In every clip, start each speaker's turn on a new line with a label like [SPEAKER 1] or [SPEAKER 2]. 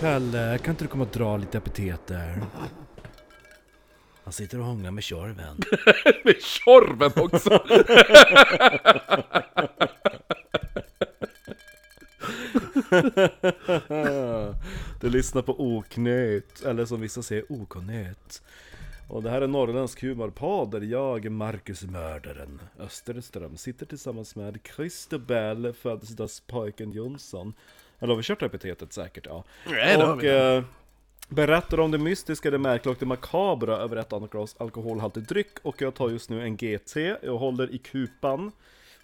[SPEAKER 1] Kalle, kan inte du komma och dra lite epiteter? Han sitter och hånglar med Tjorven.
[SPEAKER 2] Med Tjorven också!
[SPEAKER 1] Du lyssnar på Oknytt, eller som vissa säger Okonytt. Och det här är Norrländsk humorpodd där jag, Marcus Mördaren Österström, sitter tillsammans med Christobel, födelsedagspojken Jonsson. Eller har vi kört epitetet säkert? Ja.
[SPEAKER 2] Nej, det har
[SPEAKER 1] och
[SPEAKER 2] vi.
[SPEAKER 1] eh, berättar om det mystiska, det märkliga och det makabra över ett annat glas alkoholhaltig dryck. Och jag tar just nu en GT, jag håller i kupan.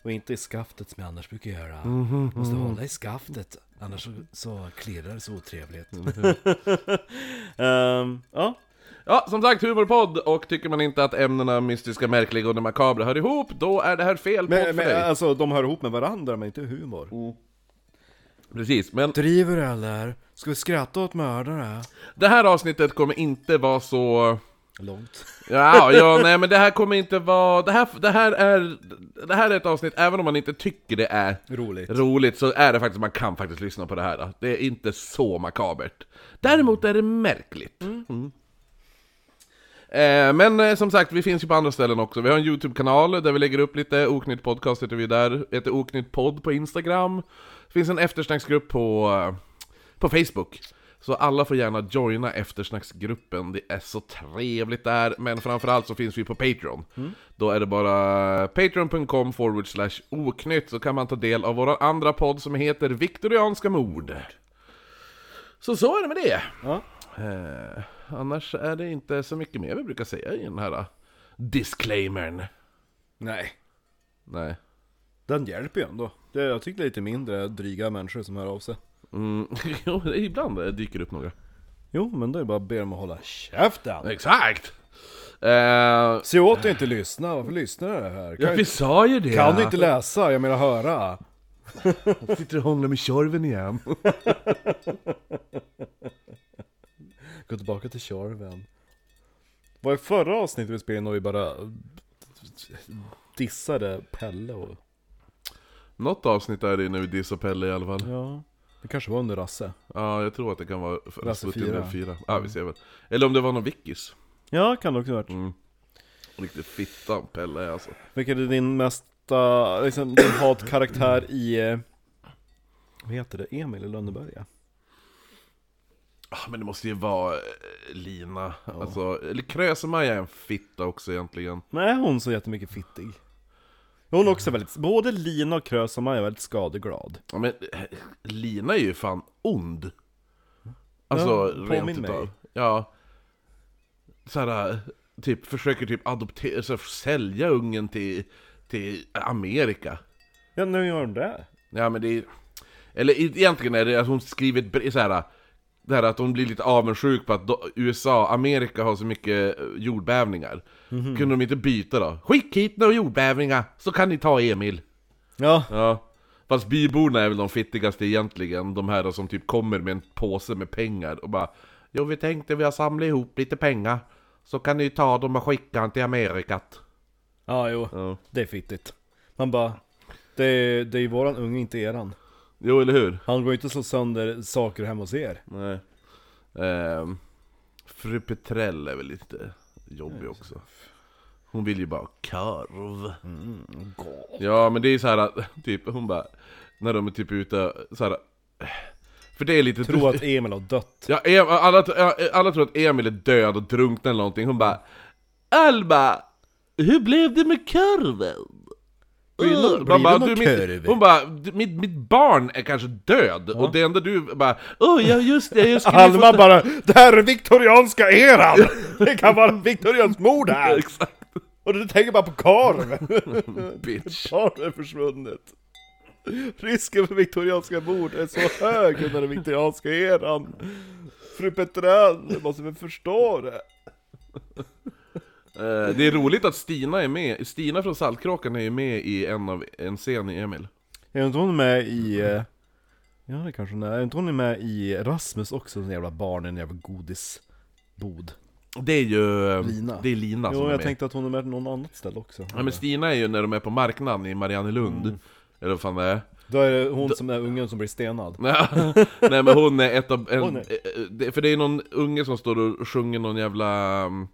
[SPEAKER 1] Och inte i skaftet som jag annars brukar göra.
[SPEAKER 2] Mhm,
[SPEAKER 1] Måste hålla i skaftet, annars så, så klirrar det så otrevligt.
[SPEAKER 2] Mhm.
[SPEAKER 1] Ehm, ja,
[SPEAKER 2] Ja, som sagt, humorpodd, och tycker man inte att ämnena mystiska, märkliga och det makabra hör ihop, då är det här fel podd för
[SPEAKER 1] men, men,
[SPEAKER 2] dig.
[SPEAKER 1] alltså de hör ihop med varandra men inte humor.
[SPEAKER 2] Precis, men
[SPEAKER 1] Driver du eller? Ska vi skratta åt mördare?
[SPEAKER 2] det här avsnittet kommer inte vara så...
[SPEAKER 1] Långt.
[SPEAKER 2] Ja, ja, nej men det här kommer inte vara... Det här, det här är... Det här är ett avsnitt, även om man inte tycker det är
[SPEAKER 1] Roligt.
[SPEAKER 2] roligt, så är det faktiskt, man kan faktiskt lyssna på det här. Det är inte så makabert. Däremot är det märkligt. Mm. Eh, men eh, som sagt, vi finns ju på andra ställen också. Vi har en YouTube-kanal där vi lägger upp lite Oknytt Podcast heter vi där. Heter Oknytt Podd på Instagram. Det finns en eftersnacksgrupp på, eh, på Facebook. Så alla får gärna joina eftersnacksgruppen, det är så trevligt där. Men framförallt så finns vi på Patreon.
[SPEAKER 1] Mm.
[SPEAKER 2] Då är det bara patreon.com forward slash oknytt så kan man ta del av vår andra podd som heter Viktorianska mord. Så så är det med det.
[SPEAKER 1] Ja.
[SPEAKER 2] Eh, annars är det inte så mycket mer vi brukar säga i den här eh, disclaimern.
[SPEAKER 1] Nej.
[SPEAKER 2] Nej.
[SPEAKER 1] Den hjälper ju ändå. Det, jag tycker det är lite mindre dryga människor som hör av sig.
[SPEAKER 2] Mm, jo, det är ibland eh, dyker det upp några.
[SPEAKER 1] Jo, men då är det bara att be dem att hålla käften.
[SPEAKER 2] Exakt! Eh,
[SPEAKER 1] Se åt dig inte lyssna, varför lyssnar du här?
[SPEAKER 2] ja,
[SPEAKER 1] Kan,
[SPEAKER 2] vi sa ju det!
[SPEAKER 1] kan du inte läsa? Jag menar höra.
[SPEAKER 2] Sitter och hånglar med Tjorven igen.
[SPEAKER 1] Gå tillbaka till Tjorven. Var i förra avsnittet vi spelade in och vi bara dissade Pelle och...
[SPEAKER 2] Något avsnitt är det när vi dissar Pelle i alla fall.
[SPEAKER 1] Ja. Det kanske var under Rasse.
[SPEAKER 2] Ja, jag tror att det kan vara
[SPEAKER 1] Rasse fyra. Mm.
[SPEAKER 2] Rasputin 4. Ja, vi ser väl. Eller om det var någon Vickis.
[SPEAKER 1] Ja, kan det också ha varit.
[SPEAKER 2] Riktigt fitta Pelle är alltså.
[SPEAKER 1] Mm. Vilken är din mesta, liksom din hatkaraktär i, eh, vad heter det, Emil i Lönneberga?
[SPEAKER 2] Ah, Men det måste ju vara eh, Lina. Alltså, eller Krösemaja är en fitta också egentligen.
[SPEAKER 1] Nej, hon så jättemycket fittig. Hon är också väldigt, både Lina och Krösa-Maja är väldigt skadeglad.
[SPEAKER 2] Ja, men eh, Lina är ju fan ond. Alltså,
[SPEAKER 1] Ja, påminn
[SPEAKER 2] rent
[SPEAKER 1] mig.
[SPEAKER 2] utav. Ja. Såhär, eh, typ försöker typ adoptera, så här, sälja ungen till, till Amerika.
[SPEAKER 1] Ja, nu gör hon det.
[SPEAKER 2] Ja men det är... Eller egentligen är det att hon skriver ett brev så här. Det här att hon blir lite avundsjuk på att do- USA, Amerika har så mycket eh, jordbävningar. Kunde de inte byta då? Skick hit några jordbävningar, så kan ni ta Emil.
[SPEAKER 1] Ja.
[SPEAKER 2] Ja. Fast byborna är väl de fittigaste egentligen, de här som typ kommer med en påse med pengar och bara Jo vi tänkte vi har samlat ihop lite pengar, så kan ni ta dem och skicka dem till Amerikat.
[SPEAKER 1] Ja, jo.
[SPEAKER 2] Ja.
[SPEAKER 1] Det är fittigt. Man bara, det är, det är ju våran unge, inte eran.
[SPEAKER 2] Jo eller hur?
[SPEAKER 1] Han går ju inte så sönder saker hemma hos er.
[SPEAKER 2] Nej. Ehm, fru Petrell är väl lite jobbig också. Hon vill ju bara ha korv.
[SPEAKER 1] Mm,
[SPEAKER 2] Ja, men det är så här att, typ, hon bara, när de är typ ute, så här. För det är lite...
[SPEAKER 1] Tro att Emil har dött.
[SPEAKER 2] Ja, Em- alla, ja, alla tror att Emil är död och drunknad eller någonting. Hon bara, Alma, hur blev det med korven?
[SPEAKER 1] Blir det-
[SPEAKER 2] Uh,
[SPEAKER 1] blir
[SPEAKER 2] man
[SPEAKER 1] det
[SPEAKER 2] bara,
[SPEAKER 1] någon
[SPEAKER 2] du,
[SPEAKER 1] korv?
[SPEAKER 2] mitt, hon bara, "Du, mitt, mitt barn är kanske död, och det enda du bara, åh ja just det, jag skulle
[SPEAKER 1] Alma bara, det här är viktorianska eran! Det kan vara viktorianskt mord här!
[SPEAKER 2] Exakt,
[SPEAKER 1] Och du tänker bara på korv!
[SPEAKER 2] bitch.
[SPEAKER 1] Karl är försvunnet. Risken för viktorianska mord är så hög under den viktorianska eran. Fru Petrell, du måste väl förstå det?
[SPEAKER 2] Eh, det är roligt att Stina är med, Stina från Saltkråkan är ju med i en, av, en scen i Emil.
[SPEAKER 1] Är inte hon med i... eh, Ja det kanske hon är. Är inte hon med i Rasmus också, den jävla barnen, den jävla godisbod?
[SPEAKER 2] Det är ju eh,
[SPEAKER 1] Lina.
[SPEAKER 2] Det är Lina som
[SPEAKER 1] jo
[SPEAKER 2] är
[SPEAKER 1] jag
[SPEAKER 2] med.
[SPEAKER 1] tänkte att hon är med något annat ställe också. Mm.
[SPEAKER 2] Ja, men Stina är ju när de är på marknaden i Mariannelund, eller vad fan det är.
[SPEAKER 1] Då är det hon som är ungen som blir
[SPEAKER 2] Mm.
[SPEAKER 1] stenad.
[SPEAKER 2] Nej men hon är ett av... En,
[SPEAKER 1] Hon är-
[SPEAKER 2] eh, eh, det- För det är någon unge som står och sjunger någon jävla... mm,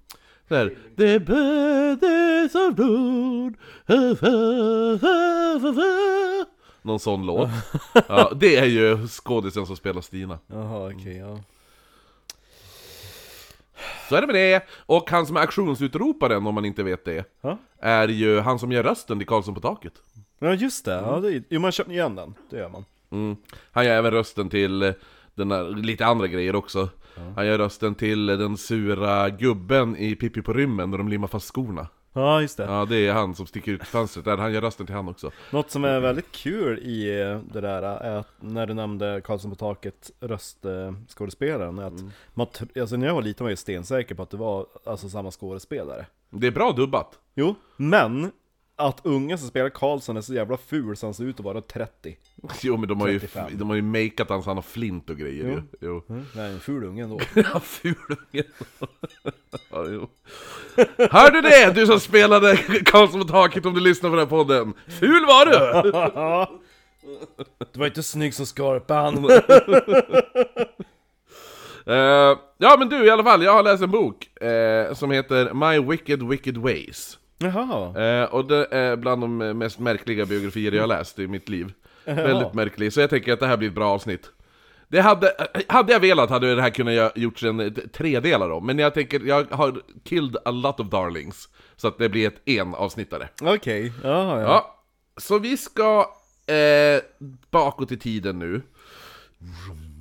[SPEAKER 2] Så här, The birthdays of Lord ha, ha, ha, ha, ha." Någon sån låt. ja, det är ju skådisen som spelar Stina.
[SPEAKER 1] Jaha, okej, ja.
[SPEAKER 2] Så är det med det! Och han som är auktionsutroparen, om man inte vet det,
[SPEAKER 1] Ja.
[SPEAKER 2] är ju han som gör rösten till Karlsson på taket.
[SPEAKER 1] Ja, just det. Ja, det är, jo, man köper igen den. Det gör man.
[SPEAKER 2] Mm. Han gör även rösten till eh, den där, lite andra grejer också. Han gör rösten till eh, den sura gubben i Pippi på rymmen när de limmar fast skorna.
[SPEAKER 1] Ja, just det.
[SPEAKER 2] Ja, det är han som sticker ut fönstret där. Han gör rösten till han också.
[SPEAKER 1] Något som är väldigt kul i eh, det där är att när du nämnde Karlsson på taket röstskådespelaren, är att man, tr- alltså när jag var liten var jag stensäker på att det var alltså samma skådespelare.
[SPEAKER 2] Det är bra dubbat.
[SPEAKER 1] Jo, men att ungen som spelar Karlsson är så jävla ful så han ser ut att vara 30.
[SPEAKER 2] Jo men de har ju,
[SPEAKER 1] 35.
[SPEAKER 2] de har ju makeat han så han har flint och grejer ju. Jo.
[SPEAKER 1] Nej, en ful unge ändå.
[SPEAKER 2] Ja, fulungen. ja, jo. Hör du det? Du som spelade Karlsson på taket om du lyssnar på den här podden. Ful var du!
[SPEAKER 1] Du var inte snygg som Skorpan!
[SPEAKER 2] Eh, ja men du i alla fall, jag har läst en bok eh, som heter My Wicked Wicked Ways.
[SPEAKER 1] Jaha,
[SPEAKER 2] Eh, och det är bland de mest märkliga biografier jag har läst i mitt liv. Väldigt märklig, så jag tänker att det här blir ett bra avsnitt. Det hade, hade jag velat hade det här kunnat gö- gjorts en tredelare om, men jag tänker, jag har killed a lot of darlings. Så att det blir ett enavsnittare.
[SPEAKER 1] okej. Ja, ja.
[SPEAKER 2] Ja, så vi ska eh, bakåt i tiden nu.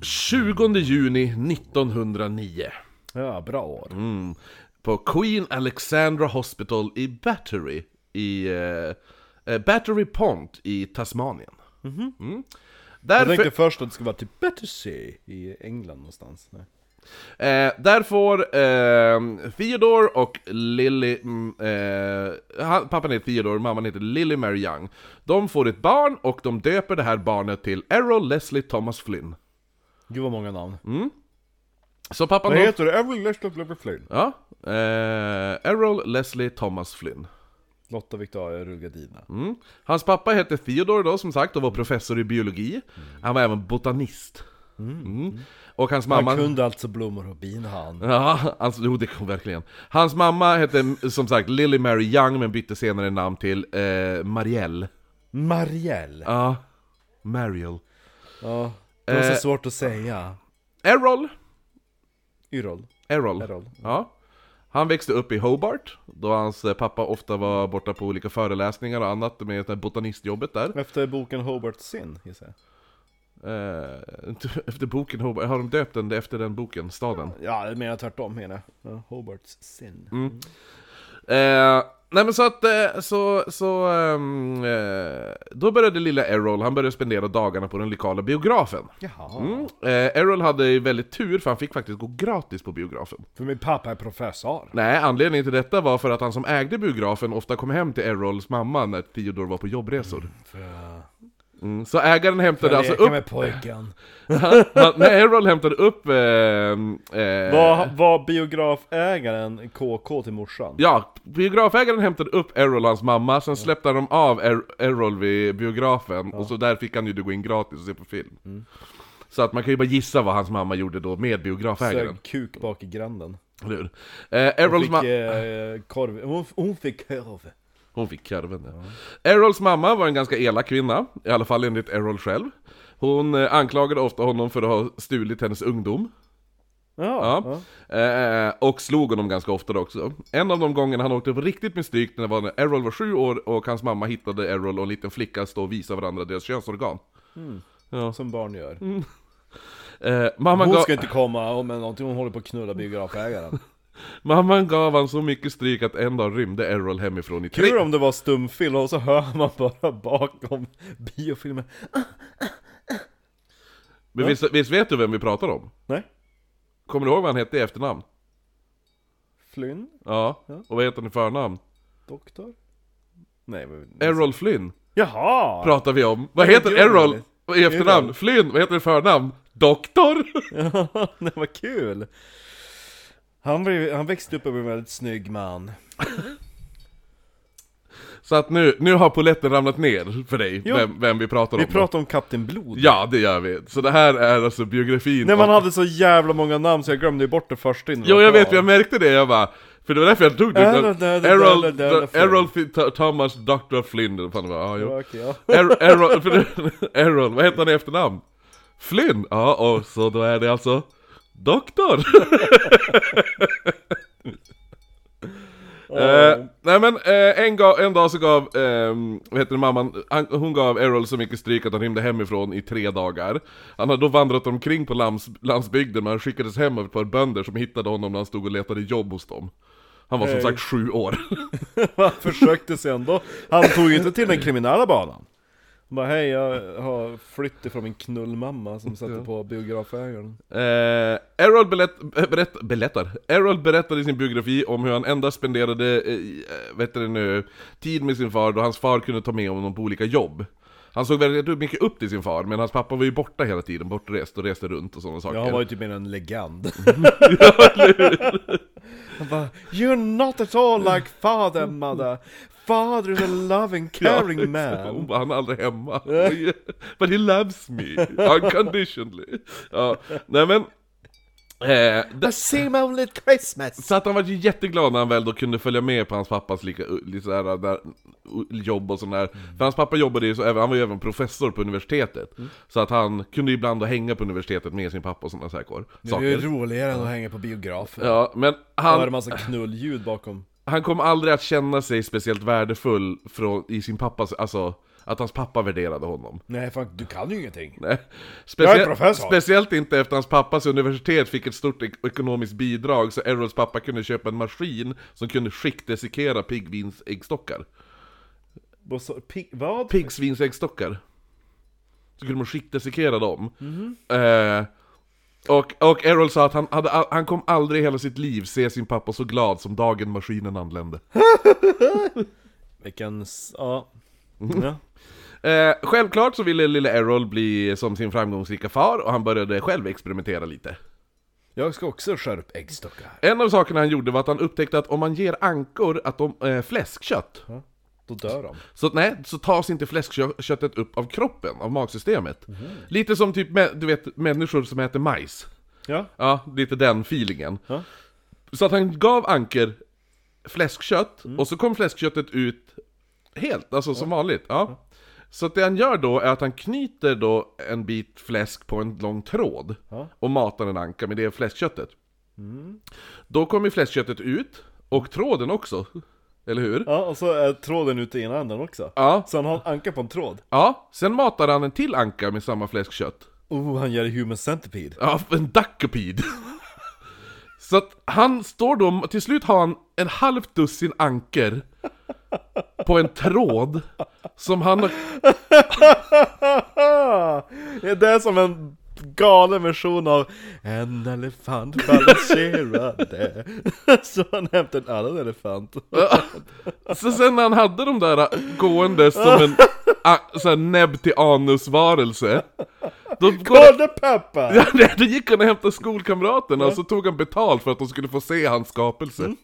[SPEAKER 2] 20 juni 1909.
[SPEAKER 1] ja, bra år.
[SPEAKER 2] Mm. På Queen Alexandra Hospital i Battery i eh, eh, Battery Pond i Tasmanien. Mm. Där,
[SPEAKER 1] Mhm. Jag tänkte först att det skulle vara typ Battersea i England någonstans. Nej.
[SPEAKER 2] f- eh, där får eh, Theodore och Lily, mm, eh, han, pappan heter Theodore, mamman heter Lily Mary Young. De får ett barn och de döper det här barnet till Errol Leslie Thomas Flynn.
[SPEAKER 1] Gud vad många namn.
[SPEAKER 2] Så pappan...
[SPEAKER 1] Vad
[SPEAKER 2] då-
[SPEAKER 1] heter du? Evelyn Leslie Flynn?
[SPEAKER 2] Ja, eh, Errol Leslie Thomas Flynn.
[SPEAKER 1] Lotta Victoria Rullgardina.
[SPEAKER 2] Mm. Hans pappa hette Theodore då som sagt och var professor i biologi. Han var även botanist. Mm. Och hans
[SPEAKER 1] Han
[SPEAKER 2] mamma...
[SPEAKER 1] kunde alltså blommor och bin han.
[SPEAKER 2] Ja, alltså, jo det kom verkligen. Hans mamma hette som sagt Lily Mary Young men bytte senare namn till eh, Marielle.
[SPEAKER 1] Marielle.
[SPEAKER 2] Ja, Mariel.
[SPEAKER 1] Ja. Det var så
[SPEAKER 2] Eh.
[SPEAKER 1] svårt att säga.
[SPEAKER 2] Errol.
[SPEAKER 1] Yrrol.
[SPEAKER 2] Errol.
[SPEAKER 1] Errol.
[SPEAKER 2] Ja. Han växte upp i Hobart, då hans eh, pappa ofta var borta på olika föreläsningar och annat med det här botanistjobbet där.
[SPEAKER 1] Efter boken Hobart Sin, gissar jag.
[SPEAKER 2] Eh, efter boken Hobart, har de döpt den efter den boken, staden?
[SPEAKER 1] Ja, det menar jag tvärtom menar jag. Ja, Hobarts Sin.
[SPEAKER 2] Mm. Eh, nej men så att, eh, så, så, ehm, eh, då började lilla Errol, han började spendera dagarna på den lokala biografen.
[SPEAKER 1] Jaha.
[SPEAKER 2] Mm. Eh, Errol hade ju väldigt tur för han fick faktiskt gå gratis på biografen.
[SPEAKER 1] För min pappa är professor.
[SPEAKER 2] Nej, anledningen till detta var för att han som ägde biografen ofta kom hem till Errols mamma när Theodor var på jobbresor.
[SPEAKER 1] För jag
[SPEAKER 2] Mm. Så ägaren hämtade alltså
[SPEAKER 1] leker
[SPEAKER 2] upp...
[SPEAKER 1] med pojken.
[SPEAKER 2] Han, nej, Errol hämtade upp... Eh, eh,
[SPEAKER 1] Var, var biografägaren KK till morsan?
[SPEAKER 2] Ja, biografägaren hämtade upp Errol och hans mamma, sen släppte de av er- Errol vid biografen, och så där fick han ju gå in gratis och se på film. Så att man kan ju bara gissa vad hans mamma gjorde då med biografägaren.
[SPEAKER 1] Sög kuk bak i gränden.
[SPEAKER 2] Eller hur? Eh, Errols
[SPEAKER 1] Hon fick
[SPEAKER 2] mamma...
[SPEAKER 1] eh, korv. Hon, hon fick korv.
[SPEAKER 2] Hon fick karven, ja. Errols mamma var en ganska elak kvinna, i alla fall enligt Errol själv. Hon eh, anklagade ofta honom för att ha stulit hennes ungdom.
[SPEAKER 1] Ja.
[SPEAKER 2] Ja. Eh, och slog honom ganska ofta också. En av de gångerna han åkte på riktigt mystik när det var när Errol var sju år och hans mamma hittade Errol och en liten flicka stå och visa varandra deras könsorgan.
[SPEAKER 1] ja. Som barn gör.
[SPEAKER 2] Eh, mamman,
[SPEAKER 1] Hon
[SPEAKER 2] gav,
[SPEAKER 1] ska inte komma med någonting, hon håller på att knulla biografägaren.
[SPEAKER 2] mamman gav han så mycket stryk att en dag rymde Errol hemifrån i tre...
[SPEAKER 1] Kul om det var stumfilm och så hör man bara bakom biofilmen.
[SPEAKER 2] Men visst, visst vet du vem vi pratar om?
[SPEAKER 1] Nej,
[SPEAKER 2] Kommer du ihåg vad han hette i efternamn?
[SPEAKER 1] Flynn,
[SPEAKER 2] Ja.
[SPEAKER 1] Ja.
[SPEAKER 2] Och vad heter han i förnamn?
[SPEAKER 1] doktor? Nej, men...
[SPEAKER 2] Errol Flynn
[SPEAKER 1] Jaha!
[SPEAKER 2] pratar vi om. Vad
[SPEAKER 1] Ja,
[SPEAKER 2] heter
[SPEAKER 1] det gör
[SPEAKER 2] Errol i
[SPEAKER 1] Errol.
[SPEAKER 2] efternamn? Flynn, vad heter i förnamn? Doktor?
[SPEAKER 1] Nej, vad kul! Han, blev, han växte upp och blev en väldigt snygg man.
[SPEAKER 2] Så att nu, nu har poletten ramlat ner för dig,
[SPEAKER 1] Jo.
[SPEAKER 2] vem, vem vi pratar
[SPEAKER 1] Vi
[SPEAKER 2] om.
[SPEAKER 1] pratar om Kapten Blod.
[SPEAKER 2] Ja, det gör vi. Så det här är alltså biografin
[SPEAKER 1] När man
[SPEAKER 2] om-
[SPEAKER 1] hade så jävla många namn så jag glömde ju bort det första innan
[SPEAKER 2] Jo, jag
[SPEAKER 1] var
[SPEAKER 2] vet,
[SPEAKER 1] klar.
[SPEAKER 2] jag märkte det, jag bara... För det var därför jag tog det.
[SPEAKER 1] Errol- Errol-
[SPEAKER 2] Errol-
[SPEAKER 1] Errol-
[SPEAKER 2] Errol Fi- Th- Thomas Dr. Flynn, eller fan det var. Ja, jo.
[SPEAKER 1] Ja, okej, ja.
[SPEAKER 2] Er- Errol, för det- Errol, vad heter han i efternamn? Flynn? Ja, och så då är det alltså doktor. Eh, nej men eh, en, ga, en dag så gav, eh, vad heter det, mamman, han, hon gav Errol så mycket stryk att han rymde hemifrån i tre dagar. Han hade då vandrat omkring på lands, landsbygden men han skickades hem av ett par bönder som hittade honom när han stod och letade jobb hos dem. Han var
[SPEAKER 1] Hej.
[SPEAKER 2] som sagt sju år.
[SPEAKER 1] Han försökte sig ändå. Han tog ju inte till den kriminella banan. Han bara hej, jag har flytt ifrån min knullmamma som satte på biografägaren.
[SPEAKER 2] Eh, Errol belätt, eh, berätt, berättar. Errol berättar i sin biografi om hur han endast spenderade eh, i, eh, vet du det nu, tid med sin far då hans far kunde ta med honom på olika jobb. Han såg väldigt mycket upp till sin far, men hans pappa var ju borta hela tiden, bortrest och reste runt och sådana saker.
[SPEAKER 1] Ja, han var ju typ mer en legend. Han bara, You're not at all like father mother. Father is a loving, caring
[SPEAKER 2] Ja, exakt. Hon
[SPEAKER 1] man.
[SPEAKER 2] bara, han är aldrig hemma. But he loves me, unconditionally. Ja, nej men... Eh, det-
[SPEAKER 1] I see him only at Christmas.
[SPEAKER 2] Så att han var ju jätteglad när han väl då kunde följa med på hans pappas lika, lite sådär, där, jobb och sådär.
[SPEAKER 1] Mm.
[SPEAKER 2] För hans pappa jobbade ju, så, även- han var ju även professor på universitetet. Så att han kunde ju ibland då hänga på universitetet med sin pappa och sådana saker.
[SPEAKER 1] Det är ju
[SPEAKER 2] saker.
[SPEAKER 1] roligare än att hänga på biografer.
[SPEAKER 2] Ja, men
[SPEAKER 1] Då är det
[SPEAKER 2] han,
[SPEAKER 1] massa knullljud bakom.
[SPEAKER 2] han kom aldrig att känna sig speciellt värdefull från, i sin pappas, alltså att hans pappa värderade honom.
[SPEAKER 1] Nej fan, du kan ju ingenting.
[SPEAKER 2] Nej.
[SPEAKER 1] Jag är
[SPEAKER 2] Speciellt,
[SPEAKER 1] professor.
[SPEAKER 2] speciellt inte efter hans pappas universitet fick ett stort ek- ekonomiskt bidrag så Errols pappa kunde köpa en maskin som kunde skiktdissekera piggvinsäggstockar.
[SPEAKER 1] Och så- pig- Vad?
[SPEAKER 2] Piggsvinsäggstockar. Så kunde man skiktdissekera dem. Eh, och, och Errol sa att han, hade, all- han kom aldrig i hela sitt liv se sin pappa så glad som dagen maskinen anlände.
[SPEAKER 1] Vilken... s- Ja. ja.
[SPEAKER 2] Eh, självklart så ville lille Errol bli som sin framgångsrika far och han började själv experimentera lite.
[SPEAKER 1] Jag ska också skära upp äggstockar.
[SPEAKER 2] En av sakerna han gjorde var att han upptäckte att om man ger ankor att de, eh, fläskkött,
[SPEAKER 1] Då dör de.
[SPEAKER 2] så, att, nej, så tas inte fläskköttet upp av kroppen, av magsystemet. Lite som typ, mä- du vet, människor som äter majs.
[SPEAKER 1] Ja.
[SPEAKER 2] Ja, lite den feelingen.
[SPEAKER 1] Ja.
[SPEAKER 2] Så att han gav ankor fläskkött,
[SPEAKER 1] Mm.
[SPEAKER 2] och så kom fläskköttet ut helt, alltså som vanligt. Ja. Så att det han gör då är att han knyter då en bit fläsk på en lång tråd
[SPEAKER 1] Ja. Mm.
[SPEAKER 2] och matar en anka med det fläskköttet. Då kommer fläskköttet ut, och tråden också. Eller hur?
[SPEAKER 1] Ja, och så är tråden ute i ena änden också.
[SPEAKER 2] Ja.
[SPEAKER 1] Så han har en anka på en tråd.
[SPEAKER 2] ja. Sen matar han en till anka med samma fläskkött.
[SPEAKER 1] Oh, han gör human centipede.
[SPEAKER 2] Ja, en duckapid. Så att han står då, till slut har han en halv dussin anker på en tråd som han har... Ah!
[SPEAKER 1] Ja, Det är som en galen version av En elefant balanserade. så han hämtar en annan elefant.
[SPEAKER 2] Så sen när han hade de där gående som en a- så här näbb till anus-varelse, då, går,
[SPEAKER 1] Kolla pappa!
[SPEAKER 2] Ja, nej, då gick han och hämtade skolkamraterna och så tog han betalt för att de skulle få se hans skapelse.
[SPEAKER 1] Mm.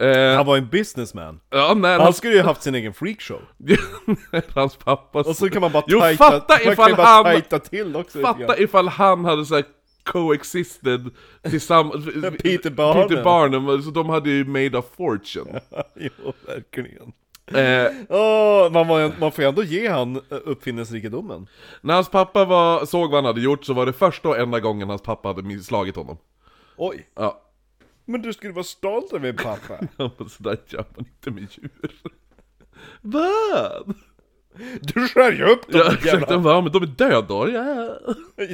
[SPEAKER 2] Eh,
[SPEAKER 1] Han var en businessman.
[SPEAKER 2] ja, när
[SPEAKER 1] Han
[SPEAKER 2] hans,
[SPEAKER 1] skulle ju haft sin egen freakshow.
[SPEAKER 2] när hans pappa...
[SPEAKER 1] Och så kan man bara
[SPEAKER 2] Jo,
[SPEAKER 1] tajta,
[SPEAKER 2] fatta
[SPEAKER 1] man kan
[SPEAKER 2] ifall
[SPEAKER 1] ju bara
[SPEAKER 2] han-
[SPEAKER 1] tajta till också lite grann.
[SPEAKER 2] Fatta ifall han hade så här coexisted tillsammans med
[SPEAKER 1] Peter Barnum.
[SPEAKER 2] Peter Barnum, så de hade ju made a fortune.
[SPEAKER 1] Jo, verkligen.
[SPEAKER 2] eh,
[SPEAKER 1] Åh, man, var, man får ju ändå ge han eh, uppfinningsrikedomen.
[SPEAKER 2] när hans pappa var, såg vad han hade gjort så var det första och enda gången hans pappa hade miss- slagit honom.
[SPEAKER 1] Oj.
[SPEAKER 2] Ja,
[SPEAKER 1] Men du skulle vara stolt över min pappa.
[SPEAKER 2] han var sådär gör man inte med djur. Vad?
[SPEAKER 1] Du skär ju upp dem
[SPEAKER 2] Ja,
[SPEAKER 1] jävla...
[SPEAKER 2] exakt, han bara, "Ja, men de är döda då. Ja.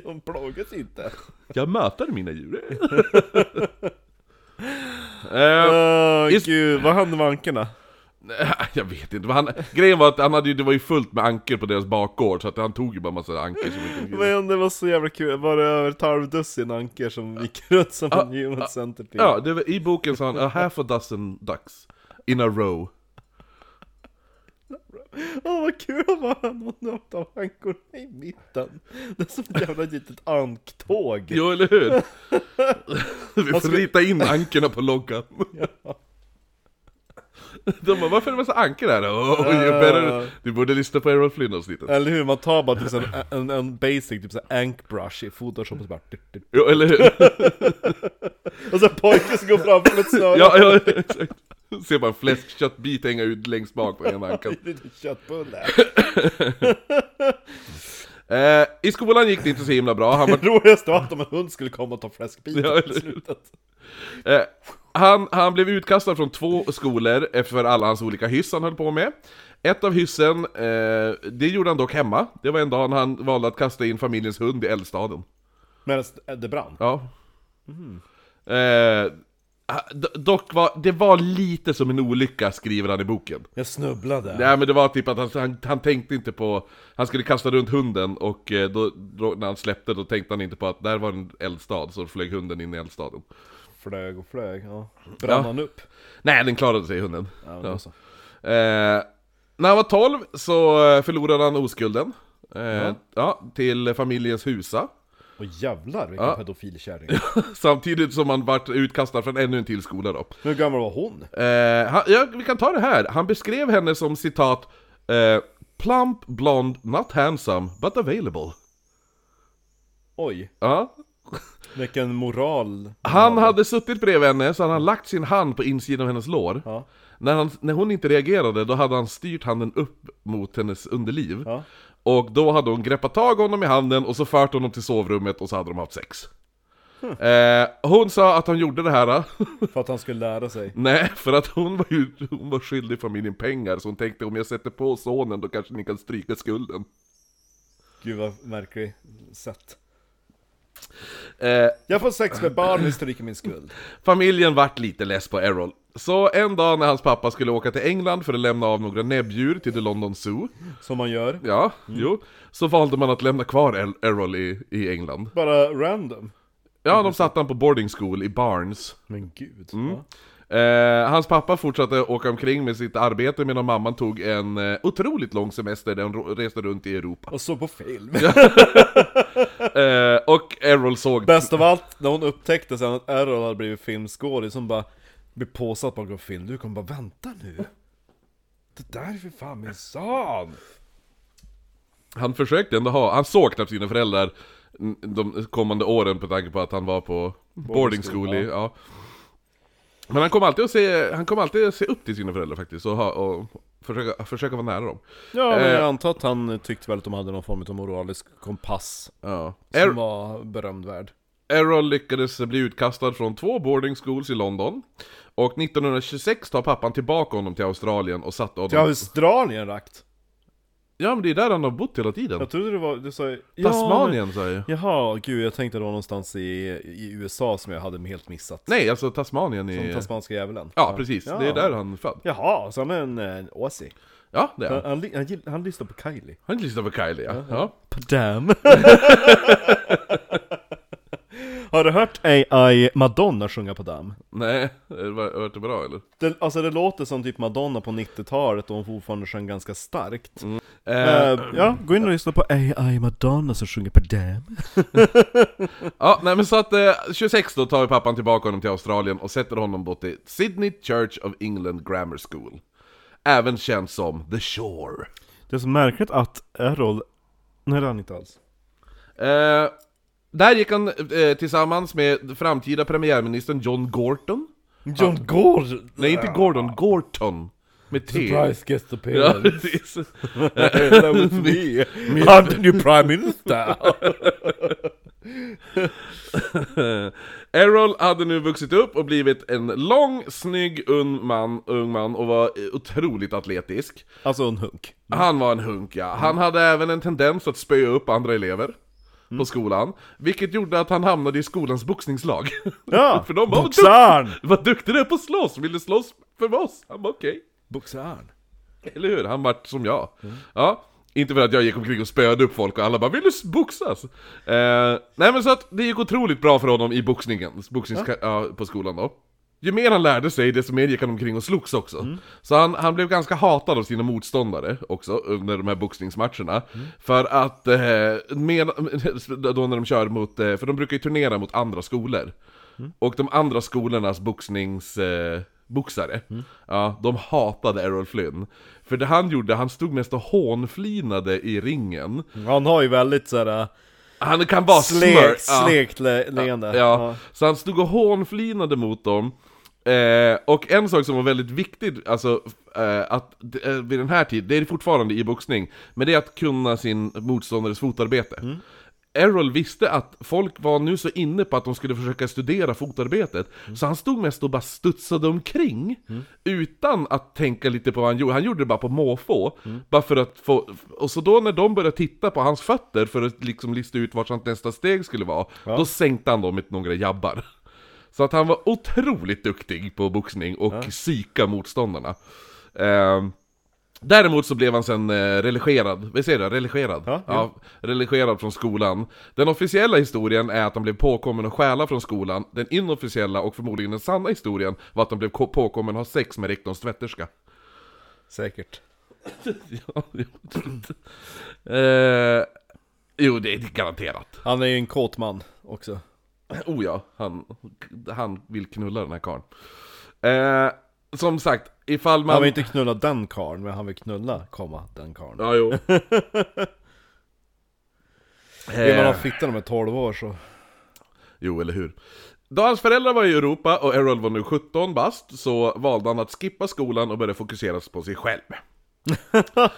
[SPEAKER 1] De plågas inte.
[SPEAKER 2] Jag mötade mina djur. eh,
[SPEAKER 1] Åh
[SPEAKER 2] Is-
[SPEAKER 1] gud, vad hände med ankorna?
[SPEAKER 2] Nej, Jag vet inte, men han, grejen var att han hade ju, det var ju fullt med anker på deras bakgård så att han tog ju bara massa anker som gick
[SPEAKER 1] Men det var så jävla kul, var det över ett halvdussin ankor som gick runt som en human centipede?
[SPEAKER 2] Ja, det var, i boken sa han a half a dozen ducks in a row
[SPEAKER 1] Åh vad kul att vara någon av ankorna i mitten! Det är som ett jävla litet anktåg!
[SPEAKER 2] Jo, eller hur? Vi får rita in ankerna på loggan De bara, varför är det massa ankor här? Oh, you better, du borde lyssna på Errol Flynn-avsnittet.
[SPEAKER 1] Eller hur, man tar bara typ så en, en, en basic typ så här ankbrush i Photoshop och så bara...
[SPEAKER 2] Jo, eller hur?
[SPEAKER 1] Och så pojken som går framför ett snöre.
[SPEAKER 2] Ja, ja, exakt. Ser bara en fläskköttbit hänga ut längst bak på ena ankan.
[SPEAKER 1] Köttbulle.
[SPEAKER 2] Eh, I skolan gick det inte så himla bra. Han var
[SPEAKER 1] Roligast var att om en hund skulle komma och ta fläskbitar
[SPEAKER 2] Ja,
[SPEAKER 1] ja,
[SPEAKER 2] eller
[SPEAKER 1] i
[SPEAKER 2] hur?
[SPEAKER 1] slutet.
[SPEAKER 2] Eh, han, han blev utkastad från två skolor eh, för alla hans olika hyss han höll på med. Ett av hyssen, eh, det gjorde han dock hemma. Det var en dag när han valde att kasta in familjens hund i eldstaden.
[SPEAKER 1] Medan det brann.
[SPEAKER 2] Ja. Eh, ha- d- dock var, det var lite som en olycka, skriver han i boken.
[SPEAKER 1] Jag snubblade.
[SPEAKER 2] Nej men det var typ att han, han, han tänkte inte på, han skulle kasta runt hunden och eh, då, då, när han släppte då tänkte han inte på att där var en eldstad, så flög hunden in i eldstaden.
[SPEAKER 1] Flög och flög, ja. Brann
[SPEAKER 2] Ja.
[SPEAKER 1] han upp?
[SPEAKER 2] Nej, den klarade sig hunden.
[SPEAKER 1] Ja, men alltså, då så.
[SPEAKER 2] Ja. Alltså. Eh, när han var 12 så eh, förlorade han oskulden. Eh, ja. till familjens husa.
[SPEAKER 1] Och jävlar vilken
[SPEAKER 2] Ja.
[SPEAKER 1] pedofilkärring.
[SPEAKER 2] Samtidigt som han vart utkastad från ännu en till skola då.
[SPEAKER 1] Hur gammal var hon?
[SPEAKER 2] Eh, han, ja, vi kan ta det här. Han beskrev henne som citat eh, Plump, blond, not handsome, but available.
[SPEAKER 1] Oj,
[SPEAKER 2] Ja.
[SPEAKER 1] vilken moral.
[SPEAKER 2] Han hade suttit bredvid henne så han hade lagt sin hand på insidan av hennes lår.
[SPEAKER 1] Ja.
[SPEAKER 2] När, han, när hon inte reagerade då hade han styrt handen upp mot hennes underliv.
[SPEAKER 1] Ja.
[SPEAKER 2] Och då hade hon greppat tag honom i handen och så fört honom till sovrummet och så hade de haft sex. Eh, hon sa att han gjorde det här, eh,
[SPEAKER 1] För att han skulle lära sig.
[SPEAKER 2] nej, för att hon var, ju, hon var skyldig familjen pengar så hon tänkte om jag sätter på sonen då kanske ni kan stryka skulden.
[SPEAKER 1] Gud vad märkligt sätt.
[SPEAKER 2] Eh,
[SPEAKER 1] Jag får sex med barn, ni stryker min skuld.
[SPEAKER 2] Familjen vart lite less på Errol. Så en dag när hans pappa skulle åka till England för att lämna av några näbbdjur till The London Zoo,
[SPEAKER 1] Som man gör.
[SPEAKER 2] ja, jo, så valde man att lämna kvar Er- Errol i, i England.
[SPEAKER 1] Bara random.
[SPEAKER 2] Ja, de satte han på boarding school i Barnes.
[SPEAKER 1] Men gud.
[SPEAKER 2] Mm.
[SPEAKER 1] Ja.
[SPEAKER 2] Eh, hans pappa fortsatte åka omkring med sitt arbete medan mamman tog en eh, otroligt lång semester där hon ro- reste runt i Europa.
[SPEAKER 1] Och så på film.
[SPEAKER 2] Eh, och Errol såg...
[SPEAKER 1] Bäst av allt, när hon upptäckte sen att Errol hade blivit filmskådis, som bara blev påsatt bakom film. Du kommer bara vänta nu. Det där är för fan min son!
[SPEAKER 2] Han försökte ändå ha... Han såg knappt sina föräldrar mm, de kommande åren på tanke på att han var på boarding school i, ja. Men han kom alltid att se, han kom alltid att se upp till sina föräldrar faktiskt och, ha, och försöka, försöka vara nära dem.
[SPEAKER 1] Ja, men
[SPEAKER 2] Eh.
[SPEAKER 1] jag antar att han tyckte väl att de hade någon form av moralisk kompass
[SPEAKER 2] Ja.
[SPEAKER 1] som
[SPEAKER 2] Er,
[SPEAKER 1] var berömdvärd.
[SPEAKER 2] Errol lyckades bli utkastad från två boarding schools i London. Och 1926 tar pappan tillbaka honom till Australien och satte
[SPEAKER 1] Till
[SPEAKER 2] honom...
[SPEAKER 1] Australien rakt!
[SPEAKER 2] Ja men det är där han har bott hela tiden.
[SPEAKER 1] Jag trodde det var, du sa ju- Ja,
[SPEAKER 2] Tasmanien sa jag ju.
[SPEAKER 1] men- Jaha, gud jag tänkte det var någonstans i, i USA som jag hade helt missat.
[SPEAKER 2] Nej, alltså Tasmanien
[SPEAKER 1] Den
[SPEAKER 2] i...
[SPEAKER 1] tasmanska djävulen.
[SPEAKER 2] Ja, precis.
[SPEAKER 1] Ja.
[SPEAKER 2] Det är där han är född.
[SPEAKER 1] Jaha, så han är en eh, Aussie.
[SPEAKER 2] Ja, det är han.
[SPEAKER 1] Han, han, li- han, gill- han lyssnar på Kylie.
[SPEAKER 2] Har inte lyssnat på Kylie, ja. ja.
[SPEAKER 1] Damn. Har du hört AI Madonna sjunga på Dam?
[SPEAKER 2] Nej, det var, var det bra eller?
[SPEAKER 1] Det, alltså det låter som typ Madonna på 90-talet och hon fortfarande sjöng ganska starkt.
[SPEAKER 2] Eh,
[SPEAKER 1] Eh, ja, gå in och lyssna på AI Madonna som sjunger på Dam.
[SPEAKER 2] ja, nej men så att eh, 26 då tar ju pappan tillbaka honom till Australien och sätter honom bort i Sydney Church of England Grammar School. Även känd som The Shore.
[SPEAKER 1] Det är så märkligt att Errol, nej det är han inte alls.
[SPEAKER 2] Eh, där gick han eh, tillsammans med framtida premiärministern John Gorton.
[SPEAKER 1] John Gordon!
[SPEAKER 2] Nej, inte Gordon, Gorton. Med T.
[SPEAKER 1] gets the
[SPEAKER 2] Ja, precis.
[SPEAKER 1] That was me! I'm the new prime minister!
[SPEAKER 2] Errol hade nu vuxit upp och blivit en lång, snygg, ung man, ung man och var eh, otroligt atletisk.
[SPEAKER 1] alltså en hunk.
[SPEAKER 2] Han var en hunk ja. Han hade även en tendens att spöa upp andra elever på skolan. Vilket gjorde att han hamnade i skolans boxningslag.
[SPEAKER 1] Ja!
[SPEAKER 2] För de var
[SPEAKER 1] Boxaren!
[SPEAKER 2] Vad duktig du är på att slåss! Vill du slåss för oss? Han bara okej.
[SPEAKER 1] Boxaren!
[SPEAKER 2] Eller hur? Han vart som jag. Ja. Inte för att jag gick omkring och spöade upp folk och alla bara 'Vill du boxas?' Eh, nej men så att det gick otroligt bra för honom i boxningen, boxnings- ja, på skolan då. Ju mer han lärde sig, desto mer gick han omkring och slogs också. Så han, han blev ganska hatad av sina motståndare också under de här boxningsmatcherna. För att, eh, med, då när de kör mot, eh, för de brukar ju turnera mot andra skolor. Och de andra skolornas boxnings... Eh, boxare. Ja, de hatade Errol Flynn. För det han gjorde, han stod nästan hånflinade i ringen.
[SPEAKER 1] Han har ju väldigt såhär
[SPEAKER 2] Han kan vara smör...
[SPEAKER 1] slekt, slekt le- leende.
[SPEAKER 2] Ja. Så han stod och hånflinade mot dem. Eh, och en sak som var väldigt viktig, alltså, eh, att d- eh, vid den här tiden, det är det fortfarande i boxning, men det är att kunna sin motståndares fotarbete. Errol visste att folk var nu så inne på att de skulle försöka studera fotarbetet, så han stod mest och bara studsade omkring, utan att tänka lite på vad han gjorde. Han gjorde det bara på måfå, bara för att få... Och så då när de började titta på hans fötter för att liksom lista ut vart hans nästa steg skulle vara, då sänkte han dem med några jabbar. Så att han var otroligt duktig på boxning och psyka motståndarna. Ehm, Däremot så blev han sen eh, religerad, vi säger det, religerad.
[SPEAKER 1] Ja, ja.
[SPEAKER 2] religerad från skolan. Den officiella historien är att han blev påkommen och stjäla från skolan. Den inofficiella och förmodligen den sanna historien var att han blev ko- påkommen och ha sex med rektorns tvätterska.
[SPEAKER 1] Säkert.
[SPEAKER 2] ja, jo, absolut. eh, jo, det är garanterat.
[SPEAKER 1] Han är ju en kåt man också.
[SPEAKER 2] Oh ja, han, han vill knulla den här karln. Eh, som sagt, ifall man...
[SPEAKER 1] Han vill inte knulla den karln, men han vill knulla, komma, den karln.
[SPEAKER 2] Ja, jo. Eh,
[SPEAKER 1] Vill man
[SPEAKER 2] Eh,
[SPEAKER 1] ha fittan om ett 12 år så...
[SPEAKER 2] Jo, eller hur? Då hans föräldrar var i Europa och Errol var nu 17 bast så valde han att skippa skolan och började fokusera på sig själv.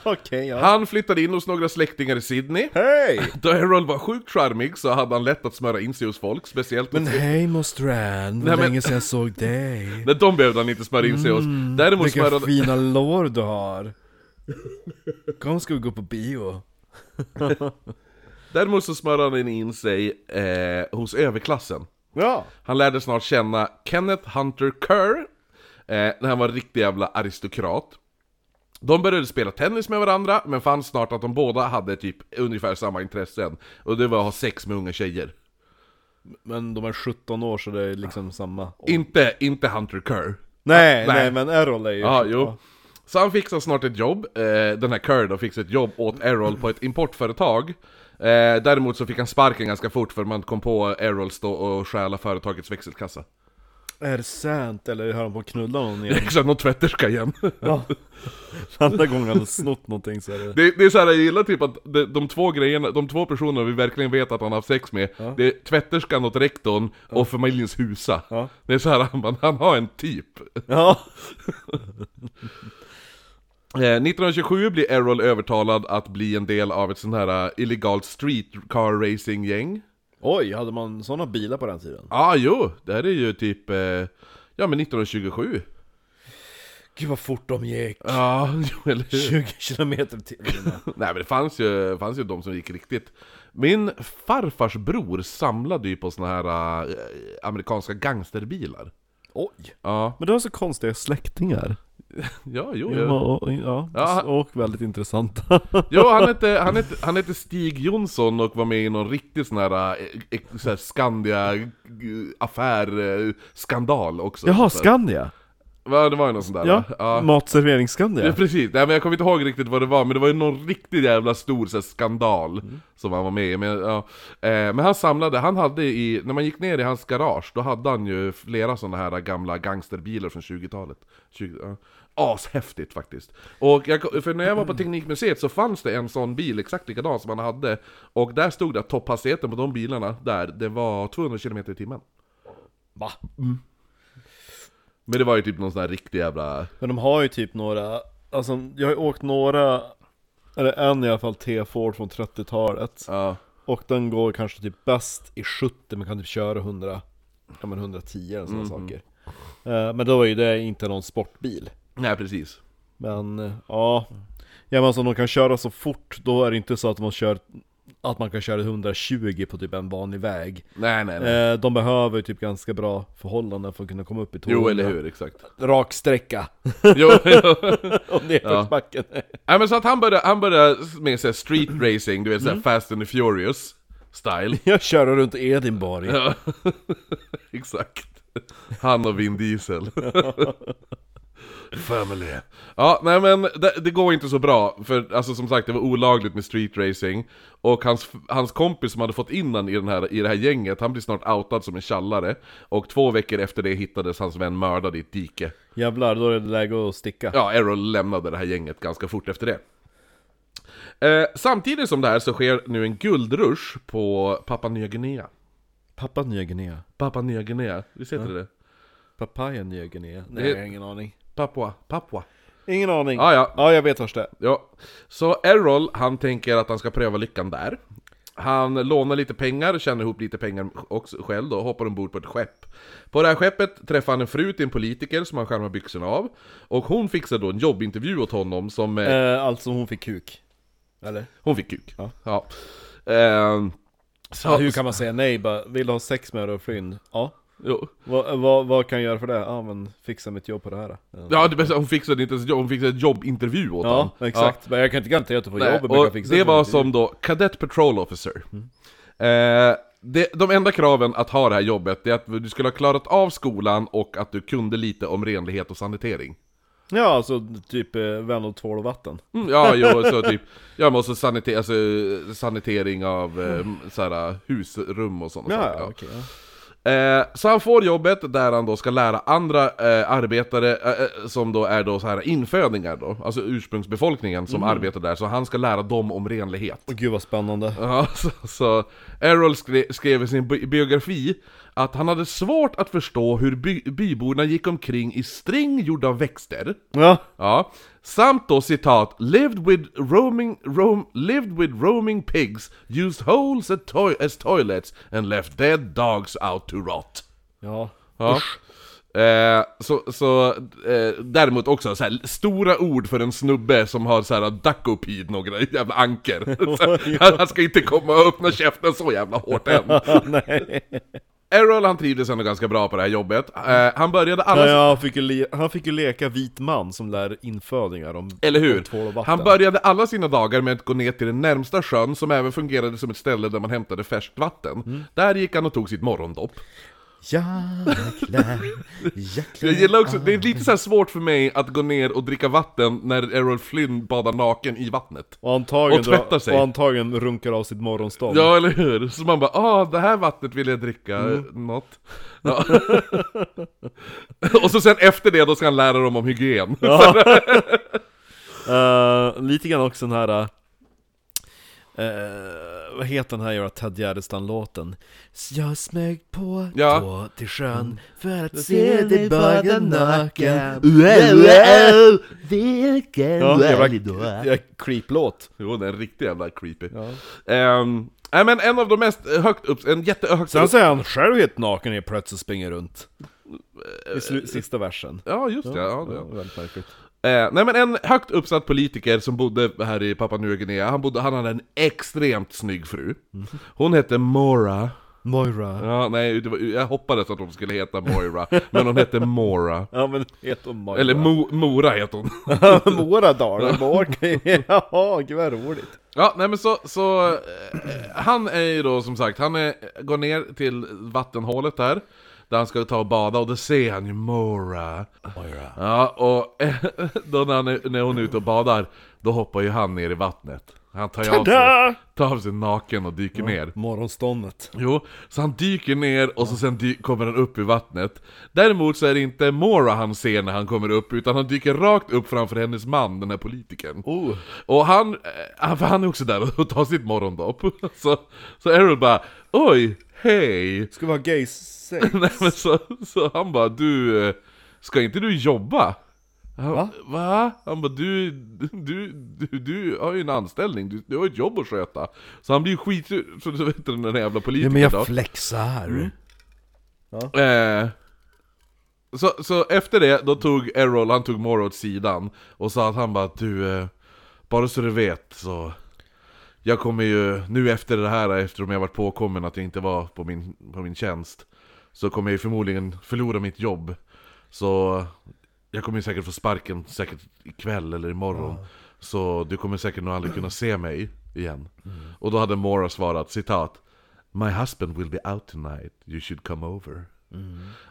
[SPEAKER 1] Okej, ja.
[SPEAKER 2] Han flyttade in hos några släktingar i Sydney.
[SPEAKER 1] Hej!
[SPEAKER 2] Då Errol var sjukt charmig så hade han lätt att smöra in sig hos folk, speciellt
[SPEAKER 1] Men hej Mostrand, vad
[SPEAKER 2] Nej, men-
[SPEAKER 1] länge sedan jag såg dig.
[SPEAKER 2] när de behövde han inte smöra in sig hos.
[SPEAKER 1] Mm,
[SPEAKER 2] Däremot
[SPEAKER 1] Vilka
[SPEAKER 2] smörade...
[SPEAKER 1] fina lår du har. Kom ska vi gå på bio.
[SPEAKER 2] Däremot så smörade han in sig eh, hos överklassen.
[SPEAKER 1] Ja.
[SPEAKER 2] Han lärde snart känna Kenneth Hunter Kerr, eh, när han var en riktig jävla aristokrat. De började spela tennis med varandra, men fann snart att de båda hade typ ungefär samma intressen. Och det var att ha sex med unga tjejer.
[SPEAKER 1] Men de är 17 år så det är liksom samma.
[SPEAKER 2] Inte, inte Hunter Kerr.
[SPEAKER 1] Nej, nej,
[SPEAKER 2] Ah, nej.
[SPEAKER 1] men Errol är ju...
[SPEAKER 2] Ja, jo. Så han fixade snart ett jobb, eh, den här Kerr då fixade ett jobb åt Errol på ett importföretag. Eh, däremot så fick han sparken ganska fort för man kom på Errols då och stjäla företagets växelkassa.
[SPEAKER 1] Är det sant? Eller höll han på att knulla någon igen?
[SPEAKER 2] Exakt, någon tvätterska igen.
[SPEAKER 1] Ja. Andra gången han har snott någonting så är det...
[SPEAKER 2] Det, det är såhär, jag gillar typ att de, de två grejerna, de två personerna vi verkligen vet att han har haft sex med Det är tvätterskan åt rektorn och familjens husa
[SPEAKER 1] Ja.
[SPEAKER 2] Det är såhär, han, bara, han har en typ
[SPEAKER 1] Ja.
[SPEAKER 2] eh, 1927 blir Errol övertalad att bli en del av ett sånt här eh, illegalt streetcar racing gäng
[SPEAKER 1] Oj, hade man såna bilar på den tiden?
[SPEAKER 2] Ja, ah, jo, det här är ju typ, eh, ja men 1927
[SPEAKER 1] Gud vad fort de gick.
[SPEAKER 2] Ja, jo eller hur?
[SPEAKER 1] 20 kilometer till
[SPEAKER 2] Nej men det fanns ju, fanns ju de som gick riktigt Min farfars bror samlade ju på såna här eh, amerikanska gangsterbilar
[SPEAKER 1] Oj.
[SPEAKER 2] Ja,
[SPEAKER 1] Men du har så konstiga släktingar.
[SPEAKER 2] ja jo,
[SPEAKER 1] Ja,
[SPEAKER 2] jo.
[SPEAKER 1] och, ja,
[SPEAKER 2] Ja.
[SPEAKER 1] och väldigt intressanta.
[SPEAKER 2] jo han, hette, han, hette, han hette Stig Jonsson och var med i någon riktig sån här, eh, eh, så här eh, Skandia-affär-skandal också
[SPEAKER 1] Jaha,
[SPEAKER 2] Så-
[SPEAKER 1] Skandia?
[SPEAKER 2] Va, det var ju någon sån där
[SPEAKER 1] Ja,
[SPEAKER 2] va? ja.
[SPEAKER 1] matservering Skandia.
[SPEAKER 2] Ja, precis, Nej, men jag kommer inte ihåg riktigt vad det var, men det var ju någon riktigt jävla stor så här, skandal som han var med i. Men, ja. eh, men han samlade, han hade i, när man gick ner i hans garage, då hade han ju flera sådana här gamla gangsterbilar från 20-talet. 20, ja. Ashäftigt faktiskt. Och jag, för när jag var på Teknikmuseet så fanns det en sån bil exakt likadan som han hade, och där stod det att topphastigheten på de bilarna där, det var 200 km i timmen.
[SPEAKER 1] Va?
[SPEAKER 2] Men det var ju typ någon sån här riktig jävla...
[SPEAKER 1] Men de har ju typ några, alltså jag har ju åkt några, eller en i alla fall T-Ford från 30-talet.
[SPEAKER 2] Ja.
[SPEAKER 1] Och den går kanske typ bäst i 70 men kan typ köra 100, ja men 110 eller sådana saker. Eh, Men då är ju det inte någon sportbil.
[SPEAKER 2] Nej precis.
[SPEAKER 1] Men eh, ja, ja men alltså de kan köra så fort, då är det inte så att man kör att man kan köra 120 på typ en vanlig väg.
[SPEAKER 2] Nej nej nej.
[SPEAKER 1] Eh, De behöver ju typ ganska bra förhållanden för att kunna komma upp i 200.
[SPEAKER 2] Jo eller hur, exakt.
[SPEAKER 1] Rak sträcka,
[SPEAKER 2] Jo, jo.
[SPEAKER 1] om nedförsbacken.
[SPEAKER 2] Nej men så att han började, han började med såhär street racing, du vet såhär Fast and the Furious style.
[SPEAKER 1] Jag kör runt Edinburgh.
[SPEAKER 2] Ja. Exakt. Han och Vin Diesel. family. Ja, nej men det, det går inte så bra, för alltså som sagt det var olagligt med street racing Och hans, hans kompis som hade fått in han i, den här, i det här gänget, han blir snart outad som en tjallare Och två veckor efter det hittades hans vän mördad i ett dike
[SPEAKER 1] Jävlar, då är det läge att sticka.
[SPEAKER 2] Ja, Errol lämnade det här gänget ganska fort efter det. Eh, samtidigt som det här så sker nu en guldrush på Papua Nya Guinea.
[SPEAKER 1] Pappa Nya Guinea.
[SPEAKER 2] Papua Nya Guinea, visst heter det det?
[SPEAKER 1] Papaya Nya Guinea. Nej,
[SPEAKER 2] Det-
[SPEAKER 1] har ingen aning.
[SPEAKER 2] Papua, Papua.
[SPEAKER 1] Ingen aning.
[SPEAKER 2] Ah, ja.
[SPEAKER 1] ja, jag vet vars det är.
[SPEAKER 2] Ja. Så Errol, han tänker att han ska pröva lyckan där. Han lånar lite pengar, tjänar ihop lite pengar också själv då, och hoppar ombord på ett skepp. På det här skeppet träffar han en fru till en politiker som han skärmar byxorna av. Och hon fixar då en jobbintervju åt honom som... Eh,
[SPEAKER 1] Eh, alltså hon fick kuk. Eller?
[SPEAKER 2] Hon fick kuk.
[SPEAKER 1] Ja.
[SPEAKER 2] Ja. Ehm, så,
[SPEAKER 1] Hur kan man säga nej bara, vill du ha sex med Errol Flynn? Ja.
[SPEAKER 2] Jo.
[SPEAKER 1] Vad, vad, vad kan jag göra för det? Ja men fixa mitt jobb på det här. Ja,
[SPEAKER 2] Ja, det bästa, hon fixade inte ens jobb, hon fixade ett jobbintervju åt honom.
[SPEAKER 1] ja exakt. Men jag kan inte garantera att du får
[SPEAKER 2] Nej,
[SPEAKER 1] jobb. men jag
[SPEAKER 2] och
[SPEAKER 1] kan fixa Mm.
[SPEAKER 2] det var
[SPEAKER 1] mitt jobb.
[SPEAKER 2] som då Cadet Patrol Officer. Eh, det, de enda kraven att ha det här jobbet, det är att du skulle ha klarat av skolan och att du kunde lite om renlighet och sanitering.
[SPEAKER 1] Ja, alltså typ eh, vän och tvål och vatten.
[SPEAKER 2] Mm, ja, jo, så typ, jag måste sanitera, alltså, sanitering av eh, såhär, husrum och sådana saker. ja.
[SPEAKER 1] okej, ja.
[SPEAKER 2] Eh, så han får jobbet där han då ska lära andra eh, arbetare, eh, eh, som då är då så här infödingar då, alltså ursprungsbefolkningen som arbetar där, så han ska lära dem om renlighet.
[SPEAKER 1] Åh, gud vad spännande.
[SPEAKER 2] Ja, så, så Errol skre- skrev i sin bi- biografi att han hade svårt att förstå hur by byborna gick omkring i string gjorda av växter,
[SPEAKER 1] Ja,
[SPEAKER 2] ja, samt då citat 'Lived with roaming, roam, lived with roaming pigs, used holes at toi- as toilets and left dead dogs out to rot'
[SPEAKER 1] ja.
[SPEAKER 2] Ja. Eh, så så eh, däremot också så här, stora ord för en snubbe som har så här duckopid några jävla anker. Så, han, han ska inte komma och öppna käften så jävla hårt än.
[SPEAKER 1] nej.
[SPEAKER 2] Errol han trivdes ändå ganska bra på det här jobbet. Eh, han började alla...
[SPEAKER 1] Ja, ja, han, fick ju le- han fick ju leka vit man som lär infödingar om
[SPEAKER 2] Eller
[SPEAKER 1] om tvål och
[SPEAKER 2] hur?
[SPEAKER 1] vatten.
[SPEAKER 2] Han började alla sina dagar med att gå ner till den närmsta sjön som även fungerade som ett ställe där man hämtade färskt vatten.
[SPEAKER 1] Mm.
[SPEAKER 2] Där gick han och tog sitt morgondopp.
[SPEAKER 1] Jäklar, jäklar.
[SPEAKER 2] Jag gillar också,
[SPEAKER 1] Ah.
[SPEAKER 2] det är lite så här svårt för mig att gå ner och dricka vatten när Errol Flynn badar naken i vattnet.
[SPEAKER 1] Och antagligen,
[SPEAKER 2] Och tvätta sig.
[SPEAKER 1] och antagligen runkar av sitt morgonstånd.
[SPEAKER 2] Ja, eller hur? Så man bara ah, det här vattnet vill jag dricka, eh,
[SPEAKER 1] Mm.
[SPEAKER 2] något. Ja. och så sen efter det, då ska han lära dem om hygien.
[SPEAKER 1] Eh, lite grann också den här... eh, vad heter den här jävla Ted Gärdestad-låten? Så Jag smög på
[SPEAKER 2] Ja.
[SPEAKER 1] tå till sjön för att
[SPEAKER 3] Se
[SPEAKER 1] se
[SPEAKER 3] dig
[SPEAKER 1] dig bada naken
[SPEAKER 3] Vilken
[SPEAKER 1] Ja,
[SPEAKER 3] härlig
[SPEAKER 1] jävla
[SPEAKER 3] dag
[SPEAKER 1] ja, creep-låt.
[SPEAKER 2] jo, det är en riktig jävla creepy.
[SPEAKER 1] Ja.
[SPEAKER 2] Ehm, Nej men en av de mest eh, högt upp, en jättehögt
[SPEAKER 1] Sen
[SPEAKER 2] upp...
[SPEAKER 1] så är han själv helt naken helt plötsligt och springer runt. I slu- sista versen.
[SPEAKER 2] Ja just det, ja, det.
[SPEAKER 1] Eh, Ja, väldigt märkligt.
[SPEAKER 2] Eh, nej men en högt uppsatt politiker som bodde här i Papua Nya Guinea, han, bodde, han hade en extremt snygg fru.
[SPEAKER 1] Mm.
[SPEAKER 2] Hon hette Mora.
[SPEAKER 1] Moira.
[SPEAKER 2] Ja, nej, det var, jag hoppades att hon skulle heta Moira, men hon hette Mora.
[SPEAKER 1] Ja men heter hon Moira?
[SPEAKER 2] Eller Mo, Mora heter hon.
[SPEAKER 1] Mora dagar, Mora. Jaha, gud vad roligt.
[SPEAKER 2] Ja, nej men så, så eh, han är ju då som sagt, han är, går ner till vattenhålet där, där han ska ta och bada och då ser han ju Mora.
[SPEAKER 1] Moira.
[SPEAKER 2] Ja, och eh, då när, han är, när hon är ute och badar, då hoppar ju han ner i vattnet. Han tar ju av sig,
[SPEAKER 1] Ta-da!
[SPEAKER 2] tar av sig naken och dyker ner.
[SPEAKER 1] Morgonståndet.
[SPEAKER 2] Jo, så han dyker ner och så sen dy- kommer han upp i vattnet. Däremot så är det inte Mora han ser när han kommer upp, utan han dyker rakt upp framför hennes man, den här politikern.
[SPEAKER 1] Oh.
[SPEAKER 2] Och han, eh, han- för han är också där och tar sitt morgondopp. Så, så Errol bara ”Oj, hej!”
[SPEAKER 1] Ska vi ha gay sex?
[SPEAKER 2] Nej, men så, så han bara ”Du, eh, ska inte du jobba?” Han,
[SPEAKER 1] Va?
[SPEAKER 2] Va? Han bara du, du, du, du har ju en anställning, du, du har ju ett jobb att sköta. Så han blir ju skitsur, så du vet den där jävla politikern då.
[SPEAKER 1] flexar.
[SPEAKER 2] Eh, så, så efter det, då tog Errol, han tog Mora åt sidan och sa att han bara du, eh, bara så du vet så jag kommer ju, nu efter det här, eftersom jag varit påkommen att jag inte var på min, på min tjänst Så kommer jag ju förmodligen förlora mitt jobb Så jag kommer ju säkert få sparken, säkert ikväll eller imorgon Så du kommer säkert nog aldrig kunna se mig igen Och då hade Mora svarat, citat My husband will be out tonight, you should come over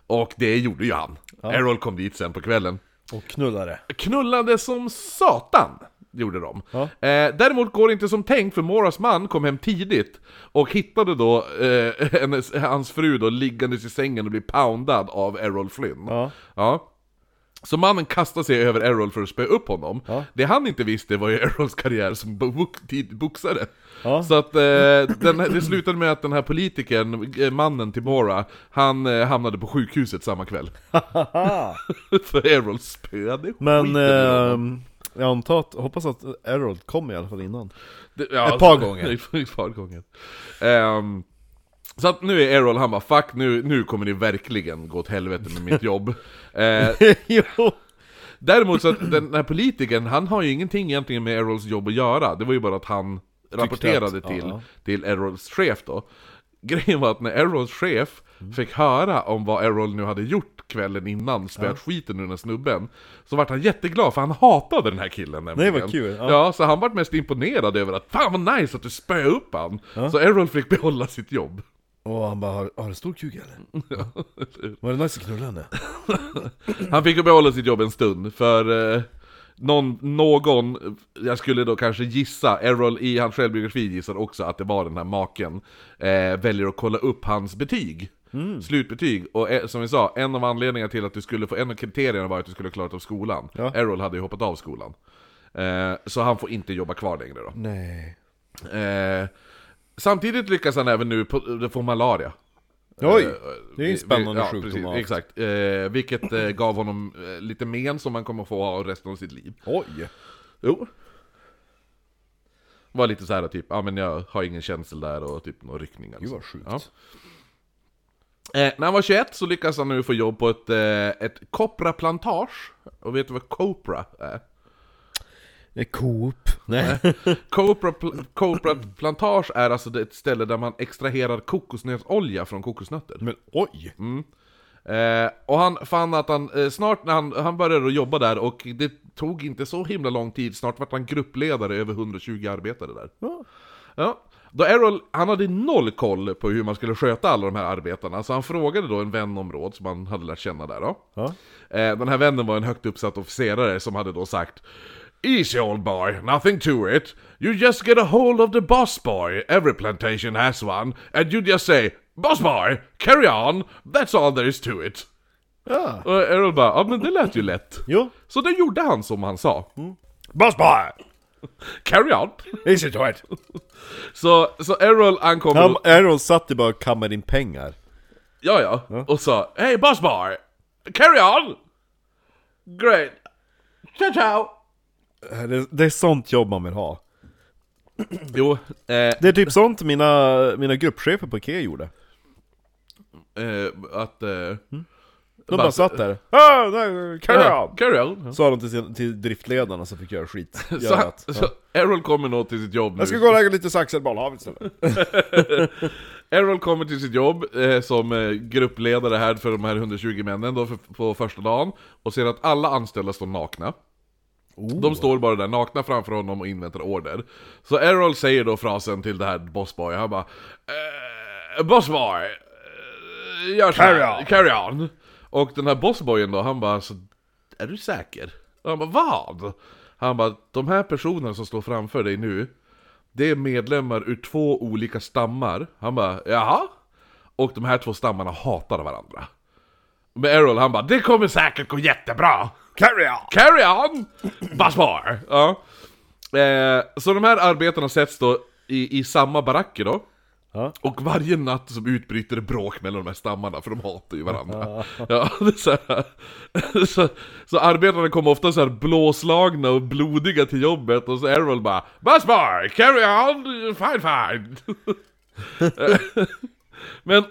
[SPEAKER 2] Och det gjorde ju han! Errol kom dit sen på kvällen
[SPEAKER 1] Och knullare.
[SPEAKER 2] Knullade som satan! Gjorde de.
[SPEAKER 1] Ja.
[SPEAKER 2] Eh, däremot går det inte som tänkt för Moras man kom hem tidigt och hittade då eh, hennes, hans fru då liggandes i sängen och blir poundad av Errol Flynn.
[SPEAKER 1] Ja.
[SPEAKER 2] Ja. Så mannen kastar sig över Errol för att spöa upp honom.
[SPEAKER 1] Ja.
[SPEAKER 2] Det han inte visste var ju Errols karriär som bo- bo- tid- boxare.
[SPEAKER 1] Ja.
[SPEAKER 2] Så att eh, den, här- det slutade med att den här politikern, eh, mannen till Mora, han eh, hamnade på sjukhuset samma kväll.
[SPEAKER 1] Haha.
[SPEAKER 2] för Errol spöade
[SPEAKER 1] Men
[SPEAKER 2] skiten ur honom.
[SPEAKER 1] ehm, jag antar att, hoppas att Errol kom i alla fall innan.
[SPEAKER 2] Det- ja,
[SPEAKER 1] ett par
[SPEAKER 2] alltså,
[SPEAKER 1] gånger.
[SPEAKER 2] ett par gånger. Ehm, så att nu är Errol, han bara 'fuck nu, nu kommer ni verkligen gå åt helvete med mitt jobb' Eh,
[SPEAKER 1] jo!
[SPEAKER 2] Däremot så att den här politikern, han har ju ingenting egentligen med Errols jobb att göra. Det var ju bara att han rapporterade
[SPEAKER 1] att-
[SPEAKER 2] till,
[SPEAKER 1] ja.
[SPEAKER 2] till Errols chef då. Grejen var att när Errols chef
[SPEAKER 1] Mm.
[SPEAKER 2] fick höra om vad Errol nu hade gjort kvällen innan, spöat skiten ur den här snubben, så vart han jätteglad för han hatade den här killen nämligen.
[SPEAKER 1] vad kul,
[SPEAKER 2] Ja.
[SPEAKER 1] ja.
[SPEAKER 2] så han vart mest imponerad över att 'Fan vad nice att du spöade upp han! Så Errol fick behålla sitt jobb.
[SPEAKER 1] Och han bara, har, har du stor kuk eller? Var det nice att knulla henne?
[SPEAKER 2] Han fick ju behålla sitt jobb en stund, för eh, någon, någon, jag skulle då kanske gissa, Errol i hans självbiografi gissar också att det var den här maken, eh, väljer att kolla upp hans betyg. Slutbetyg, och eh, som vi sa, en av anledningarna till att du skulle få, en av kriterierna var att du skulle ha klarat av skolan.
[SPEAKER 1] Ja.
[SPEAKER 2] Errol hade ju hoppat av skolan. Eh, så han får inte jobba kvar längre då.
[SPEAKER 1] Nej.
[SPEAKER 2] Eh, samtidigt lyckas han även nu på, få malaria.
[SPEAKER 1] Oj!
[SPEAKER 2] Eh,
[SPEAKER 1] Det är ju en
[SPEAKER 2] vi-
[SPEAKER 1] spännande
[SPEAKER 2] ja,
[SPEAKER 1] sjukdom. alltså.
[SPEAKER 2] Precis,
[SPEAKER 1] att ha.
[SPEAKER 2] exakt. Eh, vilket eh, gav honom eh, lite men som han kommer få ha resten av sitt liv.
[SPEAKER 1] Oj!
[SPEAKER 2] Jo. Var lite så här typ, ja men jag har ingen känsel där och typ några ryckningar. och
[SPEAKER 1] Gud
[SPEAKER 2] så.
[SPEAKER 1] vad sjukt.
[SPEAKER 2] Ja. Eh, när han var 21 så lyckas han nu få jobb på ett, eh, ett Copra plantage. Och vet du vad Copra är?
[SPEAKER 1] Det är Coop. Nej.
[SPEAKER 2] Copra, pl- Copra plantage är alltså det- ett ställe där man extraherar kokosnötsolja från kokosnötter.
[SPEAKER 1] Men oj!
[SPEAKER 2] Eh, och han fann att han eh, snart när han, han började att jobba där och det tog inte så himla lång tid, snart var han gruppledare över 120 arbetare där.
[SPEAKER 1] Ja.
[SPEAKER 2] Ja. Då Errol, han hade noll koll på hur man skulle sköta alla de här arbetarna, så han frågade då en vänområd som han hade lärt känna där då.
[SPEAKER 1] Ja.
[SPEAKER 2] Eh, den här vännen var en högt uppsatt officerare som hade då sagt Easy old boy, nothing to it. You just get a hold of the boss boy, every plantation has one, and you just say Boss boy, carry on, that's all there is to it.
[SPEAKER 1] ja.
[SPEAKER 2] Och Errol bara, ja men det lät ju lätt.
[SPEAKER 1] Jo. Mm.
[SPEAKER 2] Så då gjorde han som han sa.
[SPEAKER 1] Boss boy!
[SPEAKER 2] Carry on!
[SPEAKER 1] Easy to it!
[SPEAKER 2] Så, så Errol ankom
[SPEAKER 1] Han,
[SPEAKER 2] och,
[SPEAKER 1] Errol satt ju bara och kammade in pengar.
[SPEAKER 2] ja, ja, och sa Hey boss boy! Carry on! Great! Ciao ciao!
[SPEAKER 1] Det, det är sånt jobb man vill ha.
[SPEAKER 2] Jo, eh,
[SPEAKER 1] Det är typ sånt mina, mina gruppchefer på IKEA gjorde.
[SPEAKER 2] eh, att... Eh,
[SPEAKER 1] De
[SPEAKER 2] Bara-
[SPEAKER 1] bara satt där. Ah, nej, carry
[SPEAKER 2] Ja,
[SPEAKER 1] on!
[SPEAKER 2] Carry on!
[SPEAKER 1] Sa de till, sin, till driftledarna som fick göra skit.
[SPEAKER 2] Så,
[SPEAKER 1] Göra
[SPEAKER 2] han,
[SPEAKER 1] att-
[SPEAKER 2] så Errol kommer nog till sitt jobb nu.
[SPEAKER 1] Jag ska gå och lägga lite saxad bollhav istället.
[SPEAKER 2] Errol kommer till sitt jobb eh, som eh, gruppledare här för de här 120 männen då för, på första dagen och ser att alla anställda står nakna. De står bara där nakna framför honom och inväntar order. Så Errol säger då frasen till det här bossboy, han bara eh, Bossboy! eh, Gör så här,
[SPEAKER 1] Carry on."
[SPEAKER 2] carry on! Och den här bossboyen då, han bara så, Är du säker? Och han bara vad? Han bara, de här personerna som står framför dig nu det är medlemmar ur två olika stammar. Han bara, jaha? Och de här två stammarna hatar varandra. Men Errol han bara, det kommer säkert gå jättebra!
[SPEAKER 1] Carry on!
[SPEAKER 2] Carry on! Basbar! Ja. Eh, så de här arbetarna sätts då i, i samma baracker då.
[SPEAKER 1] Ja.
[SPEAKER 2] Och varje natt som utbryter det bråk mellan de här stammarna, för de hatar ju varandra. ja, det är så, här, så, så arbetarna kommer ofta så här blåslagna och blodiga till jobbet, och så Errol bara Basbar! Carry on! Fine fine! Men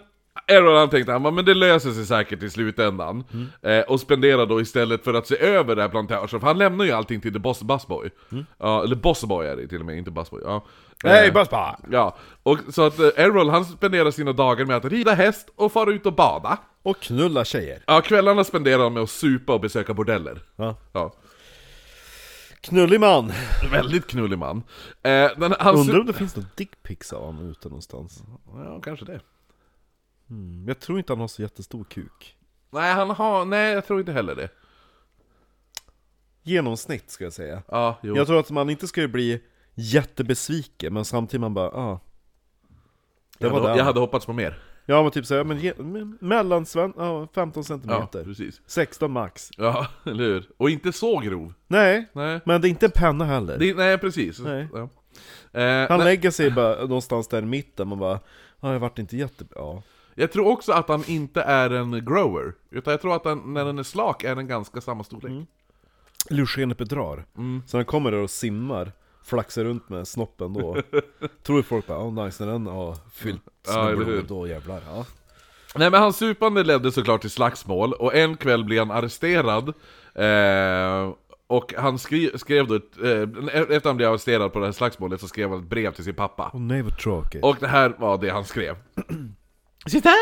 [SPEAKER 2] Errol han tänkte han bara, men det löser sig säkert i slutändan. Eh, och spenderar då istället för att se över det här plantagen, för han lämnar ju allting till The Boss Busboy. Ja, eller Bossboy är det till och med, inte Busboy. Ja.
[SPEAKER 1] Hej
[SPEAKER 2] Eh,
[SPEAKER 1] boss boy!
[SPEAKER 2] Ja, och så att eh, Errol han spenderar sina dagar med att rida häst och fara ut och bada.
[SPEAKER 1] Och knulla tjejer.
[SPEAKER 2] Ja, kvällarna spenderar han med att supa och besöka bordeller.
[SPEAKER 1] Ja.
[SPEAKER 2] Ja,
[SPEAKER 1] Knullig man!
[SPEAKER 2] Alltså- väldigt knullig man. Eh, den, han
[SPEAKER 1] Undrar
[SPEAKER 2] su-
[SPEAKER 1] om det finns någon dickpics av honom ute någonstans. Mm,
[SPEAKER 2] ja, kanske det.
[SPEAKER 1] Men Jag tror inte han har så jättestor kuk.
[SPEAKER 2] Nej, han har, nej jag tror inte heller det.
[SPEAKER 1] genomsnitt ska jag säga.
[SPEAKER 2] Ja, jo.
[SPEAKER 1] Jag tror att man inte skulle bli jättebesviken, men samtidigt man bara, ah. Det
[SPEAKER 2] jag,
[SPEAKER 1] var
[SPEAKER 2] hade, jag
[SPEAKER 1] den.
[SPEAKER 2] hade hoppats på mer.
[SPEAKER 1] Ja men typ såhär, men, ge- men mellansven, ja 15
[SPEAKER 2] Ja,
[SPEAKER 1] centimeter.
[SPEAKER 2] precis.
[SPEAKER 1] 16 max.
[SPEAKER 2] Ja, eller hur? Och inte så grov.
[SPEAKER 1] Nej,
[SPEAKER 2] Nej,
[SPEAKER 1] men det är inte en penna heller.
[SPEAKER 2] det, nej precis.
[SPEAKER 1] Nej.
[SPEAKER 2] Ja. Eh,
[SPEAKER 1] Han
[SPEAKER 2] nej,
[SPEAKER 1] lägger sig bara någonstans där i mitten, man bara, ja jag vart inte jättebra. Ja.
[SPEAKER 2] jag tror också att han inte är en grower, utan jag tror att den, när den är slak är den ganska samma storlek.
[SPEAKER 1] Mm. Lursenet bedrar. Så han kommer där och simmar, flaxar runt med snoppen då. Tror ju folk bara, oh nice, när den har fyllt
[SPEAKER 2] Ja,
[SPEAKER 1] Mm. ja,
[SPEAKER 2] eller hur?
[SPEAKER 1] blod, då jävlar. Ja.
[SPEAKER 2] Nej men hans supande ledde såklart till slagsmål, och en kväll blev han arresterad eh, Och han skri- skrev då, ett, eh, efter han blev arresterad på det här slagsmålet så skrev han ett brev till sin pappa
[SPEAKER 1] Åh nej vad tråkigt.
[SPEAKER 2] Och det här var det han skrev Sitta!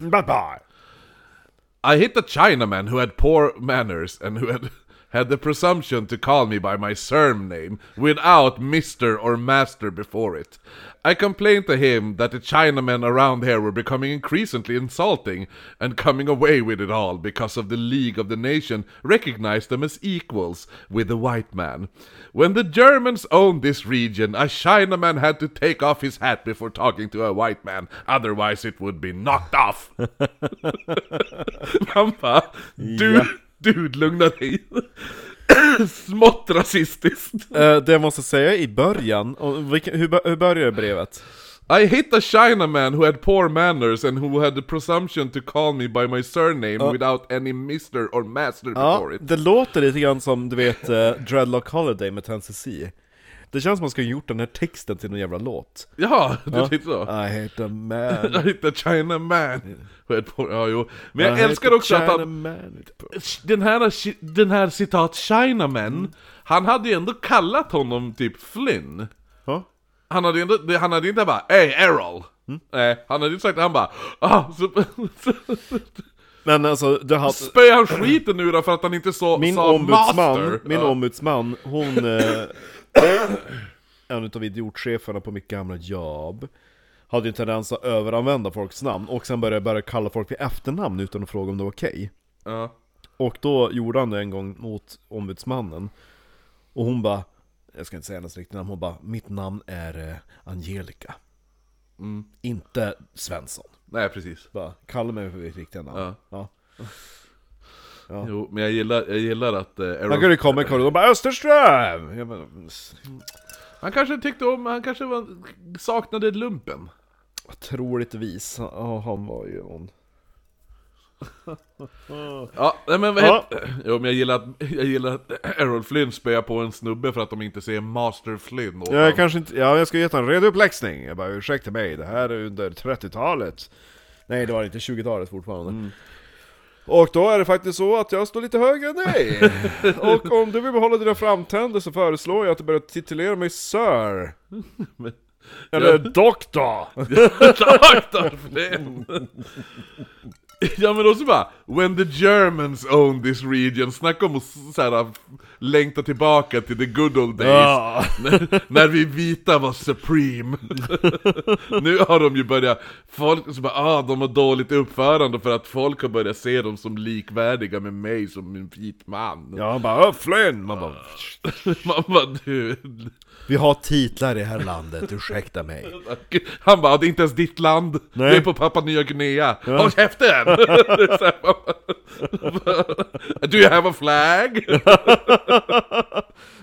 [SPEAKER 1] Mm. Bye bye!
[SPEAKER 2] I hit a Chinaman who had poor manners and who had had the presumption to call me by my surname without Mister or Master before it. I complained to him that the Chinamen around here were becoming increasingly insulting and coming away with it all because of the League of the Nation recognized them as equals with the white man. When the Germans owned this region, a Chinaman had to take off his hat before talking to a white man, otherwise it would be knocked off. Han bara, du,
[SPEAKER 1] Ja.
[SPEAKER 2] dude lugna dig. Smått rasistiskt.
[SPEAKER 1] Eh, det jag måste säga i början, och vilken, hur, bör- hur börjar brevet?
[SPEAKER 2] I hit a Chinaman who had poor manners and who had the presumption to call me by my surname without any mister or master
[SPEAKER 1] Ja,
[SPEAKER 2] before it.
[SPEAKER 1] det låter lite grann som du vet eh, Dreadlock Holiday med Tennessee C. Det känns som man skulle ha gjort den här texten till någon jävla låt.
[SPEAKER 2] Ja, du tyckte Typ så.
[SPEAKER 1] I hate a man.
[SPEAKER 2] I hit a Chinaman who had poor... Ja, jo. Men jag
[SPEAKER 1] I hate
[SPEAKER 2] älskar
[SPEAKER 1] a
[SPEAKER 2] också att han...
[SPEAKER 1] Chinaman.
[SPEAKER 2] Den här, chi- den här citat Chinaman, han hade ju ändå kallat honom typ Flynn.
[SPEAKER 1] Ja.
[SPEAKER 2] Han hade ju inte, han hade inte bara 'Ey Errol'
[SPEAKER 1] Mm.
[SPEAKER 2] Nej, han hade inte sagt han bara ah, så, så,
[SPEAKER 1] Men alltså, det har...
[SPEAKER 2] spöade han skiten nu då för att han inte så,
[SPEAKER 1] Min
[SPEAKER 2] sa
[SPEAKER 1] ombudsman,
[SPEAKER 2] master.
[SPEAKER 1] min
[SPEAKER 2] ja.
[SPEAKER 1] ombudsman, hon... Eh, en utav idiotcheferna på mitt gamla jobb Hade ju en tendens att överanvända folks namn och sen började börja kalla folk vid efternamn utan att fråga om det var okej
[SPEAKER 2] ja.
[SPEAKER 1] Och då gjorde han det en gång mot ombudsmannen Och hon bara Jag ska inte säga hennes riktiga namn, hon bara Mitt namn är eh, Angelica
[SPEAKER 2] Mm.
[SPEAKER 1] Inte Svensson
[SPEAKER 2] Nej precis.
[SPEAKER 1] bara, Kalla mig för mitt riktiga namn
[SPEAKER 2] Ja.
[SPEAKER 1] Ja.
[SPEAKER 2] Jo, men jag gillar, jag gillar att eh, Errol...
[SPEAKER 1] Då kan du komma i korridoren och bara Österström! Jag bara,
[SPEAKER 2] Han kanske tyckte om, han kanske var, saknade lumpen.
[SPEAKER 1] Troligtvis, ja han var ju hon
[SPEAKER 2] Ja, nej, men vad
[SPEAKER 1] Ja.
[SPEAKER 2] heter... Jo, men jag gillar att, jag gillar att Errol Flynn spöar på en snubbe för att de inte säger Master Flynn åt
[SPEAKER 1] Ja, jag
[SPEAKER 2] honom.
[SPEAKER 1] kanske inte, ja jag ska ge en red uppläxning Jag bara ursäkta mig, det här är under 30-talet Nej det var inte 20-talet fortfarande
[SPEAKER 2] Mm.
[SPEAKER 1] Och då är det faktiskt så att jag står lite högre än dig Och om du vill behålla dina framtänder så föreslår jag att du börjar titulera mig Sir
[SPEAKER 2] Men-
[SPEAKER 1] Eller Doktor!
[SPEAKER 2] Dr. Flynn! Ja men också bara, when the Germans owned this region, snacka om att s- så här, längta tillbaka till the good old days,
[SPEAKER 1] Ja.
[SPEAKER 2] när, när vi vita var supreme. nu har de ju börjat, folk som bara, ah de har dåligt uppförande för att folk har börjat se dem som likvärdiga med mig som en vit man.
[SPEAKER 1] Ja han bara "Ö, Flynn! Man bara,
[SPEAKER 2] Man bara, du,
[SPEAKER 1] Vi har titlar i det här landet, ursäkta mig
[SPEAKER 2] han bara, det är inte ens ditt land,
[SPEAKER 1] Nej.
[SPEAKER 2] det är på Papua Nya Guinea. Håll käften! Det är så här, bara, Do you have a flag?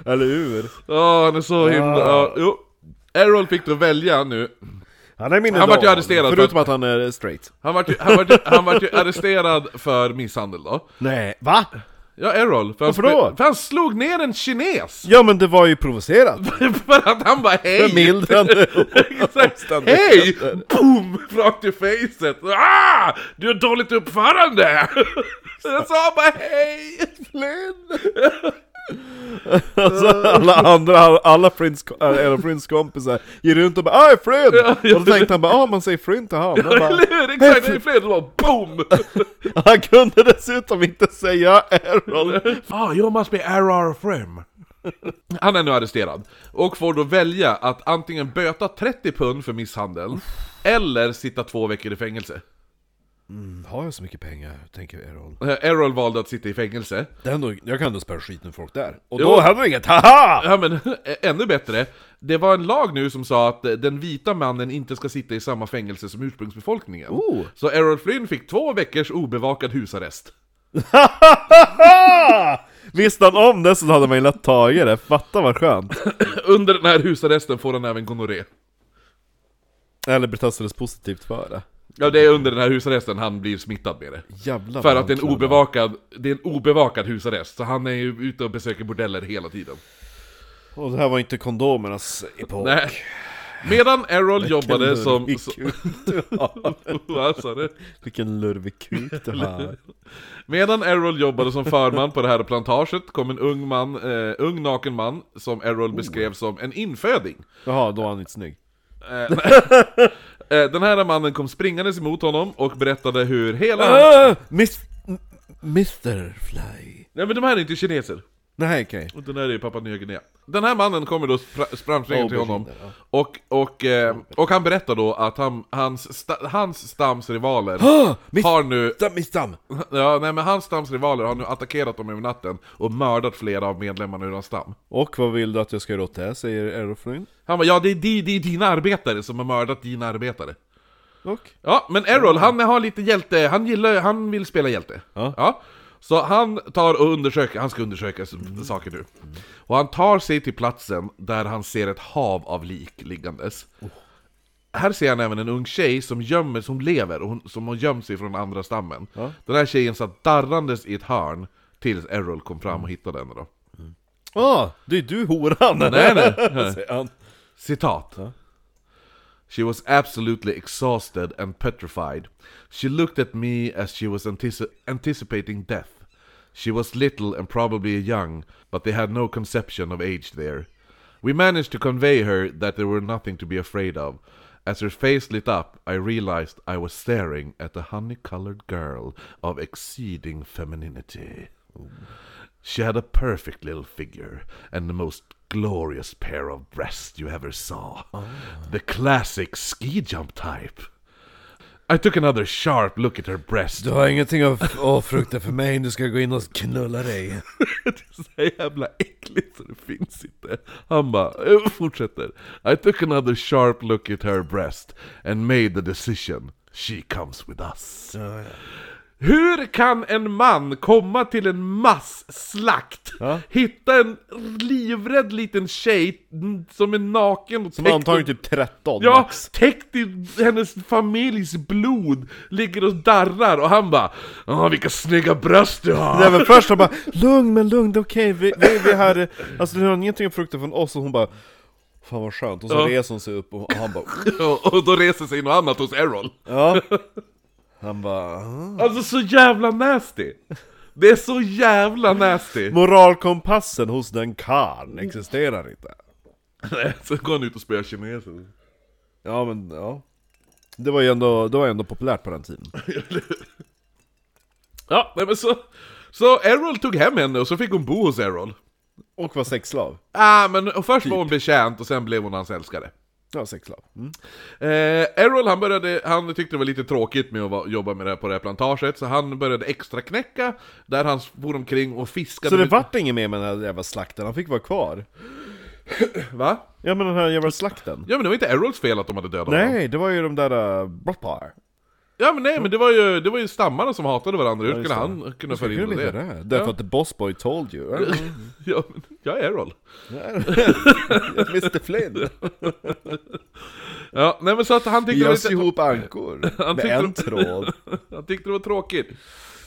[SPEAKER 1] Eller hur?
[SPEAKER 2] Åh, han är så himla... ja, jo. Errol fick då välja nu.
[SPEAKER 1] Han är min
[SPEAKER 2] Han vart ju
[SPEAKER 1] idol,
[SPEAKER 2] arresterad för
[SPEAKER 1] Förutom att han är straight
[SPEAKER 2] Han vart ju, han vart ju, han vart ju arresterad för misshandel då.
[SPEAKER 1] Nej, va?
[SPEAKER 2] Ja, Errol. För han,
[SPEAKER 1] Varför då?
[SPEAKER 2] spe- för han slog ner en kines!
[SPEAKER 1] Ja men det var ju provocerat!
[SPEAKER 2] för att han bara hej!
[SPEAKER 1] Förmildrande!
[SPEAKER 2] Exakt. Hej! Boom! Rakt i facet! Ah! Du har dåligt uppförande! Jag sa bara hej! Flynn!
[SPEAKER 1] Alltså, alla andra, alla Prince, eh, eller Prince kompisar gick runt och bara "Ah, ”Aj Flynn!” Och då tänkte han bara ”Ah, man säger Flynn till han”. Och bara,
[SPEAKER 2] Eller hur? Exakt, det är Flynn som bara boom!
[SPEAKER 1] han kunde dessutom inte säga Errol.
[SPEAKER 2] Ah, you must be RR Frim. Han är nu arresterad, och får då välja att antingen böta 30 pund för misshandel, eller sitta två veckor i fängelse.
[SPEAKER 1] Mm, har jag så mycket pengar, tänker Errol.
[SPEAKER 2] Eh, Errol valde att sitta i fängelse.
[SPEAKER 1] Det är ändå, jag kan ändå spöa skit med folk där. Och
[SPEAKER 2] Jo.
[SPEAKER 1] då händer inget, haha!
[SPEAKER 2] Ja men, ä- ännu bättre. Det var en lag nu som sa att eh, den vita mannen inte ska sitta i samma fängelse som ursprungsbefolkningen.
[SPEAKER 1] Oh.
[SPEAKER 2] Så Errol Flynn fick två veckors obevakad husarrest.
[SPEAKER 1] Visste han om det så hade man ju lätt tagit det, fatta vad skönt.
[SPEAKER 2] Under den här husarresten får han även gonorré.
[SPEAKER 1] Eller betastades positivt för det.
[SPEAKER 2] Ja, det är under den här husarresten han blir smittad med det.
[SPEAKER 1] Jävlar
[SPEAKER 2] För
[SPEAKER 1] vad
[SPEAKER 2] att det är, en
[SPEAKER 1] han klarar.
[SPEAKER 2] obevakad, det är en obevakad husarrest, så han är ju ute och besöker bordeller hela tiden.
[SPEAKER 1] Och det här var inte kondomernas epok.
[SPEAKER 2] Nej. Medan Errol jobbade
[SPEAKER 1] Vilken
[SPEAKER 2] som...
[SPEAKER 1] lurvig
[SPEAKER 2] som-
[SPEAKER 1] kuk du har.
[SPEAKER 2] Vad sa du?
[SPEAKER 1] Vilken lurvig kuk du har.
[SPEAKER 2] Medan Errol jobbade som förman på det här plantaget kom en ung, man, eh, ung naken man som
[SPEAKER 1] Oh.
[SPEAKER 2] Errol beskrev som en inföding.
[SPEAKER 1] Jaha, då var han inte snygg.
[SPEAKER 2] Eh, den här mannen kom springandes emot honom och berättade hur hela... hans-
[SPEAKER 1] Ah, Miss... m- Mr Fly.
[SPEAKER 2] Nej men de här är inte kineser.
[SPEAKER 1] Nej, okej.
[SPEAKER 2] Och den här är ju Papua Nya Guinea. Den här mannen kommer då spra- framspringa till honom.
[SPEAKER 1] Aubergine, Oh, ja. Oh,
[SPEAKER 2] Och, och, eh, och han berättar då att han, hans, sta, hans stams rivaler
[SPEAKER 1] Ah, mitt-
[SPEAKER 2] har nu...
[SPEAKER 1] Okay. Mitt stam!
[SPEAKER 2] Ja, nej men hans stams rivaler har nu attackerat dem över natten och mördat flera av medlemmarna ur hans stam.
[SPEAKER 1] Och vad vill du att jag ska göra åt det? här, Säger Eroflyn.
[SPEAKER 2] Han bara ja, det är, di, det är dina arbetare som har mördat dina arbetare.
[SPEAKER 1] Och?
[SPEAKER 2] Ja, men Errol, han har lite hjälte, han gillar, han vill spela hjälte.
[SPEAKER 1] Ja.
[SPEAKER 2] Så han tar och undersöker, han ska undersöka s- saker nu. Och han tar sig till platsen där han ser ett hav av lik liggandes. Här ser han även en ung tjej som gömmer, som lever, och hon, som har gömt sig från andra stammen.
[SPEAKER 1] Ja.
[SPEAKER 2] Den här tjejen satt darrandes i ett hörn tills Errol kom fram och hittade henne då.
[SPEAKER 1] Ah, det är du horan!
[SPEAKER 2] Nej, nej, nej.
[SPEAKER 1] Säger han.
[SPEAKER 2] Citat.
[SPEAKER 1] Ja.
[SPEAKER 2] She was absolutely exhausted and petrified. She looked at me as she was antici- anticipating death. She was little and probably young, but they had no conception of age there. We managed to convey her that there were nothing to be afraid of. As her face lit up, I realized I was staring at a honey-colored girl of exceeding femininity. She had a perfect little figure and the most glorious pair of breasts you ever saw. The classic ski jump type. I took another sharp look at her breast.
[SPEAKER 1] Du har ingenting att f- att frukta för mig, du ska gå in och knulla dig.
[SPEAKER 2] det är så jävla äckligt så det finns inte. Han bara, eh, fortsätter. I took another sharp look at her breast and made the decision. She comes with us.
[SPEAKER 1] Ja, ja.
[SPEAKER 2] Hur kan en man komma till en masslakt,
[SPEAKER 1] Ja.
[SPEAKER 2] hitta en livrädd liten tjej som är naken och
[SPEAKER 1] Som
[SPEAKER 2] täckt-
[SPEAKER 1] antagligen typ 13
[SPEAKER 2] Ja,
[SPEAKER 1] max.
[SPEAKER 2] täckt i hennes familjs blod, ligger och darrar och han bara Åh vilka snygga bröst du har!
[SPEAKER 1] Nej men först han bara 'Lugn men lugn, det är okej, vi, vi, vi har, alltså du har ingenting att frukta från oss' och hon bara 'Fan vad skönt' och så
[SPEAKER 2] Ja.
[SPEAKER 1] reser hon sig upp och han bara
[SPEAKER 2] Och- Och då reser sig något annat hos Errol.
[SPEAKER 1] Ja Han bara "Ah."
[SPEAKER 2] Alltså så jävla nasty! Det är så jävla nasty!
[SPEAKER 1] Moralkompassen hos den karln existerar inte
[SPEAKER 2] Nej, Så går han ut och spöar kineser.
[SPEAKER 1] Ja men ja Det var ju ändå, det var ändå populärt på den tiden
[SPEAKER 2] Ja, nej men så... Så Errol tog hem henne och så fick hon bo hos Errol.
[SPEAKER 1] Och var sexslav
[SPEAKER 2] Ah, men och först var hon betjänt och sen blev hon hans älskare.
[SPEAKER 1] Ja sexslav mm.
[SPEAKER 2] Eh, Errol han, började, han tyckte det var lite tråkigt med att va- jobba med det här på det här plantaget, så han började extra knäcka där han for omkring och fiskade...
[SPEAKER 1] Så det
[SPEAKER 2] med-
[SPEAKER 1] vart inget mer med den här jävla slakten, han fick vara kvar
[SPEAKER 2] Va?
[SPEAKER 1] Ja men den här jävla slakten
[SPEAKER 2] Ja men det var inte Errols fel att de hade dödat honom.
[SPEAKER 1] Nej, det var ju de där... Uh, Broppar
[SPEAKER 2] Ja men nej, men det var ju, det var ju stammarna som hatade varandra, hur
[SPEAKER 1] just
[SPEAKER 2] skulle
[SPEAKER 1] det.
[SPEAKER 2] han kunna föra
[SPEAKER 1] Hur
[SPEAKER 2] in
[SPEAKER 1] kunde
[SPEAKER 2] det?
[SPEAKER 1] det? där? Därför att the boss boy told you
[SPEAKER 2] Ja, men, jag är Errol.
[SPEAKER 1] Mr Flynn
[SPEAKER 2] Ja, nej men så att han tyckte,
[SPEAKER 1] Vi
[SPEAKER 2] det var,
[SPEAKER 1] öser
[SPEAKER 2] lite,
[SPEAKER 1] ihop ankor med
[SPEAKER 2] tyckte-
[SPEAKER 1] en tråd.
[SPEAKER 2] han tyckte det var tråkigt.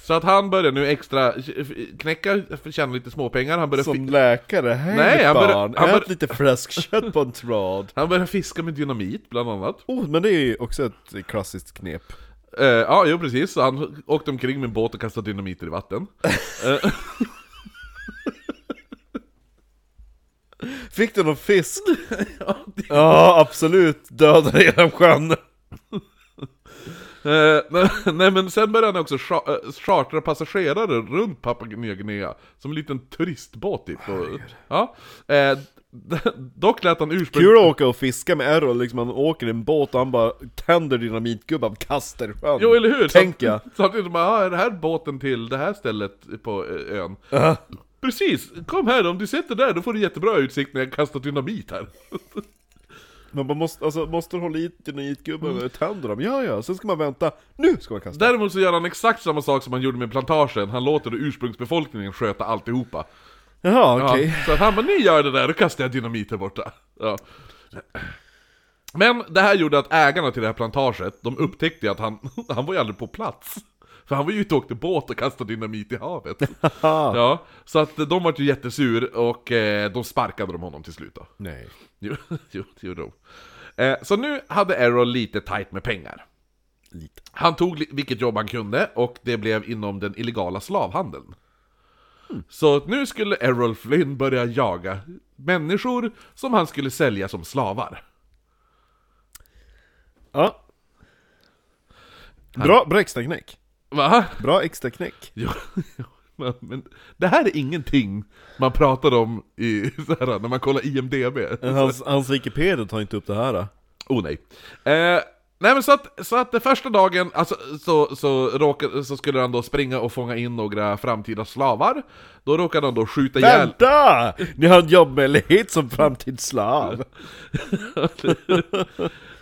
[SPEAKER 2] Så att han började nu extra knäcka, tjäna lite småpengar, han började,
[SPEAKER 1] Som
[SPEAKER 2] fi-
[SPEAKER 1] läkare, hej
[SPEAKER 2] Nej,
[SPEAKER 1] mitt
[SPEAKER 2] han börjar-
[SPEAKER 1] barn,
[SPEAKER 2] han
[SPEAKER 1] ät
[SPEAKER 2] börjar-
[SPEAKER 1] lite fläskkött på en tråd.
[SPEAKER 2] han började fiska med dynamit bland annat.
[SPEAKER 1] Oh, men det är ju också ett klassiskt knep.
[SPEAKER 2] Eh, ja, jo precis. Så han åkte omkring med en båt och kastade dynamiter i vatten.
[SPEAKER 1] Fick du någon fisk? ja, absolut, döda genom sjön.
[SPEAKER 2] Eh, nej, nej men sen började han också cha- eh, chartra passagerare runt Papua Nya Guinea. Som en liten turistbåt typ. Och, ja. Eh, Dock lät han ursprungligen...
[SPEAKER 1] Kul att åka och fiska med Errol, liksom han åker i en båt och han bara tänder dynamitgubbar och kastar i sjön.
[SPEAKER 2] Jo, eller hur?
[SPEAKER 1] Tänker jag.
[SPEAKER 2] Samtidigt som man, "Ah, är det här båten till det här stället på eh, ön? Precis, kom här om du sätter där, då får du jättebra utsikt när jag kastar dynamit här.
[SPEAKER 1] Men man måste, alltså, måste hålla i dynamitgubbarna, mm. tänder dem, ja ja, sen ska man vänta, nu ska man kasta!
[SPEAKER 2] Däremot så gör han exakt samma sak som han gjorde med plantagen, han låter ursprungsbefolkningen sköta alltihopa.
[SPEAKER 1] Jaha,
[SPEAKER 2] Ja,
[SPEAKER 1] okej.
[SPEAKER 2] Så att han bara, ni gör det där, då kastar jag dynamit här borta. Ja. Men det här gjorde att ägarna till det här plantaget, de upptäckte att han, han var ju aldrig på plats. För han var ju ute och åkte båt och kastade dynamit i havet.
[SPEAKER 1] Haha.
[SPEAKER 2] Ja, så att de var ju jättesur och eh, de sparkade de honom till slut då.
[SPEAKER 1] Nej.
[SPEAKER 2] Jo, jo det gjorde de. Eh, så nu hade Errol lite tight med pengar.
[SPEAKER 1] Lite.
[SPEAKER 2] Han tog li- vilket jobb han kunde och det blev inom den illegala slavhandeln. Så att nu skulle Errol Flynn börja jaga människor som han skulle sälja som slavar.
[SPEAKER 1] Ja. Bra, bra extra knäck.
[SPEAKER 2] Va?
[SPEAKER 1] Bra extra knäck.
[SPEAKER 2] Jo, jo, men- men det här är ingenting man pratar om i, så här, när man kollar IMDB.
[SPEAKER 1] Hans, hans Wikipedia tar inte upp det här. Då.
[SPEAKER 2] Oh nej. Eh, nej men så att, så att det första dagen alltså, så, så, råkade, så skulle han då springa och fånga in några framtida slavar. Då råkade han då skjuta ihjäl...
[SPEAKER 1] Vänta! Ni har en jobbmöjlighet som framtidsslav.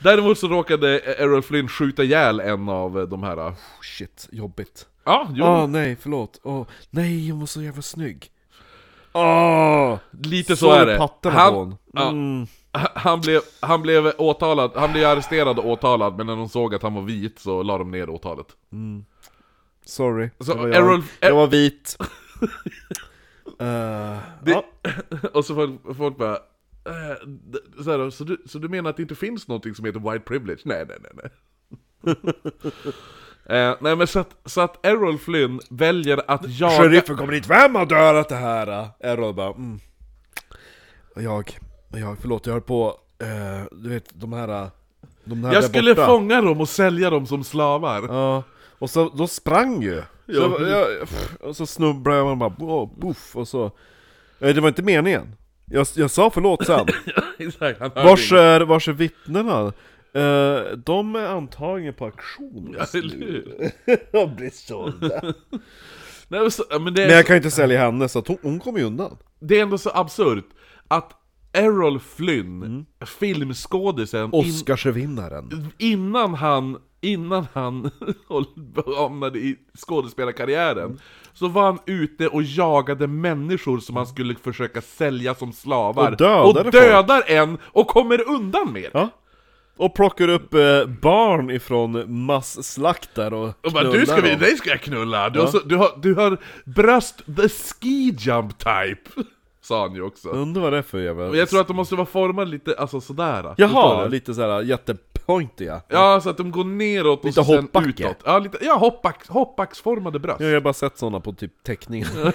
[SPEAKER 2] Däremot så råkade Errol Flynn skjuta ihjäl en av de här... eh,
[SPEAKER 1] Oh, shit, jobbigt.
[SPEAKER 2] Ja, jo,
[SPEAKER 1] Åh nej, förlåt. Åh, nej, hon var så jävla snygg. Åh!
[SPEAKER 2] lite så,
[SPEAKER 1] såg
[SPEAKER 2] är det.
[SPEAKER 1] pattarna på Mm.
[SPEAKER 2] Han,
[SPEAKER 1] hon.
[SPEAKER 2] ja, han, blev, han blev åtalad, han blev arresterad och åtalad, men när de såg att han var vit så la de ner åtalet.
[SPEAKER 1] Sorry.
[SPEAKER 2] Så
[SPEAKER 1] det var
[SPEAKER 2] Alltså, Errol-
[SPEAKER 1] jag. jag var vit. Eh, ja.
[SPEAKER 2] Och så folk, folk bara... eh, d- Så, här, så, du, så du menar att det inte finns någonting som heter white privilege? Nej, nej, nej. nej. Eh, nej men så att, så att Errol Flynn väljer att jaga...
[SPEAKER 1] Sheriffen kommer dit, vem har dödat det här? då?" Errol bara, mm. Och jag, och jag, förlåt jag höll på, eh, du vet de här, de här
[SPEAKER 2] Jag
[SPEAKER 1] där
[SPEAKER 2] skulle
[SPEAKER 1] borta.
[SPEAKER 2] fånga dem och sälja dem som slavar.
[SPEAKER 1] Ja, och så, då sprang ju! Så, jag, jag, pff, och så snubblade jag och bara bo- boff, och så... Eh, Det var inte meningen. Jag, jag sa förlåt sen.
[SPEAKER 2] Exakt, han hörde
[SPEAKER 1] Vars
[SPEAKER 2] inget.
[SPEAKER 1] är, vars är vittnena? Eh, de är antagligen på auktion
[SPEAKER 2] Ja, eller hur?
[SPEAKER 1] De blir sålda.
[SPEAKER 2] Nej, men så, ja, men det, är,
[SPEAKER 1] Men jag kan ju inte sälja henne, så att hon, hon kommer ju undan.
[SPEAKER 2] det är ändå så absurt att Errol Flynn,
[SPEAKER 1] Mm.
[SPEAKER 2] filmskådisen, in,
[SPEAKER 1] Oscarsvinnaren.
[SPEAKER 2] innan han, innan han hamnade i skådespelarkarriären, så var han ute och jagade människor som han skulle försöka sälja som slavar.
[SPEAKER 1] Och dödade
[SPEAKER 2] och dödar en och kommer undan med det.
[SPEAKER 1] Ja. Och plockar upp eh, barn ifrån masslaktar och
[SPEAKER 2] Och bara, du ska
[SPEAKER 1] knullar
[SPEAKER 2] vi,
[SPEAKER 1] dem.
[SPEAKER 2] dig ska jag knulla! Du, har, så, du, har, du har bröst the ski jump type! Sa han ju också.
[SPEAKER 1] Undrar vad det är för jävla...
[SPEAKER 2] Och jag tror att de måste vara formade lite, alltså sådär. Förstår
[SPEAKER 1] Jaha,
[SPEAKER 2] du?
[SPEAKER 1] lite såhär jättepointiga.
[SPEAKER 2] Ja, så att de går neråt och
[SPEAKER 1] Lite
[SPEAKER 2] så sen
[SPEAKER 1] hoppbacke.
[SPEAKER 2] utåt. Ja, lite, ja hoppax, hoppaxformade bröst.
[SPEAKER 1] Ja, jag har bara sett sådana på typ teckningar.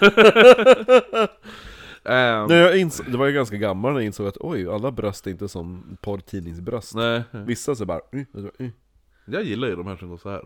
[SPEAKER 2] Ehm,
[SPEAKER 1] Nej, jag insåg, det var ju ganska gammal när jag insåg att oj, alla bröst är inte som porrtidningsbröst.
[SPEAKER 2] nej.
[SPEAKER 1] Vissa så bara... "Mm, mm, mm."
[SPEAKER 2] Jag gillar ju de här som går så här.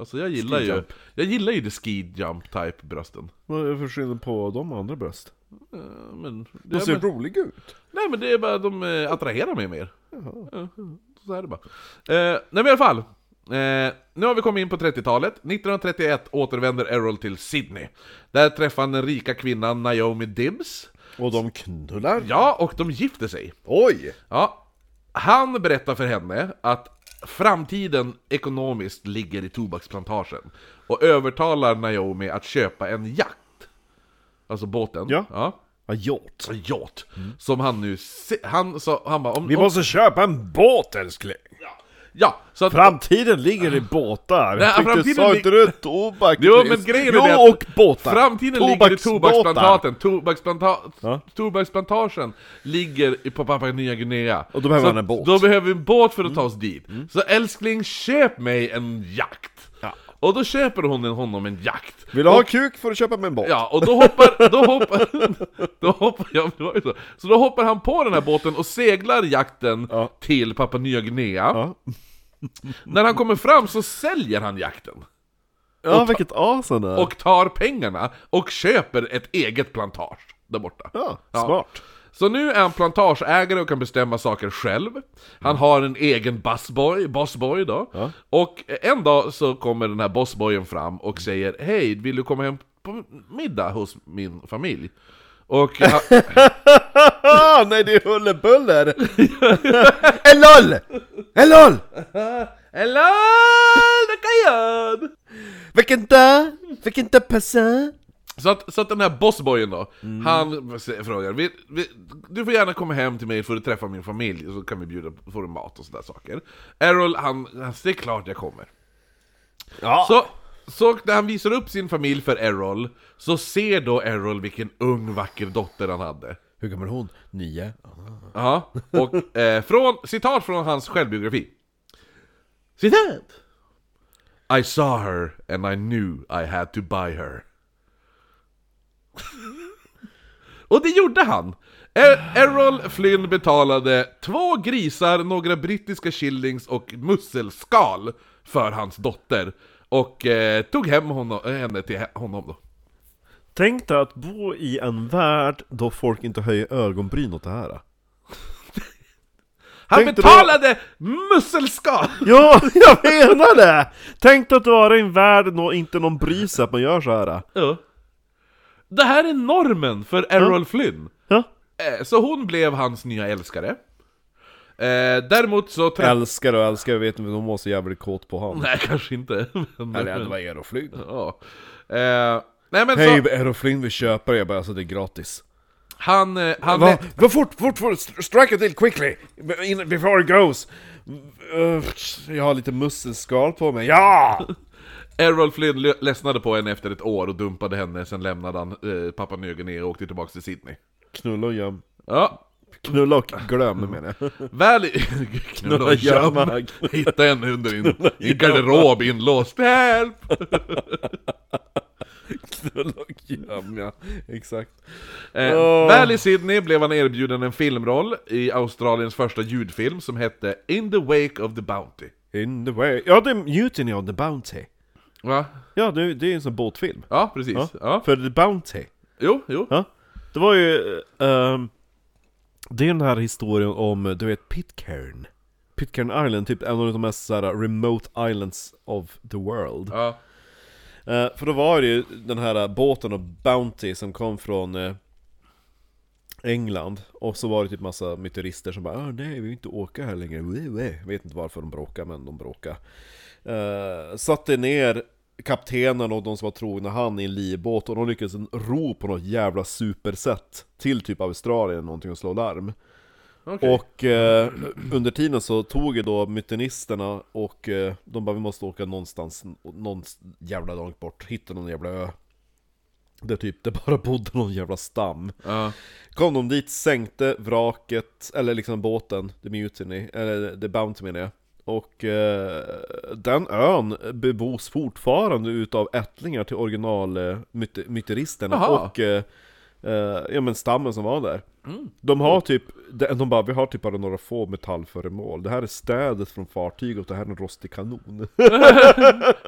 [SPEAKER 2] Alltså jag gillar
[SPEAKER 1] Ski
[SPEAKER 2] ju,
[SPEAKER 1] jump.
[SPEAKER 2] jag gillar ju det ski jump type brösten.
[SPEAKER 1] Vad är det för skillnad på de andra bröst?
[SPEAKER 2] Ehm, Men, det
[SPEAKER 1] De
[SPEAKER 2] är
[SPEAKER 1] ser
[SPEAKER 2] bara,
[SPEAKER 1] roliga ut.
[SPEAKER 2] nej men det är bara, de eh, attraherar mig mer. Ehm, Så är det bara. Ehm, nej men i alla fall. Ehm, nu har vi kommit in på 30-talet. 1931 återvänder Errol till Sydney. Där träffar han den rika kvinnan Naomi Dibbs.
[SPEAKER 1] Och de knullar.
[SPEAKER 2] Ja, och de gifter sig.
[SPEAKER 1] Oj!
[SPEAKER 2] Ja, han berättar för henne att framtiden ekonomiskt ligger i tobaksplantagen och övertalar Naomi att köpa en jakt. Alltså båten.
[SPEAKER 1] Ja.
[SPEAKER 2] ja
[SPEAKER 1] Vad gjort?
[SPEAKER 2] en yacht. Som han nu... se- Han sa... Han bara... Om,
[SPEAKER 1] Vi
[SPEAKER 2] om,
[SPEAKER 1] måste köpa en båt älskling!
[SPEAKER 2] ja, så att...
[SPEAKER 1] Framtiden ligger i båtar!
[SPEAKER 2] Nej,
[SPEAKER 1] Nej, Fick
[SPEAKER 2] framtiden
[SPEAKER 1] du sa
[SPEAKER 2] lig-
[SPEAKER 1] inte du tobak?
[SPEAKER 2] Jo,
[SPEAKER 1] Chris?
[SPEAKER 2] men grejen är
[SPEAKER 1] jo,
[SPEAKER 2] det att-
[SPEAKER 1] och båtar!
[SPEAKER 2] Framtiden ligger i tobaksplantaten. Tobaksplanta
[SPEAKER 1] Ja.
[SPEAKER 2] Tobaksplantagen ligger i- på Papua Nya Guinea.
[SPEAKER 1] Och då behöver
[SPEAKER 2] Så
[SPEAKER 1] han en båt. Mm.
[SPEAKER 2] Då behöver vi en båt för att ta oss dit. Så älskling, köp mig en jakt.
[SPEAKER 1] Ja.
[SPEAKER 2] Och då köper hon en- honom en jakt.
[SPEAKER 1] Vill du ha kuk får du köpa mig en båt.
[SPEAKER 2] Ja, och då hoppar, då hoppar, då hoppar, ja, men det var ju så. Så då hoppar han på den här båten och seglar jakten
[SPEAKER 1] Ja.
[SPEAKER 2] till Papua Nya Guinea.
[SPEAKER 1] Ja.
[SPEAKER 2] När han kommer fram så säljer han jakten.
[SPEAKER 1] Ja, vilket as han är!
[SPEAKER 2] Och tar pengarna och köper ett eget plantage där borta.
[SPEAKER 1] ja,
[SPEAKER 2] Ja.
[SPEAKER 1] smart.
[SPEAKER 2] Så nu är han plantageägare och kan bestämma saker själv. Han har en egen busboy, bossboy då. Och en dag så kommer den här bossboyen fram och säger Hej, vill du komma hem på middag hos min familj? Och han,
[SPEAKER 1] Ah, nej det är Hullebuller! en LOL! En LOL!
[SPEAKER 2] Hello, Nakayan!
[SPEAKER 1] Vilken dag, vilken dag passar?
[SPEAKER 2] Så att, så att den här bossboyen då, han se- frågar vi, vi, Du får gärna komma hem till mig för att träffa min familj, så kan vi bjuda på får du mat och sådär saker Errol, han, han säger klart jag kommer
[SPEAKER 1] Ja.
[SPEAKER 2] Så, så när han visar upp sin familj för Errol, så ser då Errol vilken ung vacker dotter han hade
[SPEAKER 1] Hur gammal är hon? Nio?
[SPEAKER 2] Ja, och eh, från, citat från hans självbiografi. Citat! I saw her and I knew I had to buy her. och det gjorde han! Er- Errol Flynn betalade två grisar, några brittiska shillings och musselskal för hans dotter. Och eh, tog hem honom, henne till he- honom då.
[SPEAKER 1] Tänk dig att bo i en värld då folk inte höjer ögonbryn åt det här.
[SPEAKER 2] Han
[SPEAKER 1] Tänkte då-
[SPEAKER 2] betalade musselskal!
[SPEAKER 1] Ja, jag menar det! Tänk dig att vara i en värld då inte någon bryr sig att man gör så här.
[SPEAKER 2] Ja. Det här är normen för Errol Flynn.
[SPEAKER 1] Ja.
[SPEAKER 2] Eh, Så hon blev hans nya älskare. Eh, däremot så träffade...
[SPEAKER 1] Älskar och älskar, jag vet inte, men hon var så jävligt kåt på honom.
[SPEAKER 2] Nej, kanske inte. Men,
[SPEAKER 1] var Aeroflyn.
[SPEAKER 2] ja. eh, nej men
[SPEAKER 1] Hej
[SPEAKER 2] så,
[SPEAKER 1] Aeroflyn, vi köper det. Jag bara, alltså det är gratis.
[SPEAKER 2] han... eh, han
[SPEAKER 1] Va? Va fort, fort, fort, strike a deal quickly! In- Before it goes! Uh, jag har lite musselskal på mig, ja!
[SPEAKER 2] Errol Flynn le- ledsnade på henne efter ett år och dumpade henne, sen lämnade han eh, Papua Nya Guinea och åkte tillbaka till Sydney.
[SPEAKER 1] Knulla och göm.
[SPEAKER 2] Ja,
[SPEAKER 1] Knulla och glöm menar jag.
[SPEAKER 2] Väl i... Knulla och gömma.
[SPEAKER 1] gömma.
[SPEAKER 2] Hitta henne under in, i garderob inlåst. Help!
[SPEAKER 1] Knulla och göm, ja. Exakt.
[SPEAKER 2] Eh,
[SPEAKER 1] Åh.
[SPEAKER 2] Väl i Sydney blev han erbjuden en filmroll i Australiens första ljudfilm som hette In the Wake of the Bounty.
[SPEAKER 1] In the way. Ja, det är Mutiny on the Bounty.
[SPEAKER 2] Va?
[SPEAKER 1] Ja, det, det är en sån båtfilm.
[SPEAKER 2] Ja, precis. Ja.
[SPEAKER 1] För The Bounty.
[SPEAKER 2] Jo, jo.
[SPEAKER 1] Ja. Det var ju... ehm, det är den här historien om, du vet, Pitcairn. Pitcairn Island, typ en av de mest såhär remote islands of the world.
[SPEAKER 2] Ja.
[SPEAKER 1] Eh, för då var det ju den här båten och Bounty som kom från eh, England Och så var det typ massa myterister som bara "Ah, nej vi vill inte åka här längre, Wee, wee." Jag vet inte varför de bråkade men de bråkade Eh, Satte ner kaptenen och de som var trogna han i en livbåt och de lyckades ro på något jävla supersätt Till typ Australien eller någonting och slå larm
[SPEAKER 2] Okej.
[SPEAKER 1] och eh, under tiden så tog ju då mytenisterna och eh, de bara vi måste åka någonstans, någon jävla långt bort, hitta någon jävla ö. Där typ det bara bodde någon jävla stam.
[SPEAKER 2] Ja.
[SPEAKER 1] Kom de dit, sänkte vraket, eller liksom båten, The Mutiny, eller The Bounty menar jag. Och eh, den ön bebos fortfarande utav ättlingar till original eh, myte- myteristerna
[SPEAKER 2] Jaha.
[SPEAKER 1] och eh, eh, ja, men stammen som var där. De har typ, de, de bara, vi har typ bara några få metallföremål. Det här är städet från fartyget, det här är en rostig kanon.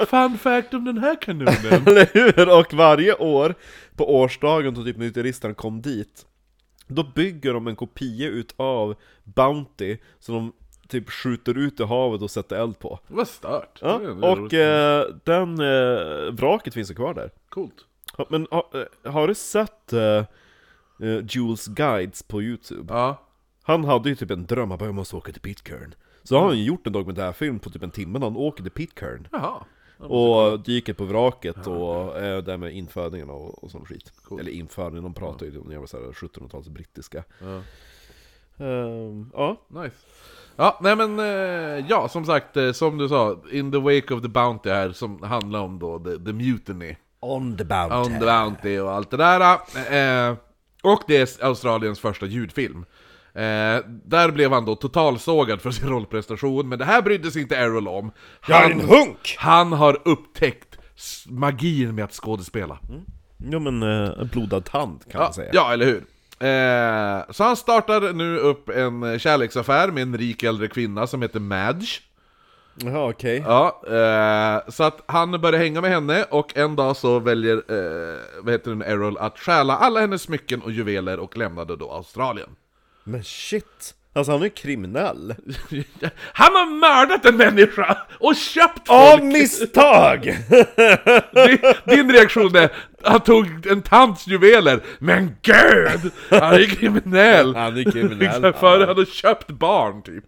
[SPEAKER 2] Fun fact om den här kanonen.
[SPEAKER 1] Eller hur? Och varje år på årsdagen då typ myteristerna kom dit Då bygger de en kopia utav Bounty Som de typ skjuter ut i havet och sätter eld på
[SPEAKER 2] Vad stört.
[SPEAKER 1] ja,
[SPEAKER 2] Det är
[SPEAKER 1] Och
[SPEAKER 2] roligt.
[SPEAKER 1] eh, den eh, vraket finns ju kvar där
[SPEAKER 2] Coolt.
[SPEAKER 1] Ha- Men ha, eh, har du sett eh, eh, Jules Guides på Youtube?
[SPEAKER 2] Ja.
[SPEAKER 1] Han hade ju typ en dröm, han bara 'Jag måste åka till Pitcairn' Så har han ju gjort en dokumentärfilm på typ en timme när han åker till Pitcairn
[SPEAKER 2] Jaha.
[SPEAKER 1] och dyker på vraket och eh, det här med infödningen och, och sån skit. Eller infödningen, de pratar ju om jävla så här 1700-tals brittiska.
[SPEAKER 2] Ja.
[SPEAKER 1] Ehm, ja.
[SPEAKER 2] Nice. Ja, nej men eh, ja, som sagt, eh, som du sa, In the Wake of the Bounty här, som handlar om då The, the Mutiny.
[SPEAKER 1] On the bounty.
[SPEAKER 2] On the Bounty och allt det där. Eh, och det är Australiens första ljudfilm. Eh, där blev han då totalsågad för sin rollprestation, men det här brydde sig inte Errol om.
[SPEAKER 1] Jag är en hunk!
[SPEAKER 2] han har upptäckt s- magin med att skådespela.
[SPEAKER 1] Ja men, eh, en blodad tand kan
[SPEAKER 2] Ja,
[SPEAKER 1] man säga.
[SPEAKER 2] ja, eller hur? Eh, så han startar nu upp en eh, kärleksaffär med en rik äldre kvinna som heter Madge.
[SPEAKER 1] Jaha, okej.
[SPEAKER 2] Ja, eh, så att han börjar hänga med henne och en dag så väljer, eh, vad heter den, Errol att stjäla alla hennes smycken och juveler och lämnade då Australien.
[SPEAKER 1] Men shit! Alltså han är ju kriminell.
[SPEAKER 2] Han har mördat en människa och köpt folk!
[SPEAKER 1] Av misstag!
[SPEAKER 2] Din, din reaktion är, han tog en tants juveler, men gud! Han är kriminell!
[SPEAKER 1] Han är kriminell.
[SPEAKER 2] Exakt, Liksom För han hade köpt barn typ.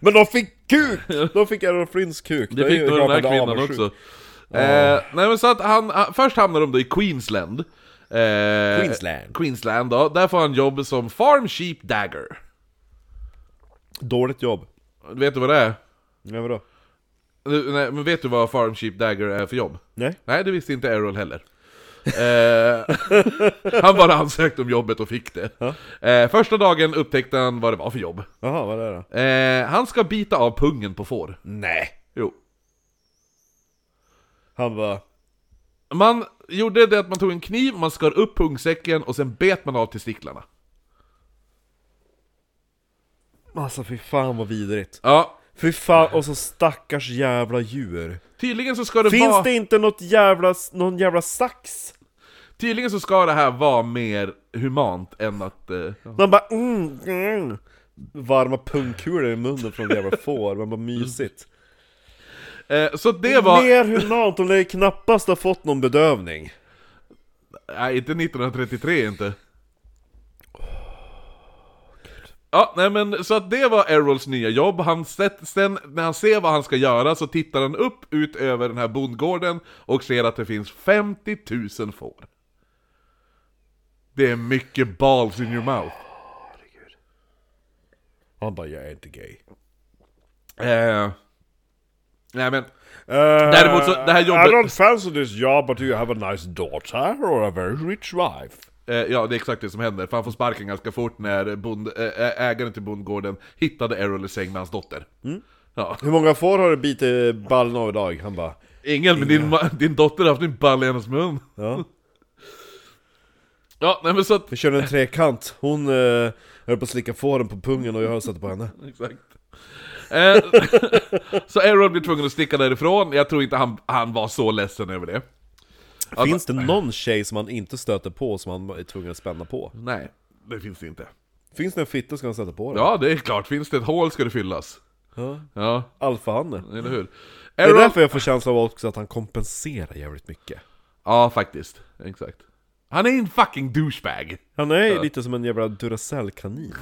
[SPEAKER 1] Men de fick kuk! De fick Errol Flynns kuk.
[SPEAKER 2] Det
[SPEAKER 1] är
[SPEAKER 2] fick
[SPEAKER 1] ju
[SPEAKER 2] då den här
[SPEAKER 1] rapande
[SPEAKER 2] kvinnan
[SPEAKER 1] avundsjuk.
[SPEAKER 2] också. Eh, nej men så att han, ah, först hamnar de då i Queensland. Eh,
[SPEAKER 1] Queensland.
[SPEAKER 2] Queensland då, där får han jobb som farm sheep dagger.
[SPEAKER 1] Dåligt jobb.
[SPEAKER 2] Vet du vad det är?
[SPEAKER 1] Ja, vadå?
[SPEAKER 2] Eh, Nej, men vet du vad farm sheep dagger är för jobb?
[SPEAKER 1] Nej?
[SPEAKER 2] Nej, det visste inte Errol heller. Eh, han bara ansökte om jobbet och fick det. Eh, första dagen upptäckte han vad det var för jobb.
[SPEAKER 1] Jaha, vad är det då?
[SPEAKER 2] Eh, han ska bita av pungen på får.
[SPEAKER 1] Nej.
[SPEAKER 2] Jo.
[SPEAKER 1] Han bara...
[SPEAKER 2] Man gjorde det att man tog en kniv, man skar upp pungsäcken och sen bet man av testiklarna.
[SPEAKER 1] Alltså fy fan vad vidrigt.
[SPEAKER 2] Ja,
[SPEAKER 1] Fy fan, och så stackars jävla djur.
[SPEAKER 2] tydligen så ska det vara...
[SPEAKER 1] Finns det inte något jävla, någon jävla sax?
[SPEAKER 2] Tydligen så ska det här vara mer humant än att... Eh,
[SPEAKER 1] De bara mm, mm. Varma pungkulor i munnen från jävla får, men vad mysigt.
[SPEAKER 2] eh, så det var...
[SPEAKER 1] Mer humant om det knappast har fått någon bedövning.
[SPEAKER 2] Nej, inte 1933 inte. Ja, nej men så att det var Errols nya jobb. Han sett, sen när han ser vad han ska göra så tittar han upp ut över den här bondgården och ser att det finns 50 000 får. Det är mycket balls in your mouth.
[SPEAKER 1] Han bara, jag är inte gay.
[SPEAKER 2] Eh, nej men,
[SPEAKER 1] Däremot
[SPEAKER 2] så- det här jobbet-
[SPEAKER 1] Eh, I don't fancy this job but you have a nice daughter or a very rich wife.
[SPEAKER 2] eh, ja det är exakt det som händer. För han får sparken ganska fort när bond, eh, ä- ägaren till bondgården hittade Errol i säng med hans dotter. Ja.
[SPEAKER 1] Hur många får har du bitit ballen av idag? Han bara,
[SPEAKER 2] Ingen, men din, ma- din dotter har haft en ball i hennes mun.
[SPEAKER 1] ja.
[SPEAKER 2] Ja, nej men så att...
[SPEAKER 1] Vi körde en trekant, hon eh, höll på att slicka fåren på pungen och jag satte på henne.
[SPEAKER 2] Exakt. Eh, så Errol blir tvungen att sticka därifrån, jag tror inte han, han var så ledsen över det.
[SPEAKER 1] Finns det någon tjej som han inte stöter på som han är tvungen att spänna på?
[SPEAKER 2] Nej, det finns det inte.
[SPEAKER 1] Finns det en fitta ska han sätta på den?
[SPEAKER 2] Ja, det är klart, finns det ett hål ska det fyllas.
[SPEAKER 1] Ja.
[SPEAKER 2] Ja,
[SPEAKER 1] Alfahanne.
[SPEAKER 2] eller hur?
[SPEAKER 1] Det är
[SPEAKER 2] Errol...
[SPEAKER 1] därför jag får känslan av också att han kompenserar jävligt mycket.
[SPEAKER 2] Ja, faktiskt. Exakt. Han är en fucking douchebag!
[SPEAKER 1] Han är ju lite som en jävla Duracell-kanin.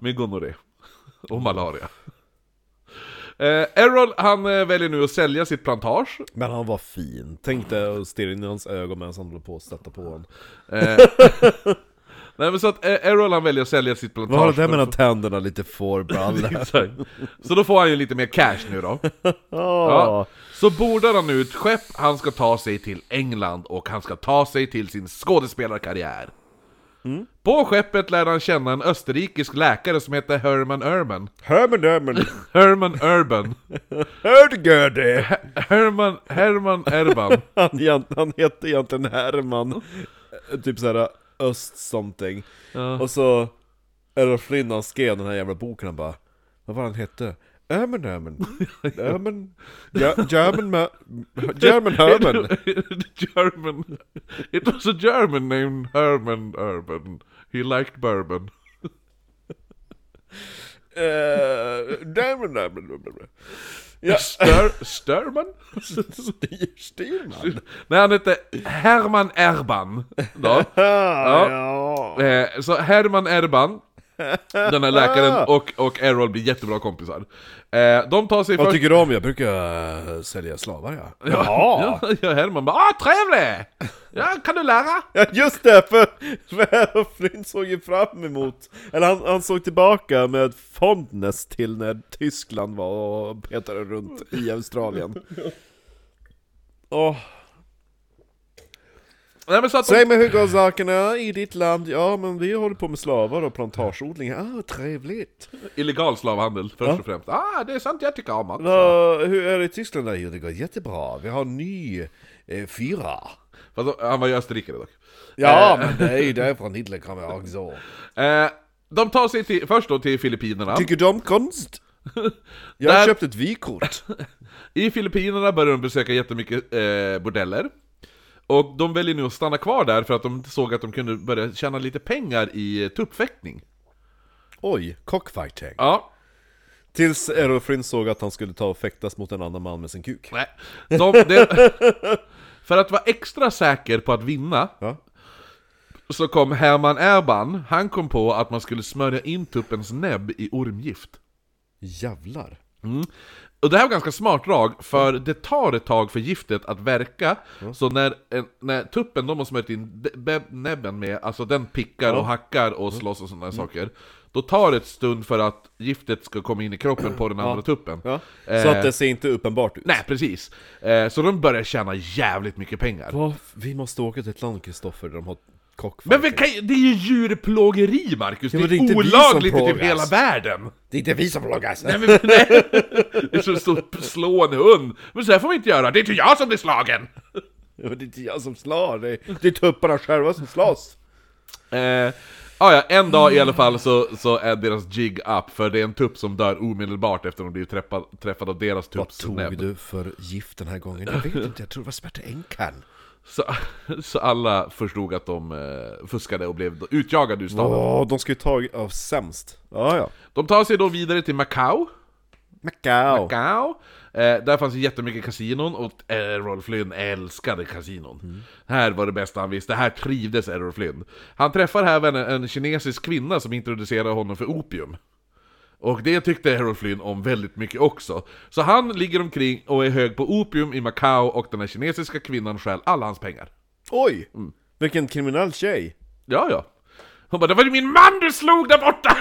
[SPEAKER 2] Med gonorré. Och malaria. Eh, Errol, han eh, väljer nu att sälja sitt plantage.
[SPEAKER 1] Men han var fin. Tänk dig att stirra in i hans ögon medan han håller på att sätta på honom.
[SPEAKER 2] Eh, Nej men så att eh, Errol han väljer att sälja sitt plantage
[SPEAKER 1] Vad har det där
[SPEAKER 2] för-
[SPEAKER 1] mellan tänderna? Lite fårbrallor.
[SPEAKER 2] Exakt. Så då får han ju lite mer cash nu då. Ja. Så bordar han nu ett skepp, han ska ta sig till England och han ska ta sig till sin skådespelarkarriär.
[SPEAKER 1] Mm.
[SPEAKER 2] På skeppet lär han känna en österrikisk läkare som heter Herman Urban.
[SPEAKER 1] Hörmen, hörmen,
[SPEAKER 2] Herman Urban.
[SPEAKER 1] hörde det?
[SPEAKER 2] Herman, Herman Erban.
[SPEAKER 1] Han, egent- han hette egentligen Herman, eh, typ såhär öst something. Och så, eller Flynn han skrev den här jävla boken, han bara, vad var han hette? Ömen, ömen, ömen, Ja- German, ma- German, Herman.
[SPEAKER 2] German. It was a German named Herman Urban. He liked bourbon.
[SPEAKER 1] Eh, German, Herman. Ja,
[SPEAKER 2] Stör, Störman?
[SPEAKER 1] Styr- Styrman.
[SPEAKER 2] Nej, han hette Herman Erban. Då.
[SPEAKER 1] Ah, Ja,
[SPEAKER 2] Eh, så Herman Erban, den här
[SPEAKER 1] Ah.
[SPEAKER 2] läkaren, och, och Errol blir jättebra kompisar. Eh, de tar sig
[SPEAKER 1] Vad
[SPEAKER 2] först...
[SPEAKER 1] tycker du om? Jag brukar äh, sälja slavar ja.
[SPEAKER 2] Ja, ja, Herman bara ah, trevlig! Ja, kan du lära?
[SPEAKER 1] Ja just det! För, för Errol Flynn såg ju fram emot, eller han, han såg tillbaka med fondness till när Tyskland var och petade runt i Australien. Åh,
[SPEAKER 2] Nej, men så att de,
[SPEAKER 1] Säg mig hur går sakerna i ditt land? Ja men vi håller på med slavar och plantageodling, ah trevligt!
[SPEAKER 2] illegal slavhandel först och främst. Ah, det är sant jag tycker om också.
[SPEAKER 1] Ja, hur är det i Tyskland? där? Jo det går jättebra, vi har en ny eh, fyra.
[SPEAKER 2] Fast han var ju österrikare dock.
[SPEAKER 1] Ja men det är ju därifrån Hitler kommer jag också.
[SPEAKER 2] Eh, de tar sig till, först då till Filippinerna.
[SPEAKER 1] Tycker du om konst? Jag
[SPEAKER 2] Där-
[SPEAKER 1] har köpt ett vykort.
[SPEAKER 2] I Filippinerna började de besöka jättemycket eh, bordeller. Och de väljer nu att stanna kvar där för att de såg att de kunde börja tjäna lite pengar i eh, tuppfäktning.
[SPEAKER 1] Oj, cockfighting.
[SPEAKER 2] Ja,
[SPEAKER 1] Tills Erofrin såg att han skulle ta och fäktas mot en annan man med sin kuk.
[SPEAKER 2] nej. De, det- för att vara extra säker på att vinna
[SPEAKER 1] Ja.
[SPEAKER 2] så kom Herman Erban, han kom på att man skulle smörja in tuppens näbb i ormgift.
[SPEAKER 1] Jävlar.
[SPEAKER 2] Och det här var ganska smart drag, för det tar ett tag för giftet att verka,
[SPEAKER 1] Mm.
[SPEAKER 2] så när, en, när tuppen de har smörjt in de- be- näbben med, alltså den pickar och hackar och
[SPEAKER 1] Mm.
[SPEAKER 2] slåss och sådana saker, då tar det ett stund för att giftet ska komma in i kroppen på den andra tuppen.
[SPEAKER 1] Ja. Så
[SPEAKER 2] Eh,
[SPEAKER 1] att det ser inte uppenbart ut.
[SPEAKER 2] Nej, precis. Eh, så de börjar tjäna jävligt mycket pengar.
[SPEAKER 1] Va? Vi måste åka till ett land, Kristoffer, där de har cockfighting.
[SPEAKER 2] Men vi kan, ju- det är ju djurplågeri, Marcus!
[SPEAKER 1] Ja, men
[SPEAKER 2] det, är
[SPEAKER 1] det är inte vi som
[SPEAKER 2] olagligt i typ
[SPEAKER 1] plågas.
[SPEAKER 2] hela världen!
[SPEAKER 1] Det är inte vi som alltså. plågas!
[SPEAKER 2] Nej, men, nej. Det är som att stå och slå en hund. Men så här får vi inte göra, det är inte jag som blir slagen!
[SPEAKER 1] Ja, men Det är inte jag som slår, det är, det är tupparna själva som slåss!
[SPEAKER 2] Eh, ah, ja, en dag i alla fall så, så är deras jig up, för det är en tupp som dör omedelbart efter att de blivit träffad, träffad av deras
[SPEAKER 1] Vad
[SPEAKER 2] tupps
[SPEAKER 1] tog
[SPEAKER 2] näbb.
[SPEAKER 1] du för gift den här gången? Jag vet inte, jag tror det var Svarte Enkan.
[SPEAKER 2] Så, så alla förstod att de eh, fuskade och blev då utjagade ur staden.
[SPEAKER 1] Åh, de ska ju ta av sämst. Ja, ja.
[SPEAKER 2] De tar sig då vidare till Macau.
[SPEAKER 1] Macau.
[SPEAKER 2] Macau. Eh, där fanns ju jättemycket kasinon och Errol Flynn älskade kasinon. Här var det bästa han visste, här trivdes Errol Flynn. Han träffar även en, en kinesisk kvinna som introducerar honom för opium. Och det tyckte Errol Flynn om väldigt mycket också. Så han ligger omkring och är hög på opium i Macau och den här kinesiska kvinnan stjäl alla hans pengar.
[SPEAKER 1] Oj! Vilken kriminell tjej!
[SPEAKER 2] Ja, ja. Hon bara 'Det var ju min man du slog där borta!'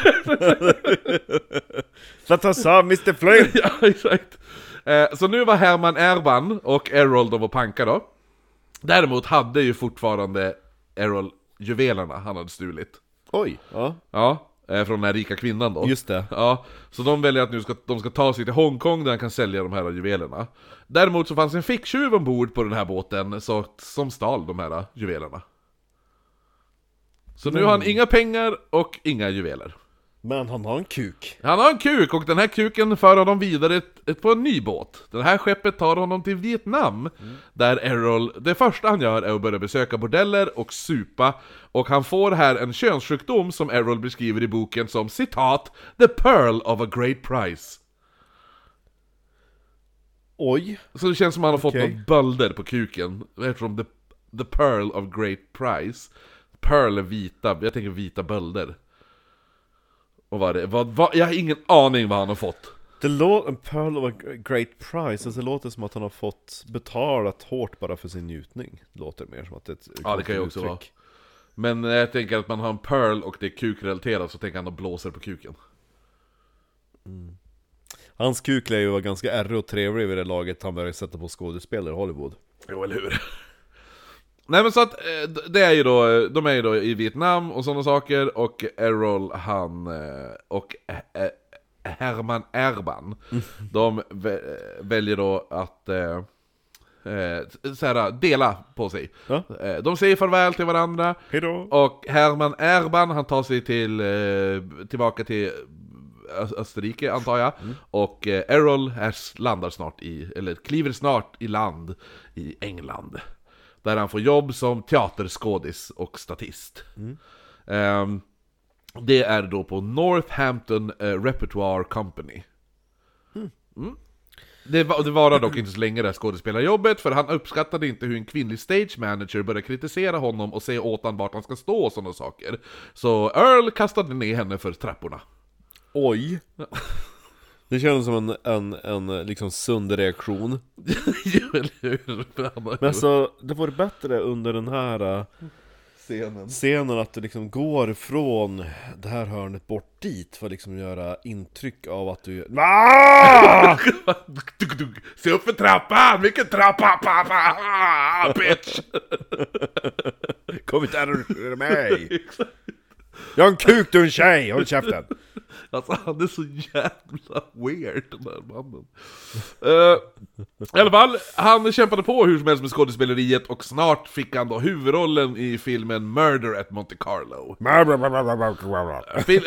[SPEAKER 1] Let us have Mr Flynn!
[SPEAKER 2] ja, exakt. Eh, så nu var Herman Erban och Errol de var panka då. Däremot hade ju fortfarande Errol juvelerna han hade stulit.
[SPEAKER 1] Oj! Ja,
[SPEAKER 2] Ja, eh, från den här rika kvinnan då.
[SPEAKER 1] just det.
[SPEAKER 2] Ja, så de väljer att nu ska, de ska ta sig till Hongkong där han kan sälja de här juvelerna. Däremot så fanns en ficktjuv ombord på den här båten så, som stal de här juvelerna. Så nu har han inga pengar och inga juveler.
[SPEAKER 1] Men han har en kuk.
[SPEAKER 2] Han har en kuk och den här kuken för honom vidare ett, ett, på en ny båt. Det här skeppet tar honom till Vietnam, där Errol, det första han gör är att börja besöka bordeller och supa, och han får här en könssjukdom som Errol beskriver i boken som citat ”The pearl of a great price”.
[SPEAKER 1] Oj!
[SPEAKER 2] Så det känns som han har fått
[SPEAKER 1] Okej.
[SPEAKER 2] något bölder på kuken, eftersom the, the pearl of great price. Pearl är vita, jag tänker vita bölder. Och vad det vad, vad, jag har ingen aning vad han har fått.
[SPEAKER 1] Det låter... En pearl of a great prize, alltså det låter som att han har fått betalat hårt bara för sin njutning. Det låter mer som att det är ett
[SPEAKER 2] Ja, det kan ju också vara. Men när jag tänker att man har en pearl och det är kukrelaterat så tänker han att blåser på kuken.
[SPEAKER 1] Hans kuk lär ju vara ganska ärrig och trevlig vid det laget han började sätta på skådespelare i Hollywood.
[SPEAKER 2] Jo, eller hur? Nej men så att, eh, d- det är ju då, eh, de är ju då i Vietnam och sådana saker och Errol han eh, och eh, eh, Herman Erban De vä- eh, väljer då att eh, eh, så här, dela på sig
[SPEAKER 1] Ja.
[SPEAKER 2] Eh, De säger farväl till varandra
[SPEAKER 1] Hejdå!
[SPEAKER 2] Och Herman Erban, han tar sig till, eh, tillbaka till Ö- Österrike antar jag. Och eh, Errol är, s- landar snart i, eller kliver snart i land i England. Där han får jobb som teaterskådis och statist. Ehm, det är då på Northampton eh, Repertoire Company. Mm. Det, var, det varade dock inte så länge det här skådespelarjobbet, för han uppskattade inte hur en kvinnlig stage manager började kritisera honom och säga åt honom vart han ska stå och sådana saker. Så Earl kastade ner henne för trapporna.
[SPEAKER 1] Oj! Det kändes som en, en, en liksom sund reaktion.
[SPEAKER 2] Jo, eller hur? Han var-
[SPEAKER 1] Men alltså, det vore bättre under den här eh,
[SPEAKER 2] Scenen.
[SPEAKER 1] scenen att det liksom går från det här hörnet bort dit för att liksom göra intryck av att du... Ah!
[SPEAKER 2] Duk, duk, duk. Se upp för trappan! Vilken trappa! Pa, pa, ah, bitch!
[SPEAKER 1] Kom inte här och röra mig! Jag har en kuk, du är en tjej! Håll käften!
[SPEAKER 2] Alltså han är så jävla weird den där mannen. Eh, I alla fall, han kämpade på hur som helst med skådespeleriet och snart fick han då huvudrollen i filmen Murder at Monte Carlo. Fil-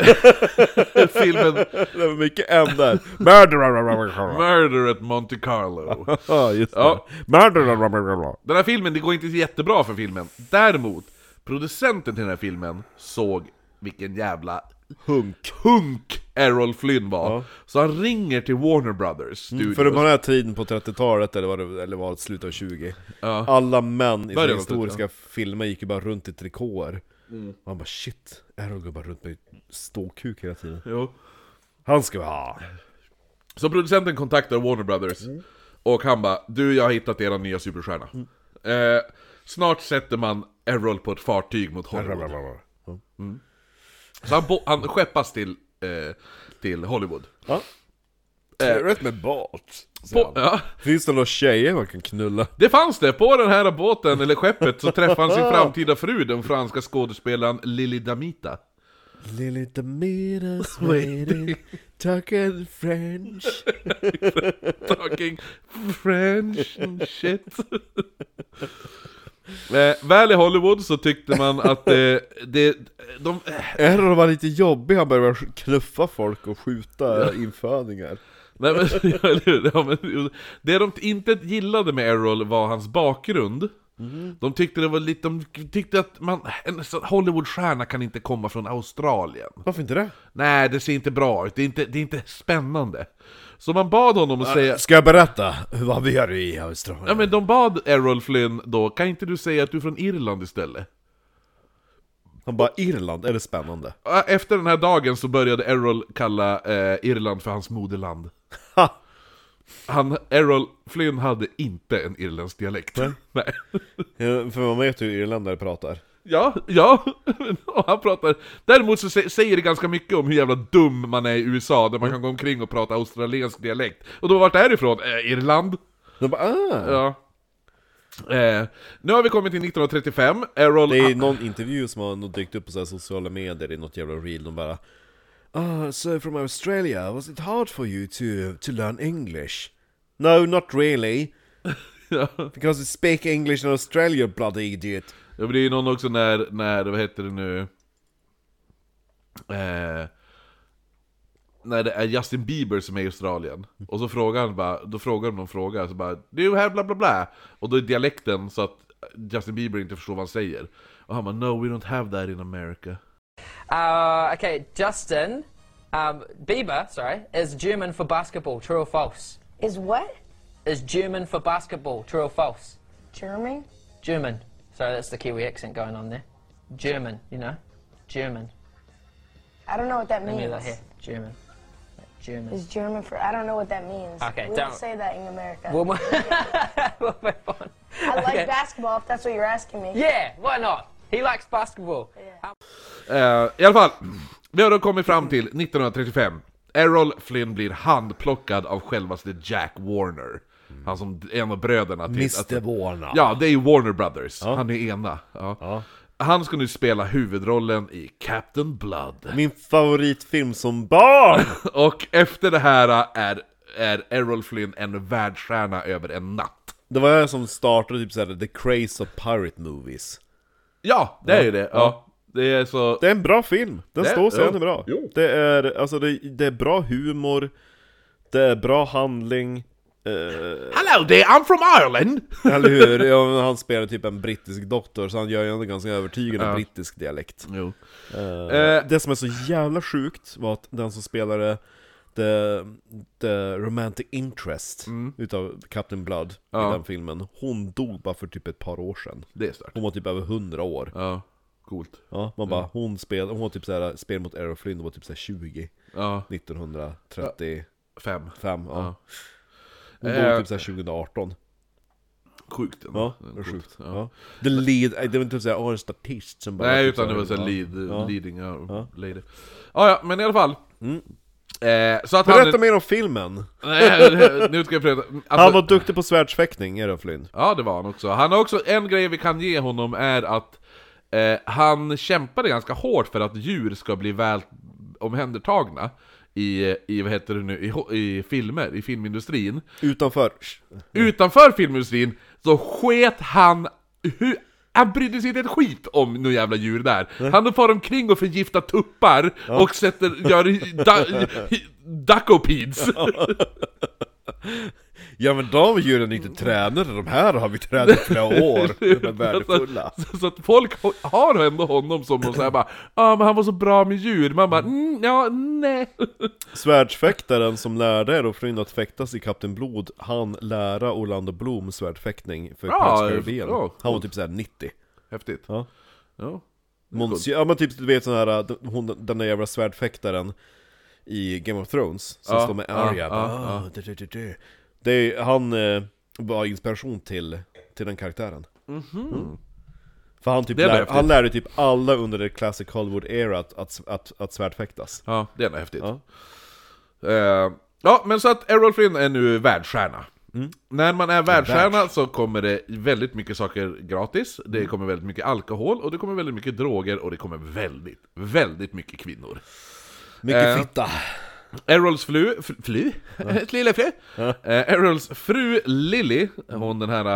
[SPEAKER 2] filmen
[SPEAKER 1] Det var mycket M där. Murder!
[SPEAKER 2] Murder at Monte Carlo.
[SPEAKER 1] Ja, just det.
[SPEAKER 2] Ja.
[SPEAKER 1] Murder!
[SPEAKER 2] Den här filmen, det går inte jättebra för filmen. Däremot, producenten till den här filmen såg vilken jävla hunk, hunk Errol Flynn var. Så han ringer till Warner Brothers studio.
[SPEAKER 1] För den här tiden på 30-talet, eller var det eller var det slutet av 20
[SPEAKER 2] Ja.
[SPEAKER 1] Alla män i sina
[SPEAKER 2] Började Mm. på
[SPEAKER 1] historiska filmer gick ju bara runt i trikåer Och han bara shit, Errol går bara runt med ståkuk hela tiden
[SPEAKER 2] Jo.
[SPEAKER 1] Han ska vara Ah, ha.
[SPEAKER 2] Så producenten kontaktar Warner Brothers och han bara Du, jag har hittat era nya superstjärna. Eh, snart sätter man Errol på ett fartyg mot Hollywood. Så han, bo- han skeppas till, eh, till Hollywood.
[SPEAKER 1] Ja. Rätt med bart
[SPEAKER 2] På, ja.
[SPEAKER 1] Finns det några tjejer man kan knulla?
[SPEAKER 2] Det fanns det! På den här båten, eller skeppet, så träffade han sin framtida fru, den franska skådespelaren Lili Damita.
[SPEAKER 1] Lily Demeter's waiting Talking French
[SPEAKER 2] Talking French and shit. Eh, väl i Hollywood så tyckte man att eh, det... De, eh,
[SPEAKER 1] Errol var lite jobbig, han började knuffa folk och skjuta infödingar
[SPEAKER 2] nej, men, ja, eller hur? ja, men, det de inte gillade med Errol var hans bakgrund. De tyckte det var lite... De tyckte att man... En sån Hollywoodstjärna kan inte komma från Australien.
[SPEAKER 1] Varför inte det?
[SPEAKER 2] Nej, det ser inte bra ut. Det är inte, det är inte spännande. Så man bad honom att säga...
[SPEAKER 1] Ska jag berätta vad vi gör i
[SPEAKER 2] Ja,
[SPEAKER 1] Australien?
[SPEAKER 2] men de bad Errol Flynn då, kan inte du säga att du är från Irland istället?
[SPEAKER 1] Han bara, Irland, är det spännande?
[SPEAKER 2] Ä- Efter den här dagen så började Errol kalla eh, Irland för hans moderland.
[SPEAKER 1] Ha!
[SPEAKER 2] Han, Errol Flynn hade inte en irländsk dialekt. Nej.
[SPEAKER 1] Ja, För man vet ju hur irländare pratar.
[SPEAKER 2] Ja, ja. Och han pratar... Däremot så sä- säger det ganska mycket om hur jävla dum man är i USA,
[SPEAKER 1] Mm.
[SPEAKER 2] där man kan gå omkring och prata australiensk dialekt. Och då, vart är du ifrån? Eh, Irland?
[SPEAKER 1] De bara, ah!
[SPEAKER 2] Ja. Eh, nu har vi kommit till 1935, Errol...
[SPEAKER 1] Det är någon intervju som har nog dykt upp på så här sociala medier i något jävla reel, de bara Ah, so from Australia, was it hard for you to, to learn English? No, not really.
[SPEAKER 2] Ja.
[SPEAKER 1] Because we speak English in Australia, bloody idiot.
[SPEAKER 2] Ja, men det är ju någon också när, när, vad heter det nu? Eh, när det är Justin Bieber som är i Australien. Och så frågar han bara, då frågar de någon fråga, så bara Du här bla bla bla. Och då är dialekten så att Justin Bieber inte förstår vad han säger. Och han bara No we don't have that in America.
[SPEAKER 3] Uh, okay, Justin um, Bieber, sorry, is German for basketball. True or false?
[SPEAKER 4] Is what?
[SPEAKER 3] Is German for basketball. True or false?
[SPEAKER 4] German?
[SPEAKER 3] German. Sorry, that's the Kiwi accent going on there. German, you know, German.
[SPEAKER 4] I don't know what that
[SPEAKER 3] Let me
[SPEAKER 4] means.
[SPEAKER 3] have that here. German. German.
[SPEAKER 4] Is German for? I don't know what that means.
[SPEAKER 3] Okay,
[SPEAKER 4] we
[SPEAKER 3] don't-
[SPEAKER 4] say that in America.
[SPEAKER 3] We'll move we'll move on.
[SPEAKER 4] I like
[SPEAKER 3] okay.
[SPEAKER 4] basketball. If that's what you're asking me.
[SPEAKER 3] Yeah, why not? He likes basketball. Um,
[SPEAKER 2] Eh, I alla fall, vi har då kommit fram till 1935. Errol Flynn blir handplockad av självaste Jack Warner. Han som är en av bröderna till... att-
[SPEAKER 1] Mr Warner.
[SPEAKER 2] Ja, det är ju Warner Brothers. Han är ena. Ja.
[SPEAKER 1] Ja.
[SPEAKER 2] Han ska nu spela huvudrollen i Captain Blood.
[SPEAKER 1] Min favoritfilm som barn!
[SPEAKER 2] Och efter det här är, är Errol Flynn en världsstjärna över en natt.
[SPEAKER 1] Det var jag som startade typ såhär, the craze of pirate movies.
[SPEAKER 2] Ja, det är ju det. Ja. Det är så...
[SPEAKER 1] Det är en bra film, den
[SPEAKER 2] Det-
[SPEAKER 1] står sig,
[SPEAKER 2] ja.
[SPEAKER 1] den är bra.
[SPEAKER 2] Jo.
[SPEAKER 1] Det är, alltså det, det är bra humor, det är bra handling,
[SPEAKER 2] Hello there, I'm from Ireland!
[SPEAKER 1] eller hur? Ja, men han spelar typ en brittisk doktor, så han gör ju en ganska övertygande brittisk dialekt.
[SPEAKER 2] Jo. Eh,
[SPEAKER 1] Det som är så jävla sjukt var att den som spelade The, the Romantic Interest
[SPEAKER 2] Mm.
[SPEAKER 1] utav Captain Blood i den filmen, hon dog bara för typ ett par år sedan.
[SPEAKER 2] Det är stört.
[SPEAKER 1] Hon var typ över 100 år.
[SPEAKER 2] Ja, coolt.
[SPEAKER 1] Ja, man bara, hon spelade, hon var typ såhär, spel mot Errol Flynn, hon var typ såhär 20,
[SPEAKER 2] Ja,
[SPEAKER 1] 1935,
[SPEAKER 2] fem.
[SPEAKER 1] ja. Hon
[SPEAKER 2] Eh.
[SPEAKER 1] dog typ såhär 2018.
[SPEAKER 2] Sjukt ändå.
[SPEAKER 1] Ja, det
[SPEAKER 2] Coolt.
[SPEAKER 1] var sjukt.
[SPEAKER 2] Ja.
[SPEAKER 1] Ja. The lead, eh, det var inte typ såhär, åh en statist som bara...
[SPEAKER 2] Nej,
[SPEAKER 1] typ
[SPEAKER 2] utan det
[SPEAKER 1] såhär,
[SPEAKER 2] var så här
[SPEAKER 1] ja.
[SPEAKER 2] lead, leading ja. Mm.
[SPEAKER 1] Ja.
[SPEAKER 2] lady. Ja, ja, men i alla fall. Eh, så att
[SPEAKER 1] Berätta
[SPEAKER 2] han...
[SPEAKER 1] mer om filmen!
[SPEAKER 2] Nej, nu ska jag berätta. Alltså,
[SPEAKER 1] Han var duktig på svärdsfäktning, Errol Flynn.
[SPEAKER 2] Ja, det var han också. Han har också, en grej vi kan ge honom är att eh, han kämpade ganska hårt för att djur ska bli väl omhändertagna i, i vad heter det nu, i, ho- i filmer, i filmindustrin.
[SPEAKER 1] Mm. Utanför.
[SPEAKER 2] Utanför filmindustrin så sket han hur han brydde sig inte ett skit om några jävla djur där. Han far omkring och förgiftar tuppar och sätter, gör da, duckopedes.
[SPEAKER 1] Ja men de djuren är inte tränade, de här har vi tränat i flera år. De är värdefulla.
[SPEAKER 2] Så, så att folk ho- har ändå honom som och så här bara ah, men han var så bra med djur, man bara mm, ja, nej.
[SPEAKER 1] Svärdsfäktaren som lärde er och frun att fäktas i Kapten Blod, han lära Orlando Bloom svärdfäktning för
[SPEAKER 2] Ja,
[SPEAKER 1] Prince Caribbean.
[SPEAKER 2] ja,
[SPEAKER 1] Han var typ såhär 90.
[SPEAKER 2] Häftigt.
[SPEAKER 1] Ja.
[SPEAKER 2] Ja.
[SPEAKER 1] Monsieur, ja men typ du vet sån här, d- hon, den där jävla svärdfäktaren i Game of Thrones, som
[SPEAKER 2] Ja,
[SPEAKER 1] står med
[SPEAKER 2] ja,
[SPEAKER 1] Arya.
[SPEAKER 2] ja,
[SPEAKER 1] bara, "Ah, du, du, du, du." Det är, han eh, var inspiration till, till den karaktären. Mm. För han, typ
[SPEAKER 2] Mhm. Det är
[SPEAKER 1] lär,
[SPEAKER 2] häftigt.
[SPEAKER 1] han lärde typ alla under det classic Hollywood-era att, att, att, att svärdfäktas.
[SPEAKER 2] Ja, det är ändå häftigt.
[SPEAKER 1] Ja.
[SPEAKER 2] Eh, ja, men så att Errol Flynn är nu världsstjärna.
[SPEAKER 1] Mm.
[SPEAKER 2] När man är världsstjärna så kommer det väldigt mycket saker gratis, det
[SPEAKER 1] Mm.
[SPEAKER 2] kommer väldigt mycket alkohol, och det kommer väldigt mycket droger, och det kommer väldigt, väldigt mycket kvinnor.
[SPEAKER 1] Mycket
[SPEAKER 2] Eh.
[SPEAKER 1] fitta!
[SPEAKER 2] Errols flu, f- fly? Lilla fru? Eh, Errols fru Lily, hon den här...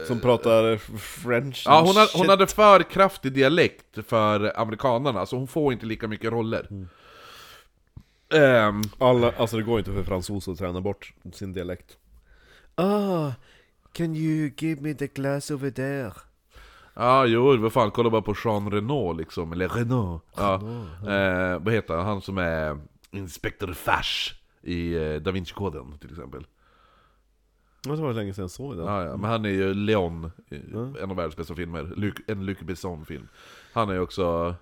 [SPEAKER 2] eh,
[SPEAKER 1] Som pratar f- french
[SPEAKER 2] Ja, hon,
[SPEAKER 1] and
[SPEAKER 2] har,
[SPEAKER 1] Oh,
[SPEAKER 2] hon
[SPEAKER 1] shit.
[SPEAKER 2] hade för kraftig dialekt för amerikanarna, så hon får inte lika mycket roller. Ehm,
[SPEAKER 1] Alla, alltså det går inte för fransos att träna bort sin dialekt. Ah, can you give me the glass over there?
[SPEAKER 2] Ja, jo, vad fan, kolla bara på Jean Renault liksom, eller Renault. Ja. Eh, vad heter han, han som är Inspektor Fash i eh, Da Vinci-koden till exempel.
[SPEAKER 1] Det var länge sedan jag såg den.
[SPEAKER 2] Ja, ja, men han är ju Leon, i en av världens bästa filmer. Luc, en Luc Besson-film. Han är ju också...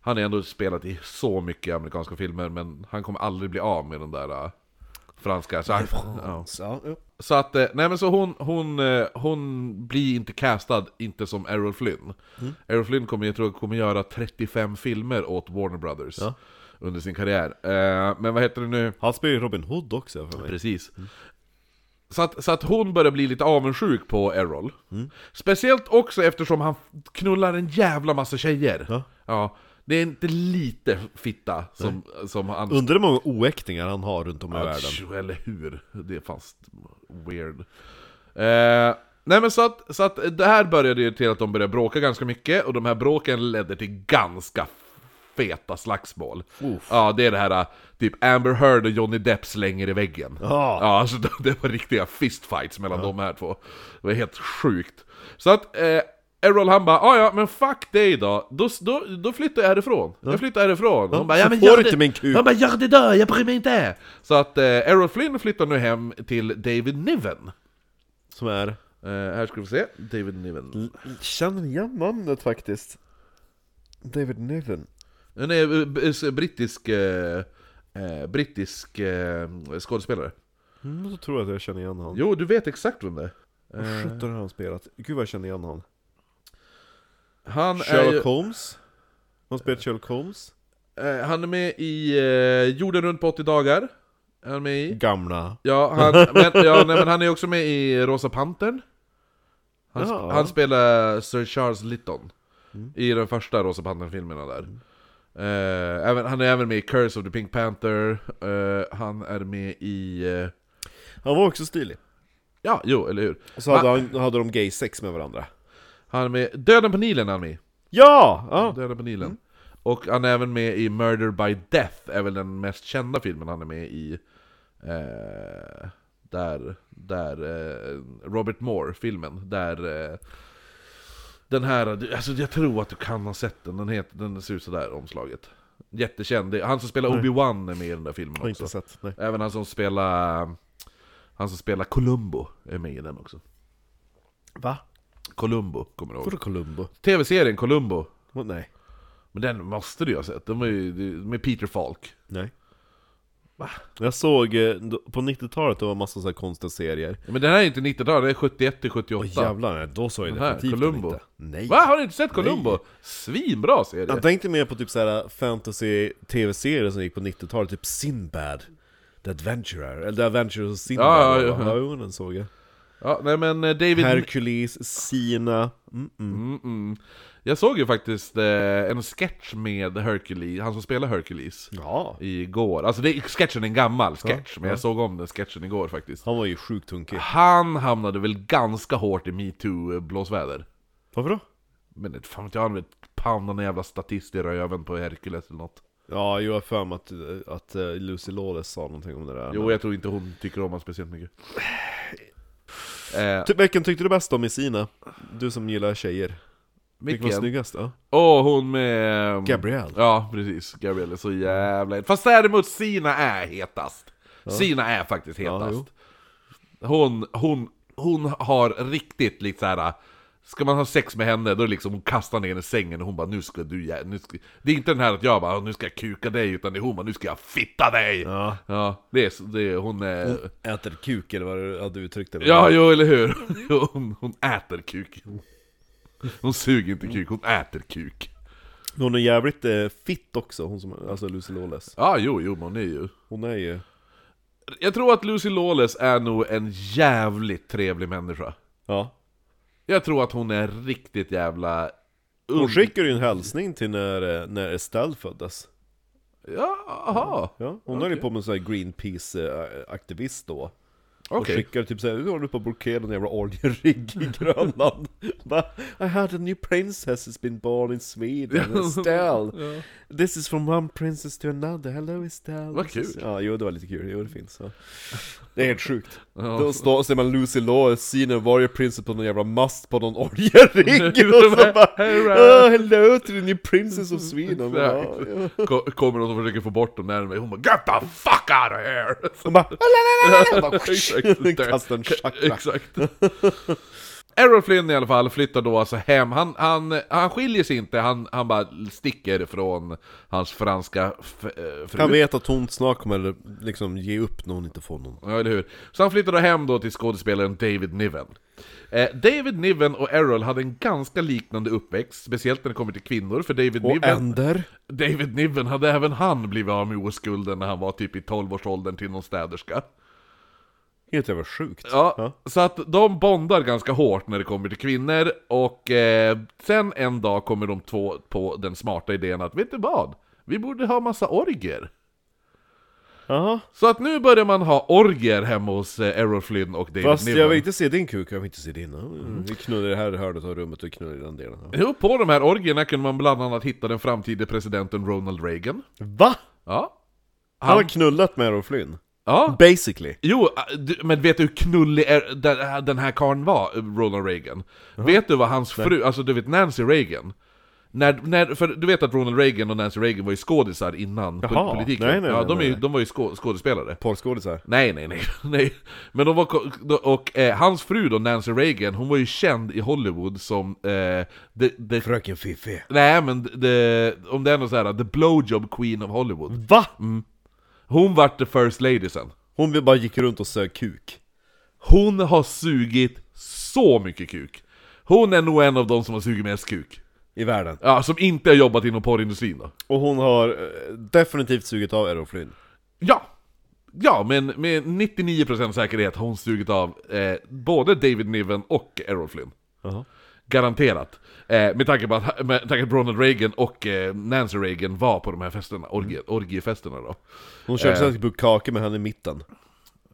[SPEAKER 2] Han har ändå spelat i så mycket amerikanska filmer, men han kommer aldrig bli av med den där eh, franska. Så, han, ja.
[SPEAKER 1] Ja, ja.
[SPEAKER 2] så att, eh, nej men så hon, hon, eh, hon blir inte castad, inte som Errol Flynn. Errol Flynn kommer, jag tror, kommer göra 35 filmer åt Warner Brothers. Under sin karriär. Eh, Men vad heter det nu?
[SPEAKER 1] Han spelar ju Robin Hood också för mig. Mm.
[SPEAKER 2] Precis. Så, att, så att hon börjar bli lite avundsjuk på Errol.
[SPEAKER 1] Mm.
[SPEAKER 2] Speciellt också eftersom han knullar en jävla massa tjejer.
[SPEAKER 1] Ja.
[SPEAKER 2] det är inte lite fitta som, som han...
[SPEAKER 1] Undrar hur många oäktingar han har runt om i
[SPEAKER 2] Ja,
[SPEAKER 1] världen.
[SPEAKER 2] tjo, Eller hur? Det är fast weird. Eh, nej men så att, så att det här började ju till att de började bråka ganska mycket, och de här bråken ledde till ganska feta slagsmål. Ja, det är det här typ Amber Heard och Johnny Depp slänger i väggen.
[SPEAKER 1] Ja.
[SPEAKER 2] Ja, alltså det, det var riktiga fistfights mellan de här två. Det var helt sjukt. Så att eh, Errol han bara "Ah, ja men fuck dig då, då, då, då flyttar jag härifrån. Jag flyttar härifrån. Hon bara,
[SPEAKER 1] så
[SPEAKER 2] ja, men
[SPEAKER 1] får
[SPEAKER 2] gör
[SPEAKER 1] du
[SPEAKER 2] det.
[SPEAKER 1] inte min kuk."
[SPEAKER 2] Han bara 'Gör det då, jag bryr mig inte!' Så att eh, Errol Flynn flyttar nu hem till David Niven.
[SPEAKER 1] Som är...
[SPEAKER 2] Eh, här ska vi se, David Niven.
[SPEAKER 1] Känner igen namnet faktiskt. David Niven.
[SPEAKER 2] Han är eh, b- eh, brittisk, eh, eh, brittisk eh, skådespelare.
[SPEAKER 1] Mm, då tror jag att jag känner igen honom.
[SPEAKER 2] Jo, du vet exakt vem det är.
[SPEAKER 1] Vad sjutton har han spelat? Gud vad jag känner igen honom.
[SPEAKER 2] Han är, ju,
[SPEAKER 1] Sherlock Holmes? Han spelat Sherlock Holmes?
[SPEAKER 2] eh, han är med i eh, Jorden runt på 80 dagar. Är han med i?
[SPEAKER 1] Gamla.
[SPEAKER 2] Ja, han, men, ja nej, men han är också med i Rosa Pantern. Han, sp-
[SPEAKER 1] Ja.
[SPEAKER 2] han spelar Sir Charles Litton i den första Rosa Pantern-filmerna där. Eh, även, han är även med i Curse of the Pink Panther, eh, han är med i... eh,
[SPEAKER 1] Han var också stilig.
[SPEAKER 2] ja, jo, eller hur?
[SPEAKER 1] Och så hade, han, hade de gay sex med varandra.
[SPEAKER 2] Han är med, Döden på Nilen är han med i.
[SPEAKER 1] Ja! ja.
[SPEAKER 2] Döden på Nilen. Och han är även med i Murder by Death, är väl den mest kända filmen han är med i. Eh, där, där eh, Robert Moore-filmen, där eh, den här, alltså jag tror att du kan ha sett den, den, heter, den ser ut sådär omslaget. Jättekänd, Det är- han som spelar Obi-Wan är med i den där filmen
[SPEAKER 1] Har
[SPEAKER 2] också.
[SPEAKER 1] inte sett, nej.
[SPEAKER 2] Även han som spelar, han som spelar Columbo är med i den också.
[SPEAKER 1] Va?
[SPEAKER 2] Columbo, kommer du ihåg?
[SPEAKER 1] Vadå Columbo?
[SPEAKER 2] TV-serien Columbo,
[SPEAKER 1] Vad- Nej.
[SPEAKER 2] men den måste du ju ha sett, de är ju, med Peter Falk.
[SPEAKER 1] Nej. Jag såg, eh, då- på 90-talet det var massa så här konstiga serier.
[SPEAKER 2] Men den här är inte 90-tal, den är 71 till 78.
[SPEAKER 1] Åh jävlar, nej, då såg jag
[SPEAKER 2] Den här,
[SPEAKER 1] definitivt
[SPEAKER 2] Columbo.
[SPEAKER 1] inte. Nej.
[SPEAKER 2] Va? Har ni inte sett Columbo? Svinbra serie!
[SPEAKER 1] Jag tänkte mer på typ så här fantasy-tv-serier som gick på 90-talet, typ Sinbad. The Adventurer, eller The Adventurers of Sinbad.
[SPEAKER 2] Ja, ja, ja.
[SPEAKER 1] va? jo, den såg jag.
[SPEAKER 2] Ja, nej men eh, David...
[SPEAKER 1] Hercules, Sina.
[SPEAKER 2] Jag såg ju faktiskt eh, en sketch med Hercules, han som spelar Hercules,
[SPEAKER 1] Ja.
[SPEAKER 2] igår. Alltså det, sketchen är en gammal sketch, men jag såg om den sketchen igår faktiskt.
[SPEAKER 1] Han var ju sjukt tunkig.
[SPEAKER 2] Han hamnade väl ganska hårt i metoo-blåsväder.
[SPEAKER 1] Varför då?
[SPEAKER 2] Men det- fan vet jag, han vet pannan en jävla statist i röven på Hercules eller något.
[SPEAKER 1] Ja, jag har för mig att, att eh, Lucy Lawless sa någonting om det där.
[SPEAKER 2] Jo, jag tror inte hon tycker om honom speciellt mycket. Eh,
[SPEAKER 1] Typ, vilken tyckte du bäst om i Sina? Du som gillar tjejer. Vilken var
[SPEAKER 2] vilken?
[SPEAKER 1] snyggast? Ja.
[SPEAKER 2] Åh, hon med... mm.
[SPEAKER 1] Gabrielle.
[SPEAKER 2] Ja, precis. Gabrielle är så jävla het. Fast däremot Sina är hetast. Sina är faktiskt hetast. hon, hon, hon har riktigt lite så här. Ska man ha sex med henne, då är det liksom hon kastar ner henne i sängen och hon bara nu ska du jä- nu ska... Det är inte den här att jag bara nu ska jag kuka dig, utan det är hon bara nu ska jag fitta dig!
[SPEAKER 1] Ja.
[SPEAKER 2] det är, så- det är hon är...
[SPEAKER 1] Äter kuk eller vad du- ja, du uttryckte det.
[SPEAKER 2] Ja, jo eller hur? Jo, Hon, hon äter kuk. Hon suger inte kuk, hon äter kuk.
[SPEAKER 1] Hon är jävligt eh, fitt också, hon som, alltså Lucy Lawless.
[SPEAKER 2] Ja, jo, jo, men hon är ju...
[SPEAKER 1] Hon är ju...
[SPEAKER 2] Jag tror att Lucy Lawless är nog en jävligt trevlig människa.
[SPEAKER 1] Ja.
[SPEAKER 2] Jag tror att hon är riktigt jävla...
[SPEAKER 1] Hon skickade ju en hälsning till när, eh, när Estelle föddes.
[SPEAKER 2] Ja, aha.
[SPEAKER 1] Ja, hon höll ju på med en sån här Greenpeace-aktivist då. Och
[SPEAKER 2] Okej.
[SPEAKER 1] skickade typ såhär, nu håller du på att blockera en jävla oljerigg i Grönland. Va? I heard a new princess has been born in Sweden, Estelle. This is from one princess to another, hello Estelle.
[SPEAKER 2] Vad
[SPEAKER 1] This is-
[SPEAKER 2] kul.
[SPEAKER 1] Ja, jo det var lite kul, jo det finns. Ja. Det är helt sjukt. Då står, ser man Lucy Law, syner varje prinsess på någon jävla mast på någon oljerigg. och så bara, oh, hello to the new princess of Sweden. Ja, ja.
[SPEAKER 2] Ko- Kommer någon som försöker få bort dem närmare, hon bara 'Get the fuck out of here!'
[SPEAKER 1] De bara, "Oh, la, la, la, la, la." Bara,
[SPEAKER 2] Exakt.
[SPEAKER 1] Kastar en chakra.
[SPEAKER 2] Exakt. Errol Flynn i alla fall flyttar då alltså hem, han, han, han skiljer sig inte, han, han bara sticker från hans franska f- eh, fru.
[SPEAKER 1] Han vet att hon snart kommer liksom ge upp när hon inte får någon.
[SPEAKER 2] Ja, eller hur? Så han flyttade hem då till skådespelaren David Niven. Eh, David Niven och Errol hade en ganska liknande uppväxt, speciellt när det kommer till kvinnor, för David
[SPEAKER 1] Och
[SPEAKER 2] Niven...
[SPEAKER 1] Ender.
[SPEAKER 2] David Niven hade även han blivit av med oskulden när han var typ i 12-årsåldern till någon städerska.
[SPEAKER 1] Helt jävla sjukt.
[SPEAKER 2] Ja, Så att de bondar ganska hårt när det kommer till kvinnor, och eh, sen en dag kommer de två på den smarta idén att vet du vad? Vi borde ha massa orger.
[SPEAKER 1] Jaha.
[SPEAKER 2] Så att nu börjar man ha orger hemma hos eh, Errol Flynn och David
[SPEAKER 1] Fast
[SPEAKER 2] Niven.
[SPEAKER 1] jag vill inte se din kuk, jag vill inte se din. Mm. Vi knullar i det här hörnet av rummet och knullar i den delen. Ja.
[SPEAKER 2] Jo, på de här orgierna kunde man bland annat hitta den framtida presidenten Ronald Reagan.
[SPEAKER 1] Va?
[SPEAKER 2] Ja.
[SPEAKER 1] Han har knullat med Errol Flynn?
[SPEAKER 2] Ja.
[SPEAKER 1] Basically.
[SPEAKER 2] Jo, äh, du- men vet du hur knullig är- den här- den här karln var, eh, Ronald Reagan? Vet du vad hans fru, alltså du vet Nancy Reagan? När, när, för du vet att Ronald Reagan och Nancy Reagan var ju skådisar innan pol-
[SPEAKER 1] Jaha.
[SPEAKER 2] politiken?
[SPEAKER 1] Nej, nej,
[SPEAKER 2] ja,
[SPEAKER 1] nej,
[SPEAKER 2] de, är, ju-
[SPEAKER 1] nej.
[SPEAKER 2] de var ju skå, skådespelare.
[SPEAKER 1] Porrskådisar.
[SPEAKER 2] Nej, nej, nej, nej. Men de var, ko- då- och eh, hans fru då, Nancy Reagan, hon var ju känd i Hollywood som eh, the, the
[SPEAKER 1] Fröken Fiffi.
[SPEAKER 2] Nej men det, om det är något så här, the blowjob queen of Hollywood Mm.
[SPEAKER 1] Va?
[SPEAKER 2] Hon vart the first lady sen
[SPEAKER 1] Hon vill bara gick runt och sög kuk.
[SPEAKER 2] Hon har sugit så mycket kuk Hon är nog en av de som har sugit mest kuk
[SPEAKER 1] I världen.
[SPEAKER 2] Ja, som inte har jobbat inom porrindustrin då
[SPEAKER 1] Och hon har eh, definitivt sugit av Errol Flynn.
[SPEAKER 2] Ja! Ja, men med 99% säkerhet har hon sugit av eh, både David Niven och Errol Flynn
[SPEAKER 1] Jaha.
[SPEAKER 2] Garanterat eh, med, tanke på att, med tanke på att Ronald Reagan och eh, Nancy Reagan var på de här festerna, orgie, orgiefesterna då
[SPEAKER 1] Hon körde säkert bukkake med henne i mitten.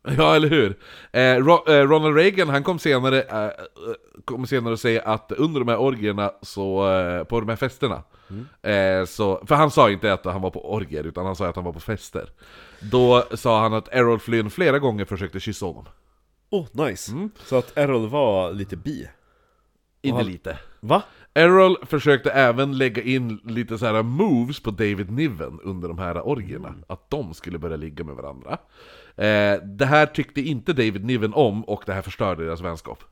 [SPEAKER 2] Ja, eller hur? Eh, Ro- eh, Ronald Reagan, han kom senare, eh, eh, kom senare att säga att under de här orgierna, så, eh, på de här festerna, eh, så, för han sa inte att han var på orgier, utan han sa att han var på fester. Då sa han att Errol Flynn flera gånger försökte kyssa honom.
[SPEAKER 1] Åh, oh, nice! Så att Errol var lite bi.
[SPEAKER 2] Inte lite.
[SPEAKER 1] Va?
[SPEAKER 2] Errol försökte även lägga in lite så här moves på David Niven under de här orgierna. Att de skulle börja ligga med varandra. Eh, det här tyckte inte David Niven om, och det här förstörde deras vänskap.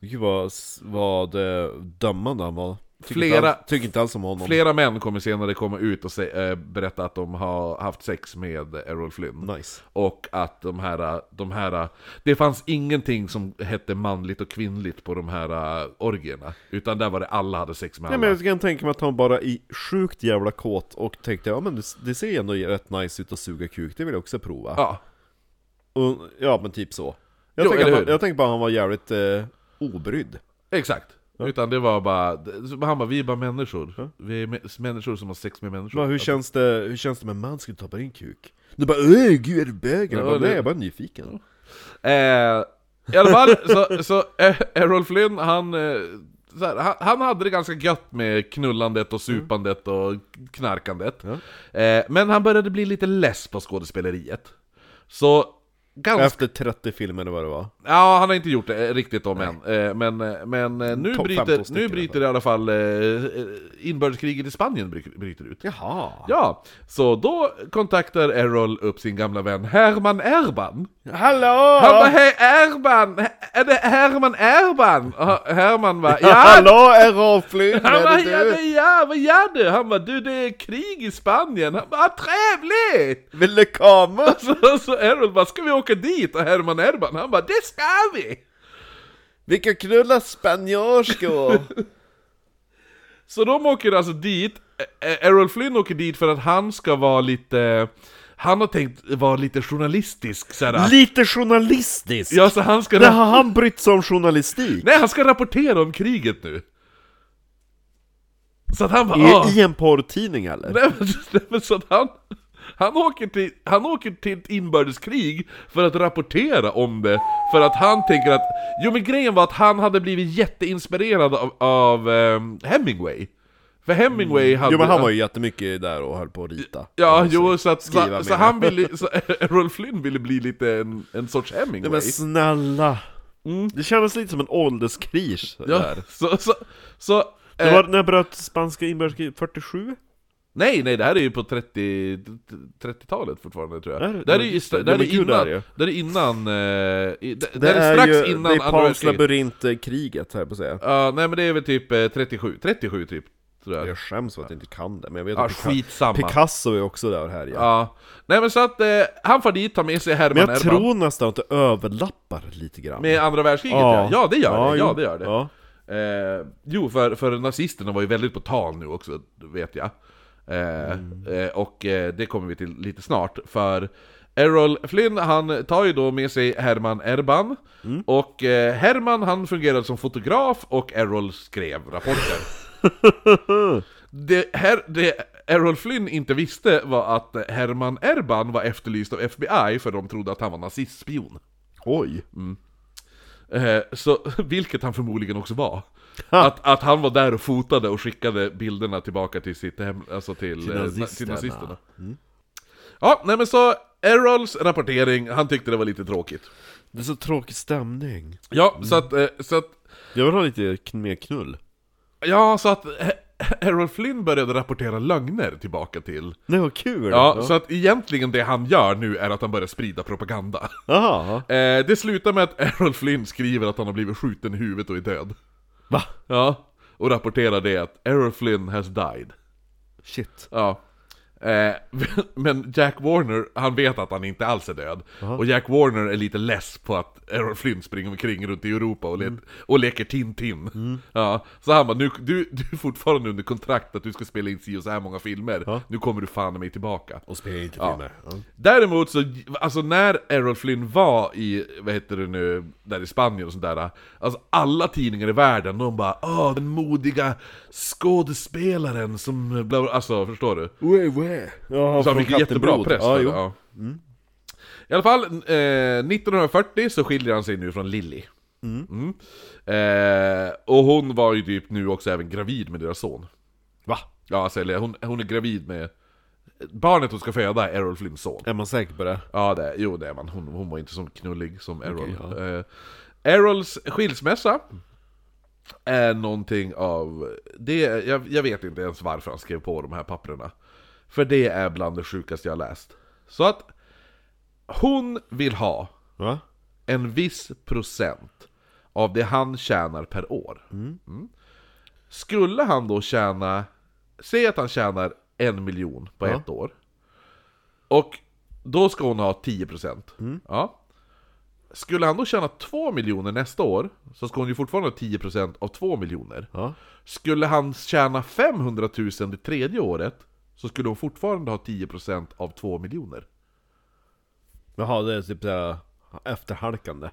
[SPEAKER 1] Gud vad, vad eh, dömande han var. Tycker
[SPEAKER 2] Flera-
[SPEAKER 1] inte alls, tycker inte alls om honom.
[SPEAKER 2] Flera män kommer senare komma ut och se, eh, berätta att de har haft sex med eh, Errol Flynn.
[SPEAKER 1] Nice.
[SPEAKER 2] Och att de här, eh, de här, det fanns ingenting som hette manligt och kvinnligt på de här eh, orgierna. Utan där var det alla hade sex med
[SPEAKER 1] Nej
[SPEAKER 2] alla.
[SPEAKER 1] men jag kan tänka mig att han bara är sjukt jävla kåt och tänkte ja men det, det ser ju ändå rätt nice ut att suga kuk, det vill jag också prova.
[SPEAKER 2] Ja,
[SPEAKER 1] Och, ja men typ så. Jag,
[SPEAKER 2] Jo,
[SPEAKER 1] tänker
[SPEAKER 2] eller
[SPEAKER 1] att han,
[SPEAKER 2] hur?
[SPEAKER 1] jag tänker bara att han var jävligt eh, obrydd.
[SPEAKER 2] Exakt. Utan det var bara, så han bara, vi är bara människor. Vi är mä- människor som har sex med människor.
[SPEAKER 1] Bara, hur, känns det, hur känns det med en man skulle tappa in kuk? Du bara öh, gud är du bög? Jag
[SPEAKER 2] Ja,
[SPEAKER 1] bara,
[SPEAKER 2] det-
[SPEAKER 1] nej, jag är bara nyfiken.
[SPEAKER 2] Eh, I alla fall, så, så eh, Errol Flynn, han, eh, så här, han, han hade det ganska gött med knullandet och
[SPEAKER 1] Mm.
[SPEAKER 2] supandet och knarkandet. Eh, men han började bli lite less på skådespeleriet. Så, ganska...
[SPEAKER 1] Efter 30 filmer eller vad det var.
[SPEAKER 2] Ja, han har inte gjort det eh, riktigt om än. Eh, Men, eh, men eh, nu
[SPEAKER 1] Topp 15
[SPEAKER 2] bryter,
[SPEAKER 1] stycken alltså. i
[SPEAKER 2] nu
[SPEAKER 1] alla
[SPEAKER 2] bryter i alla fall eh, eh, inbördeskriget i Spanien bryter bryter ut.
[SPEAKER 1] Jaha.
[SPEAKER 2] Ja, så då kontaktar Errol upp sin gamla vän Herman Erban.
[SPEAKER 1] Hallå!
[SPEAKER 2] Han bara hej Erban! Är det Herman Erban? Och Herman bara
[SPEAKER 1] Ja,
[SPEAKER 2] ja!
[SPEAKER 1] Hallå Errol Flynn,
[SPEAKER 2] Han bara
[SPEAKER 1] är
[SPEAKER 2] ja,
[SPEAKER 1] det
[SPEAKER 2] det
[SPEAKER 1] du?
[SPEAKER 2] är jag, vad gör du? Han bara du det är krig i Spanien! Han bara "Ah, trevligt!
[SPEAKER 1] Vill du komma?
[SPEAKER 2] Så, så Errol bara ska vi åka dit? Och Herman Erban han bara det ska vi!
[SPEAKER 1] Vi kan knulla spanjorskor!
[SPEAKER 2] Så de åker alltså dit, Ä- Ä- Errol Flynn åker dit för att han ska vara lite, han har tänkt vara lite journalistisk såhär.
[SPEAKER 1] Lite journalistiskt!
[SPEAKER 2] Ja, så han ska,
[SPEAKER 1] Det
[SPEAKER 2] ra-
[SPEAKER 1] har han brytt sig om journalistik!
[SPEAKER 2] nej han ska rapportera om kriget nu. Så att han bara, "Ah."
[SPEAKER 1] I, I en porrtidning eller?
[SPEAKER 2] nej, men, nej, men så att han, han åker till, han åker till ett inbördeskrig för att rapportera om det, för att han tänker att, jo men grejen var att han hade blivit jätteinspirerad av, av ehm, Hemingway. För Hemingway hade...
[SPEAKER 1] Mm. Jo men han var ju jättemycket där och höll på att rita.
[SPEAKER 2] Ja, jo, så, att,
[SPEAKER 1] skriva
[SPEAKER 2] så,
[SPEAKER 1] mer.
[SPEAKER 2] så han ville, så Rolf Flynn ville bli lite en, en sorts Hemingway.
[SPEAKER 1] Nej, men snälla! Det kändes lite som en ålderskris det
[SPEAKER 2] Mm. ja,
[SPEAKER 1] där.
[SPEAKER 2] så, så, så,
[SPEAKER 1] Det
[SPEAKER 2] eh,
[SPEAKER 1] var när jag bröt spanska inbördeskriget 47?
[SPEAKER 2] Nej, nej, det här är ju på 30, 30-talet fortfarande tror jag.
[SPEAKER 1] Där-
[SPEAKER 2] Det här är ju
[SPEAKER 1] just det,
[SPEAKER 2] stra- det här
[SPEAKER 1] ja,
[SPEAKER 2] är
[SPEAKER 1] men gud,
[SPEAKER 2] innan,
[SPEAKER 1] där är det.
[SPEAKER 2] det här är innan, eh, i- det, det här är strax innan
[SPEAKER 1] det är
[SPEAKER 2] andra
[SPEAKER 1] Pans
[SPEAKER 2] världskriget.
[SPEAKER 1] labyrint-kriget här på att säga.
[SPEAKER 2] Ja, nej men det är väl typ eh, 37, 37 typ, tror jag.
[SPEAKER 1] Jag skäms för att jag inte kan det, men jag vet
[SPEAKER 2] Ja,
[SPEAKER 1] att
[SPEAKER 2] skitsamma.
[SPEAKER 1] Picasso är också där här ja.
[SPEAKER 2] Ja, nej men så att eh, han far dit, tar med sig Herman
[SPEAKER 1] Men jag
[SPEAKER 2] Erban.
[SPEAKER 1] tror nästan att det överlappar lite grann.
[SPEAKER 2] Med andra världskriget ja. Ja, det gör det, ja
[SPEAKER 1] jo.
[SPEAKER 2] det gör det.
[SPEAKER 1] Ja.
[SPEAKER 2] Eh, jo, för, för nazisterna var ju väldigt på tal nu också, vet jag. Eh,
[SPEAKER 1] Mm.
[SPEAKER 2] eh, och eh, det kommer vi till lite snart, för Errol Flynn, han tar ju då med sig Herman Erban,
[SPEAKER 1] Mm.
[SPEAKER 2] och eh, Herman han fungerade som fotograf och Errol skrev rapporter. det, här, det Errol Flynn inte visste var att Herman Erban var efterlyst av FBI för de trodde att han var nazistspion.
[SPEAKER 1] Oj.
[SPEAKER 5] Mm.
[SPEAKER 2] Eh, så, vilket han förmodligen också var. Att, att han var där och fotade och skickade bilderna tillbaka till sitt hem, alltså till,
[SPEAKER 1] Till
[SPEAKER 2] eh, na-
[SPEAKER 1] nazisterna.
[SPEAKER 2] till nazisterna. Ja, nej men så Errols rapportering, han tyckte det var lite tråkigt.
[SPEAKER 1] Det är så tråkig stämning.
[SPEAKER 2] Ja, så att, eh, så att,
[SPEAKER 1] Jag vill ha lite kn- mer knull.
[SPEAKER 2] ja, så att eh, Errol Flynn började rapportera lögner tillbaka till.
[SPEAKER 1] Det var kul!
[SPEAKER 2] Ja, så att egentligen det han gör nu är att han börjar sprida propaganda.
[SPEAKER 1] Aha.
[SPEAKER 2] Eh, det slutar med att Errol Flynn skriver att han har blivit skjuten i huvudet och är död.
[SPEAKER 1] Va?
[SPEAKER 2] Ja, och rapporterar det att Errol Flynn has died.
[SPEAKER 1] Shit.
[SPEAKER 2] Ja. Eh, men Jack Warner, han vet att han inte alls är död. Och Jack Warner är lite less på att Errol Flynn springer omkring runt i Europa och, le- och leker Tintin. Ja, så han bara, nu, du, du är fortfarande under kontrakt att du ska spela in si och så här många filmer. Nu kommer du fan i mig tillbaka.
[SPEAKER 1] Och spela inte
[SPEAKER 2] Ja.
[SPEAKER 1] filmer. Ja.
[SPEAKER 2] Däremot så, alltså när Errol Flynn var i, vad heter det nu, där i Spanien och sådär Alltså alla tidningar i världen, de bara Åh, den modiga skådespelaren som bla, bla, alltså förstår du?
[SPEAKER 1] Wee wee. Ja,
[SPEAKER 2] Så han
[SPEAKER 1] från
[SPEAKER 2] fick jättebra
[SPEAKER 1] Kattenblod.
[SPEAKER 2] press
[SPEAKER 1] Ja,
[SPEAKER 2] för det,
[SPEAKER 1] jo. Mm.
[SPEAKER 2] ja. I alla fall, eh, 1940 så skiljer han sig nu från Lilly Mm. Eh, Och hon var ju typ nu också även gravid med deras son
[SPEAKER 1] Va?
[SPEAKER 2] Ja, alltså eller hon, hon är gravid med Barnet hon ska föda är Errol Flynns son
[SPEAKER 1] Är man säker på det?
[SPEAKER 2] Ja, det, jo det är man. Hon, hon var inte så knullig som Errol. Eh, Errols skilsmässa är någonting av... Det, jag, jag vet inte ens varför han skrev på de här papperna. För det är bland det sjukaste jag har läst. Så att hon vill ha
[SPEAKER 1] Va?
[SPEAKER 2] en viss procent av det han tjänar per år. Mm. Skulle han då tjäna, säg att han tjänar en miljon på ett år. Och då ska hon ha 10%. Ja. Skulle han då tjäna 2 miljoner nästa år, så ska hon ju fortfarande ha 10% av 2 miljoner.
[SPEAKER 1] Ja.
[SPEAKER 2] Skulle han tjäna 500 000 det tredje året, så skulle hon fortfarande ha 10% av 2 miljoner.
[SPEAKER 1] Jaha, det är typ såhär efterhalkande.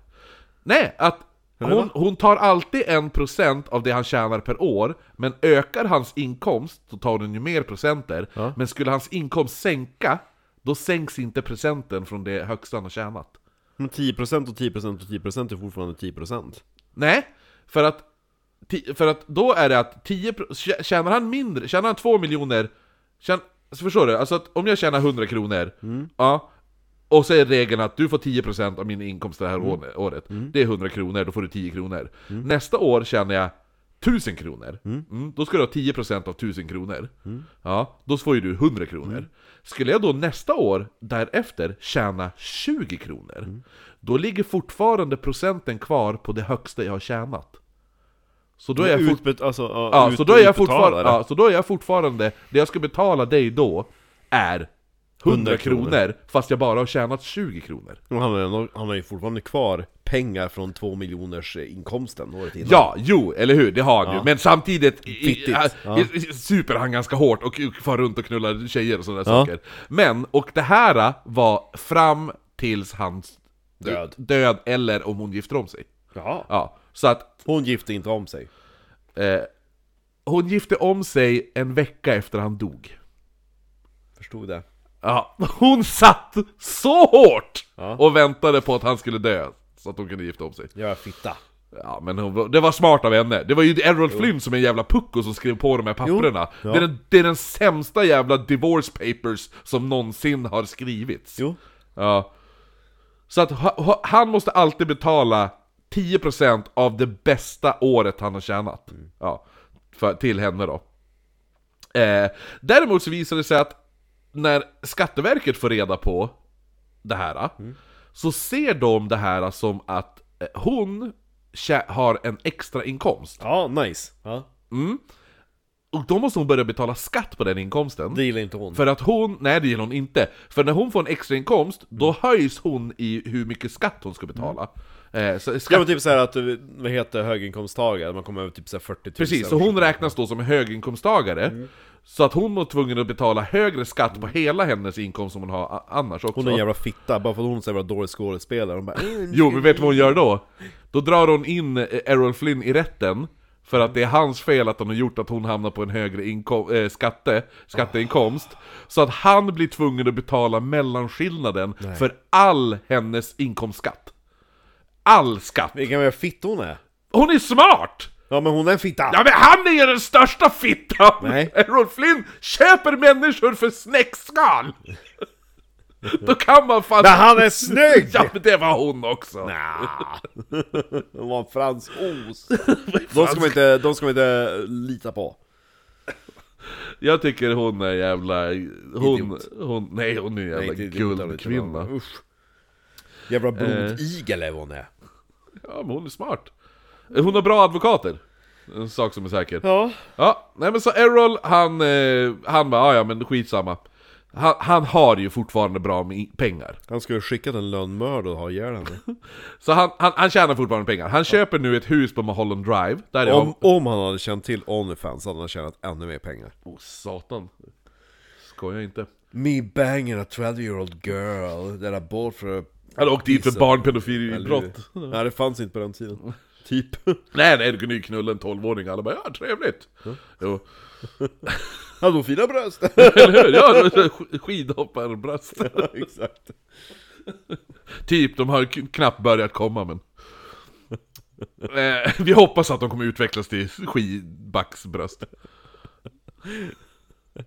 [SPEAKER 2] Nej, att hon,
[SPEAKER 1] va?
[SPEAKER 2] hon tar alltid en procent av det han tjänar per år, men ökar hans inkomst så tar hon ju mer procenter.
[SPEAKER 1] Ja.
[SPEAKER 2] Men skulle hans inkomst sänka, då sänks inte procenten från det högsta han har tjänat.
[SPEAKER 5] Men 10% och 10% och 10% är fortfarande 10%
[SPEAKER 2] Nej, för att, ti- för att då är det att 10, pro- tjä- tjänar han mindre, tjänar han 2 miljoner, tjän, så förstår du? Alltså att om jag tjänar 100 kronor, ja, och så är regeln att du får 10% av min inkomst det här å- året, det är 100 kronor, då får du 10 kronor. Nästa år tjänar jag 1000 kronor, mm. då ska du ha 10% av 1000 kronor. Ja, då får ju du 100 kronor. Skulle jag då nästa år därefter tjäna 20 kronor, då ligger fortfarande procenten kvar på det högsta jag har tjänat. Så då är jag fort-
[SPEAKER 5] Utbet- alltså, ja,
[SPEAKER 2] Ja,
[SPEAKER 5] ut-
[SPEAKER 2] så då är jag fortfarande,
[SPEAKER 5] utbetalare.
[SPEAKER 2] ja, så då är jag fortfarande, det jag ska betala dig då är 100
[SPEAKER 5] 100 kronor.
[SPEAKER 2] kronor, fast jag bara har tjänat 20 kronor.
[SPEAKER 5] Men han, har ju ändå- han har ju fortfarande kvar pengar från 2 miljoners eh, inkomsten året innan
[SPEAKER 2] Ja, jo, eller hur? Det har han ju. Men samtidigt i, i,
[SPEAKER 5] Fittigt.
[SPEAKER 2] ja. i- i- super han ganska hårt och far runt och knullar tjejer och sådana där
[SPEAKER 5] Ja.
[SPEAKER 2] saker. Men, och det här var fram tills hans
[SPEAKER 5] Död.
[SPEAKER 2] död eller om hon gifter om sig.
[SPEAKER 5] Jaha.
[SPEAKER 2] Ja, så att
[SPEAKER 5] Hon gifte inte om sig
[SPEAKER 2] eh, hon gifte om sig en vecka efter han dog.
[SPEAKER 5] Förstod det
[SPEAKER 2] Ja, hon satt så hårt och väntade på att han skulle dö så att hon kunde gifta om sig.
[SPEAKER 5] Jag är fitta
[SPEAKER 2] Ja, men hon, var- det var smart av henne. Det var ju Errol Flynn som är en jävla pucko som skrev på de här papperna.
[SPEAKER 5] Jo, ja.
[SPEAKER 2] Det, är den, det är den sämsta jävla divorce papers som någonsin har skrivits.
[SPEAKER 5] Jo
[SPEAKER 2] Ja. Så att ha, ha, han måste alltid betala 10% av det bästa året han har tjänat. Ja, för, till henne då. Eh, däremot så visar det sig att när Skatteverket får reda på det här, så ser de det här som att eh, hon tjä- har en extra inkomst
[SPEAKER 5] Ja, nice ja.
[SPEAKER 2] Och då måste hon börja betala skatt på den inkomsten.
[SPEAKER 5] Det gillar inte hon
[SPEAKER 2] För att hon, nej det gillar hon inte. För när hon får en extra inkomst då
[SPEAKER 5] Mm.
[SPEAKER 2] höjs hon i hur mycket skatt hon ska betala. Eh, så
[SPEAKER 5] Ja
[SPEAKER 2] skatt,
[SPEAKER 5] men typ såhär att, eh, vad heter höginkomsttagare? Man kommer över typ såhär 40 000
[SPEAKER 2] precis, så hon räknas då som höginkomsttagare.
[SPEAKER 5] Mm.
[SPEAKER 2] Så att hon var tvungen att betala högre skatt på hela hennes inkomst som hon har a- annars också.
[SPEAKER 5] Hon är en jävla fitta, bara för att hon är så jävla dålig skådespelare Hon bara "Mm,
[SPEAKER 2] Jo, men vet du vad hon gör då? Då drar hon in eh, Errol Flynn i rätten för att det är hans fel att hon har gjort att hon hamnar på en högre inko- eh, skatte, skatteinkomst. Så att han blir tvungen att betala mellanskillnaden för all hennes inkomstskatt. All skatt!
[SPEAKER 5] Vilken jävla fitta hon är!
[SPEAKER 2] Hon är smart!
[SPEAKER 5] Ja men hon är en fitta!
[SPEAKER 2] Ja men han är ju den största fittan!
[SPEAKER 5] Nej.
[SPEAKER 2] Errol Flynn köper människor för snäckskal! Då kan man fan...
[SPEAKER 5] Men han är snygg!
[SPEAKER 2] Ja men det var hon också!
[SPEAKER 5] Nja. Hon var en fransos De ska man inte, de ska man inte eh, lita på
[SPEAKER 2] Jag tycker hon är jävla... Hon,
[SPEAKER 5] Idiot.
[SPEAKER 2] hon, nej hon är en jävla
[SPEAKER 5] Nej, det- det- det-
[SPEAKER 2] guldkvinna. Eh.
[SPEAKER 5] det- Usch. Jävla blodigel är hon är
[SPEAKER 2] Ja men hon är smart. Hon har bra advokater. En sak som är säker.
[SPEAKER 5] Ja
[SPEAKER 2] Ja, nej men så Errol han, eh, han bara "Ah, ja men skitsamma. Han, han har ju fortfarande bra med pengar.
[SPEAKER 5] Han skulle ha skickat en lönnmördare och ha ihjäl henne
[SPEAKER 2] Så han, han, han tjänar fortfarande pengar. Han köper nu ett hus på Mulholland Drive. Där är
[SPEAKER 5] om,
[SPEAKER 2] han...
[SPEAKER 5] om han hade känt till Onlyfans hade han tjänat ännu mer pengar
[SPEAKER 2] Oh satan. Skojar inte.
[SPEAKER 5] Me banging a 12 year old girl that I bought for a...
[SPEAKER 2] Han åkte dit för
[SPEAKER 5] Pissar.
[SPEAKER 2] barnpedofilibrott.
[SPEAKER 5] Nej det fanns inte på den tiden Typ
[SPEAKER 2] Nej nej, du kunde ju knulla en 12-åring. Alla bara ja trevligt. Jo.
[SPEAKER 5] Hade hon fina bröst?
[SPEAKER 2] Eller hur? Ja, det var sk- skidhopparbröst.
[SPEAKER 5] Exakt
[SPEAKER 2] Typ, de har k- knappt börjat komma men... Eh, vi hoppas att de kommer utvecklas till skidbacksbröst.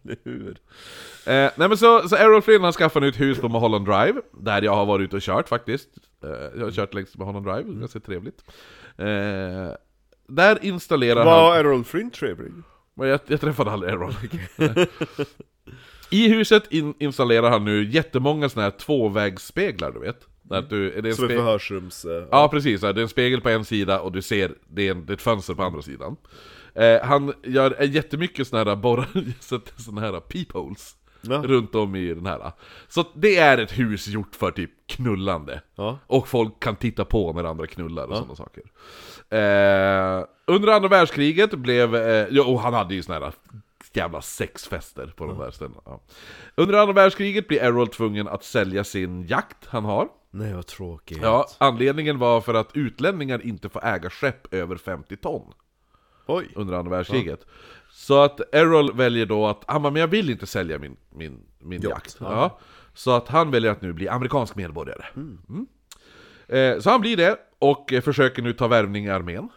[SPEAKER 5] Eller hur?
[SPEAKER 2] Eh, nej men så, så Errol Flynn han skaffade ett hus på Mulholland Drive, där jag har varit ute och kört faktiskt. Eh, jag har kört längs Mulholland Drive, ganska trevligt. Eh, där installerar han...
[SPEAKER 5] Var Errol Flynn trevlig?
[SPEAKER 2] Men jag, jag träffade aldrig Errol. I huset in, installerar han nu jättemånga såna här tvåvägsspeglar, du vet. Där du, är det en
[SPEAKER 5] Som är
[SPEAKER 2] spe-
[SPEAKER 5] förhörsrums... eh,
[SPEAKER 2] Ja, precis. Det är en spegel på en sida och du ser, det är, en, det är ett fönster på andra sidan. Eh, han gör eh, jättemycket såna här borrar, sätter såna här peepholes
[SPEAKER 5] Ja.
[SPEAKER 2] runt om i den här. Så att det är ett hus gjort för typ knullande.
[SPEAKER 5] Ja.
[SPEAKER 2] Och folk kan titta på när andra knullar och sådana saker. Eh, under andra världskriget blev, eh, jo, och han hade ju såna här jävla sexfester på de där ställena. Ja. Under andra världskriget blir Errol tvungen att sälja sin jakt han har.
[SPEAKER 6] Nej vad tråkigt.
[SPEAKER 2] Ja, anledningen var för att utlänningar inte får äga skepp över 50 ton
[SPEAKER 1] Oj.
[SPEAKER 2] under andra världskriget. Så att Errol väljer då att, han bara, men jag vill inte sälja min, min, min jakt. Ja. Så att han väljer att nu bli amerikansk medborgare. Mm. Eh, så han blir det, och eh, försöker nu ta värvning i armén.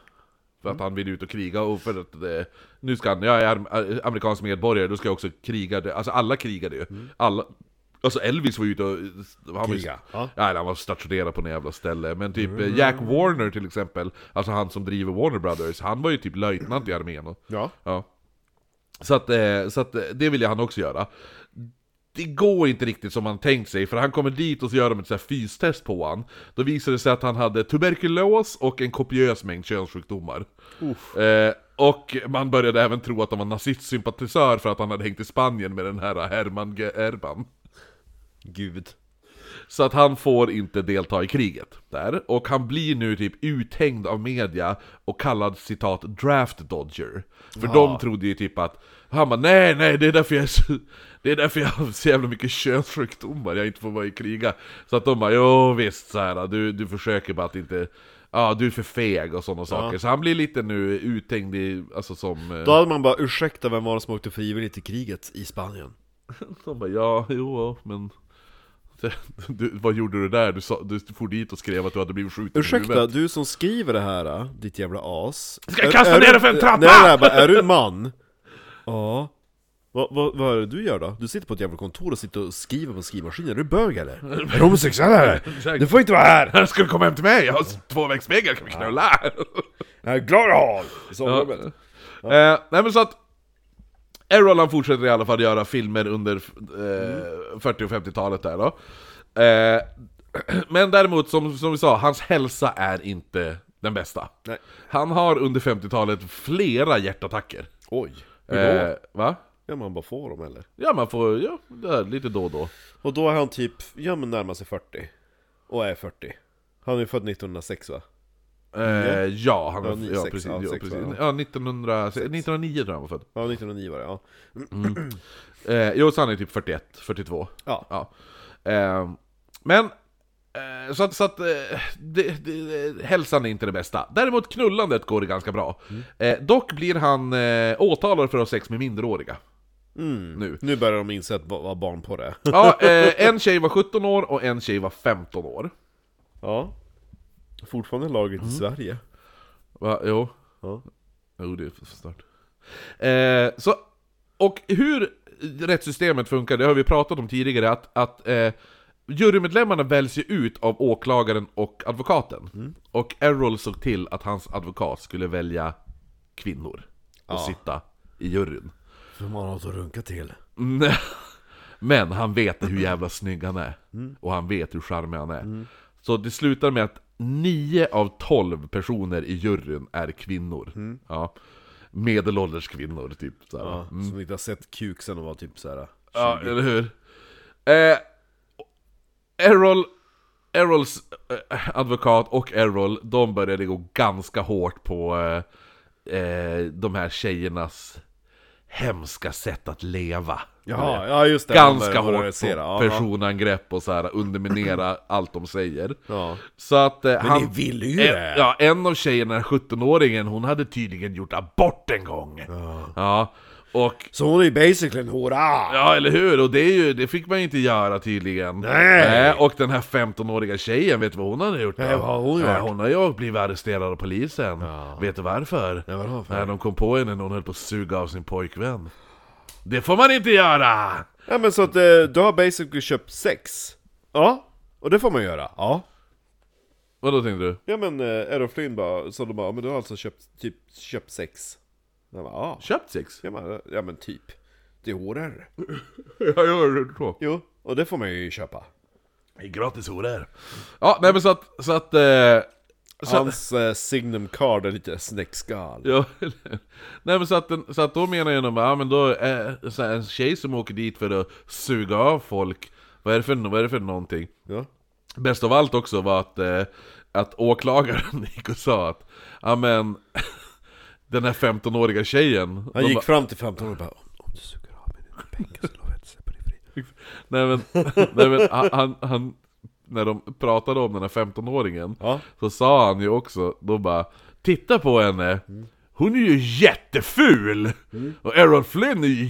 [SPEAKER 2] För att han vill ut och kriga, och för att eh, nu ska han, jag är arm- eh, amerikansk medborgare, då ska jag också kriga. Det. Alltså alla krigade ju. Alla, alltså Elvis var ute och... Han var ju,
[SPEAKER 6] Kriga, ja.
[SPEAKER 2] Nej, han var stationerad på något jävla ställe. Men typ eh, Jack Warner till exempel, alltså han som driver Warner Brothers, han var ju typ löjtnant i armén. Och,
[SPEAKER 6] Ja.
[SPEAKER 2] Ja. Så att, eh, så att eh, det vill ju han också göra. Det går inte riktigt som han tänkt sig, för han kommer dit och så gör de ett så här fystest på han. Då visar det sig att han hade tuberkulos och en kopiös mängd könssjukdomar. Eh, och man började även tro att han var nazistsympatisör för att han hade hängt i Spanien med den här Herman G. Erban.
[SPEAKER 6] Gud.
[SPEAKER 2] Så att han får inte delta i kriget där. Och han blir nu typ uthängd av media och kallad citat 'draft dodger' För de trodde ju typ att, han bara 'Nej, nej, det är därför jag är så, det är därför jag har så jävla mycket könssjukdomar, jag inte får vara i kriga' Så att de bara 'Jo visst, så här, du, du försöker bara att inte, ja du är för feg' och sådana saker Så han blir lite nu uthängd i, alltså som... eh,
[SPEAKER 1] Då hade man bara, ursäkta vem var det som åkte frivilligt till kriget i Spanien?
[SPEAKER 2] De bara ja, jo, ja, men... Du, vad gjorde du där? Du, sa, du for dit och skrev att du hade blivit skjuten i
[SPEAKER 1] Ursäkta,
[SPEAKER 2] huvudet.
[SPEAKER 1] du som skriver det här, äh, ditt jävla as
[SPEAKER 2] Ska jag kasta ner dig för en trappa?
[SPEAKER 1] Nej, nej, bara, är du man? Ja Vad vad- vad är det du gör då? Du sitter på ett jävla kontor och sitter och skriver på en skrivmaskin, är du bög eller? Är du homosexuell eller? Du får inte vara här!
[SPEAKER 2] Ska du komma hem till mig? Jag har tvåvägsspegel, kan vi knulla?
[SPEAKER 1] Jag är glad att ha I
[SPEAKER 2] Ja.
[SPEAKER 1] sovrummet.
[SPEAKER 2] Eh, nej men så att... Errol han fortsätter i alla fall göra filmer under eh, 40 och 50-talet där då. Eh, men däremot, som, som vi sa, hans hälsa är inte den bästa.
[SPEAKER 1] Nej.
[SPEAKER 2] Han har under 50-talet flera hjärtattacker.
[SPEAKER 1] Oj, hur då?
[SPEAKER 2] Eh, va?
[SPEAKER 1] Ja man bara får dem eller?
[SPEAKER 2] Ja, man får... Ja, det är lite då och då.
[SPEAKER 1] Och då är han typ, ja men närmar sig 40 Och är 40 Han är ju född 1906 va?
[SPEAKER 2] Eh, ja, han var,
[SPEAKER 1] Ja,
[SPEAKER 2] ja,
[SPEAKER 1] 96,
[SPEAKER 2] precis,
[SPEAKER 1] ja,
[SPEAKER 2] ja,
[SPEAKER 1] sex,
[SPEAKER 2] precis.
[SPEAKER 1] va?
[SPEAKER 2] Ja, 1900, 1909 tror jag han var född.
[SPEAKER 1] Ja 1909 var det ja
[SPEAKER 2] Eh, jo, så han är typ 41, 42.
[SPEAKER 1] Ja.
[SPEAKER 2] Eh, men, eh, så att, så att eh, det, det, eh, hälsan är inte det bästa. Däremot knullandet går det ganska bra. Eh, dock blir han eh, åtalad för att ha sex med minderåriga. Nu.
[SPEAKER 1] Nu börjar de inse att vad vad barn på det är.
[SPEAKER 2] Ja, eh, en tjej var 17 år och en tjej var 15 år.
[SPEAKER 1] Ja Fortfarande lagligt i Sverige
[SPEAKER 2] Va? Jo.
[SPEAKER 1] Ja.
[SPEAKER 2] Jo, det är för stört. Eh, så, och hur rättssystemet funkar, det har vi pratat om tidigare, att, att eh, jurymedlemmarna väljs ju ut av åklagaren och advokaten. Och Errol såg till att hans advokat skulle välja kvinnor och sitta i juryn.
[SPEAKER 1] För man har att runka till
[SPEAKER 2] Nej. Men han vet hur jävla snygg han är. Och han vet hur charmig han är. Så det slutar med att 9 av 12 personer i juryn är kvinnor. Ja. Medelålders kvinnor, typ. Så här.
[SPEAKER 1] Ja, som inte har sett kuk sen de var typ såhär
[SPEAKER 2] Ja, eller hur? Eh, Errol, Errols eh, advokat och Errol, de började gå ganska hårt på eh, eh, de här tjejernas hemska sätt att leva.
[SPEAKER 1] Ja, ja just det,
[SPEAKER 2] ganska
[SPEAKER 1] de börjar
[SPEAKER 2] hårt
[SPEAKER 1] moralisera.
[SPEAKER 2] på
[SPEAKER 1] Ja,
[SPEAKER 2] personangrepp och så här underminera allt de säger.
[SPEAKER 1] Ja.
[SPEAKER 2] Så att eh, han...
[SPEAKER 1] ni ville ju
[SPEAKER 2] en,
[SPEAKER 1] det.
[SPEAKER 2] Eh, Ja, en av tjejerna, 17-åringen, hon hade tydligen gjort abort en gång. Ja. och...
[SPEAKER 1] Så hon är ju basically en hora!
[SPEAKER 2] Ja, eller hur? Och det, är ju, det fick man ju inte göra tydligen.
[SPEAKER 1] Nej.
[SPEAKER 2] Nej, och den här 15-åriga tjejen, vet du vad hon hade gjort? då?
[SPEAKER 1] Nej, vad har hon gjort?
[SPEAKER 2] Nej, hon har ju blivit arresterad av polisen. Vet du varför?
[SPEAKER 1] Nej, vadå för?
[SPEAKER 2] Nej, de kom på henne när hon höll på att suga av sin pojkvän. Det får man inte göra!
[SPEAKER 1] Ja men så att eh, du har basically köpt sex? Ja, och det får man göra? Ja
[SPEAKER 2] Vadå tänkte du?
[SPEAKER 1] Ja men eh, Errol Flynn bara, så de bara, men du har alltså köpt, typ, köpt sex? Jag bara, ja.
[SPEAKER 2] Köpt sex?
[SPEAKER 1] Ja men, ja men typ. Det är horor.
[SPEAKER 2] Jag gör det så.
[SPEAKER 1] Jo, och det får man ju köpa.
[SPEAKER 2] Det är gratis horor. Ja, nej men så att... Så att eh, så,
[SPEAKER 1] Hans eh, signum card är lite snäckskal.
[SPEAKER 2] Ja, eller- nej men så att, den, så att då menar jag nog bara, ja men då är så här, en tjej som åker dit för att suga av folk, vad är det för, vad är det för någonting?
[SPEAKER 1] Ja.
[SPEAKER 2] Bäst av allt också var att, eh, att åklagaren gick och sa att, ja men, den här 15-åriga tjejen,
[SPEAKER 1] Han
[SPEAKER 2] de
[SPEAKER 1] gick
[SPEAKER 2] bara,
[SPEAKER 1] fram till 15 år och bara, om om du suger av mig dina pengar så lovar jag att släppa dig fri.
[SPEAKER 2] nej men, nej, men han, han, han när de pratade om den här 15-åringen,
[SPEAKER 1] Ja.
[SPEAKER 2] så sa han ju också, då bara Titta på henne! Hon är ju jätteful! Och Errol Flynn är ju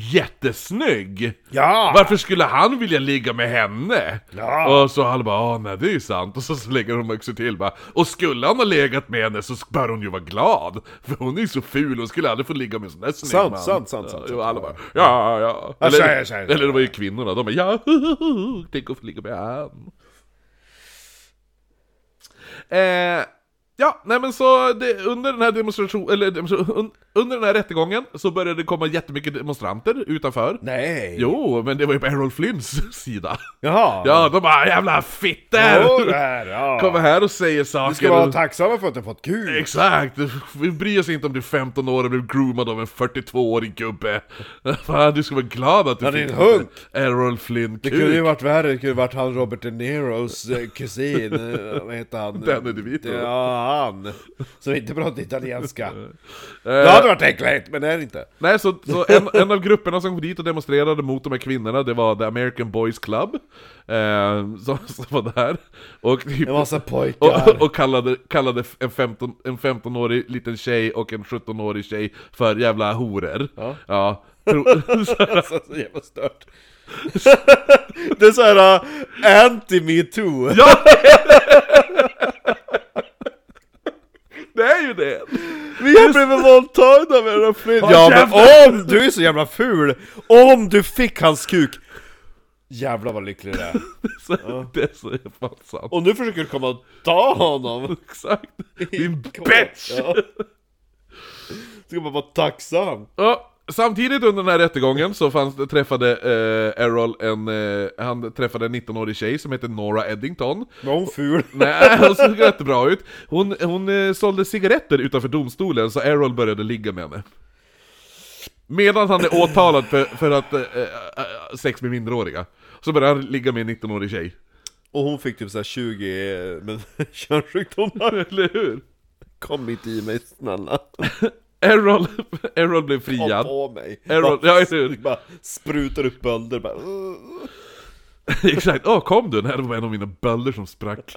[SPEAKER 2] jättesnygg!
[SPEAKER 1] Ja!
[SPEAKER 2] Varför skulle han vilja ligga med henne?
[SPEAKER 1] Ja.
[SPEAKER 2] Och så han bara ah nej det är ju sant, och så, så lägger de också till bara Och skulle han ha legat med henne så bör hon ju vara glad! För hon är ju så ful, hon skulle aldrig få ligga med en sån där snygg
[SPEAKER 1] Sant,
[SPEAKER 2] man
[SPEAKER 1] sant, sant, sant,
[SPEAKER 2] Ja,
[SPEAKER 1] sant.
[SPEAKER 2] alla bara ja, ja,
[SPEAKER 1] Ja,
[SPEAKER 2] Eller,
[SPEAKER 1] så är det, så är det.
[SPEAKER 2] eller det var ju kvinnorna, de bara ja, tänk att få ligga med han Eh, ja, nej men så det, under den här demonstrationen, eller demonstration- un, under den här rättegången så började det komma jättemycket demonstranter utanför.
[SPEAKER 1] Nej!
[SPEAKER 2] Jo, men det var ju på Errol Flynns sida.
[SPEAKER 1] Jaha!
[SPEAKER 2] Ja, de bara 'jävla
[SPEAKER 1] Jo,
[SPEAKER 2] fitter!'
[SPEAKER 1] där, ja.
[SPEAKER 2] Kommer här och säger saker.
[SPEAKER 1] Vi ska vara tacksamma för att du har fått kul!
[SPEAKER 2] Exakt! Vi bryr oss inte om du är 15 år och blev groomad av en 42-årig gubbe. Fan, du ska vara glad att du
[SPEAKER 1] Ja, det är en hunk.
[SPEAKER 2] Errol Flynn
[SPEAKER 1] Det kunde ju
[SPEAKER 2] kuk.
[SPEAKER 1] varit värre, det kunde varit han Robert De Niros eh, kusin, eh, vad heter han?
[SPEAKER 2] Danny DeVito.
[SPEAKER 1] Ja, han! Som inte pratar italienska. Det
[SPEAKER 2] Eh,
[SPEAKER 1] hade varit äckligt, men det är det inte.
[SPEAKER 2] nej, så, så en, en av grupperna som kom dit och demonstrerade mot de här kvinnorna, det var The American Boys Club. Eh, som, som var där. Och typ,
[SPEAKER 1] En massa
[SPEAKER 2] Och,
[SPEAKER 1] pojkar.
[SPEAKER 2] och kallade, kallade en, 15, en 15-årig liten tjej och en 17-årig tjej för jävla horor. Ja. Tro,
[SPEAKER 1] Alltså, så jävla stört. Det är såhär anti-metoo.
[SPEAKER 2] ja! det är ju det!
[SPEAKER 1] Vi har blivit våldtagna med den här flyn. Ja men om du är så jävla ful! Om du fick hans kuk! Jävlar vad lycklig du är.
[SPEAKER 2] Så, Det är så fan sant.
[SPEAKER 1] Och nu försöker du komma och ta honom!
[SPEAKER 2] Exakt! Din bitch!
[SPEAKER 1] Ja. Ska man vara tacksam?
[SPEAKER 2] Ja, samtidigt under den här rättegången så fanns, det- träffade eh, Errol en, eh, han träffade en 19-årig tjej som heter Nora Eddington.
[SPEAKER 1] Var hon ful?
[SPEAKER 2] Nej, hon såg jättebra ut. Hon, hon eh, sålde cigaretter utanför domstolen, så Errol började ligga med henne. Medan han är åtalad för, för att eh, eh, eh, sex med minderåriga. Så började han ligga med en 19-årig tjej.
[SPEAKER 1] Och hon fick typ såhär 20 eh, men, könssjukdomar.
[SPEAKER 2] Eller hur?
[SPEAKER 1] Kom inte i mig snälla.
[SPEAKER 2] Errol, Errol blev
[SPEAKER 1] Ta
[SPEAKER 2] friad.
[SPEAKER 1] på mig.
[SPEAKER 2] Errol, ja, eller hur?
[SPEAKER 1] Bara sprutar upp bölder bara. "Ugh."
[SPEAKER 2] Exakt. Åh, kom du? Nej, det var en av mina bölder som sprack.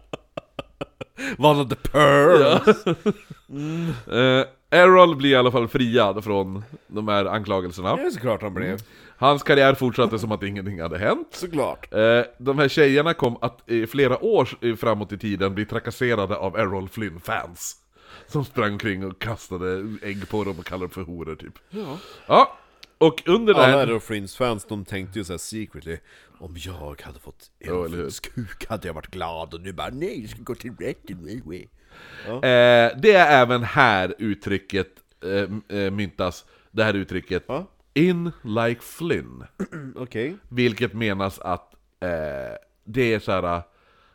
[SPEAKER 1] One of the pearls!
[SPEAKER 2] Eh, Errol blir i alla fall friad från de här anklagelserna.
[SPEAKER 1] Det är såklart han blev.
[SPEAKER 2] Hans karriär fortsatte som att ingenting hade hänt.
[SPEAKER 1] Såklart.
[SPEAKER 2] Eh, de här tjejerna kom att i flera år eh, framåt i tiden bli trakasserade av Errol Flynn-fans. Som sprang omkring och kastade ägg på dem och kallade dem för horor typ. Ja. och under det
[SPEAKER 1] Alla
[SPEAKER 2] här...
[SPEAKER 1] Aerofrins fans de tänkte ju såhär secretly Om jag hade fått
[SPEAKER 2] eller hur?
[SPEAKER 1] Aerofrins kuk hade jag varit glad och nu bara nej, jag ska gå till rätten wee, wee."
[SPEAKER 2] Eh, det är även här uttrycket eh, m- eh, myntas. Det här uttrycket.
[SPEAKER 1] Ja.
[SPEAKER 2] In like Flynn.
[SPEAKER 1] Okej
[SPEAKER 2] Vilket menas att eh, det är så här.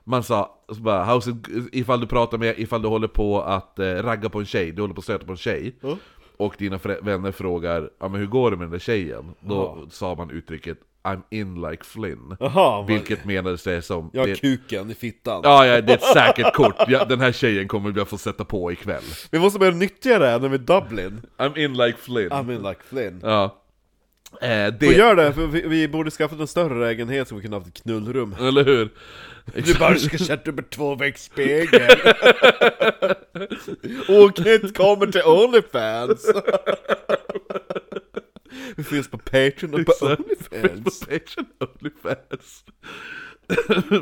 [SPEAKER 2] Man sa så bara, how's it, ifall du pratar med, ifall du håller på att eh, ragga på en tjej, du håller på att stöta på en tjej Och dina frä- vänner frågar ja, men hur går det med den där tjejen? Då sa man uttrycket I'm in like Flynn
[SPEAKER 1] Jaha, vad-
[SPEAKER 2] Vilket menades det som
[SPEAKER 1] Jag har
[SPEAKER 2] det,
[SPEAKER 1] kuken i fittan
[SPEAKER 2] ja, ja, det är ett säkert kort, ja, den här tjejen kommer jag få sätta på ikväll
[SPEAKER 1] Vi måste börja nyttja det här när vi är i Dublin
[SPEAKER 2] I'm in like Flynn
[SPEAKER 1] I mean like Flynn
[SPEAKER 2] Ja eh,
[SPEAKER 1] Och
[SPEAKER 2] det,
[SPEAKER 1] gör det, för vi, vi borde skaffat en större lägenhet så vi kunde haft ett knullrum
[SPEAKER 2] eller hur?
[SPEAKER 1] Du bara ska sätta upp en tvåvägsspegel Oknytt kommer till Onlyfans Vi finns på Patreon och på
[SPEAKER 2] Exakt.
[SPEAKER 1] Onlyfans
[SPEAKER 2] Patreon Typ Onlyfans.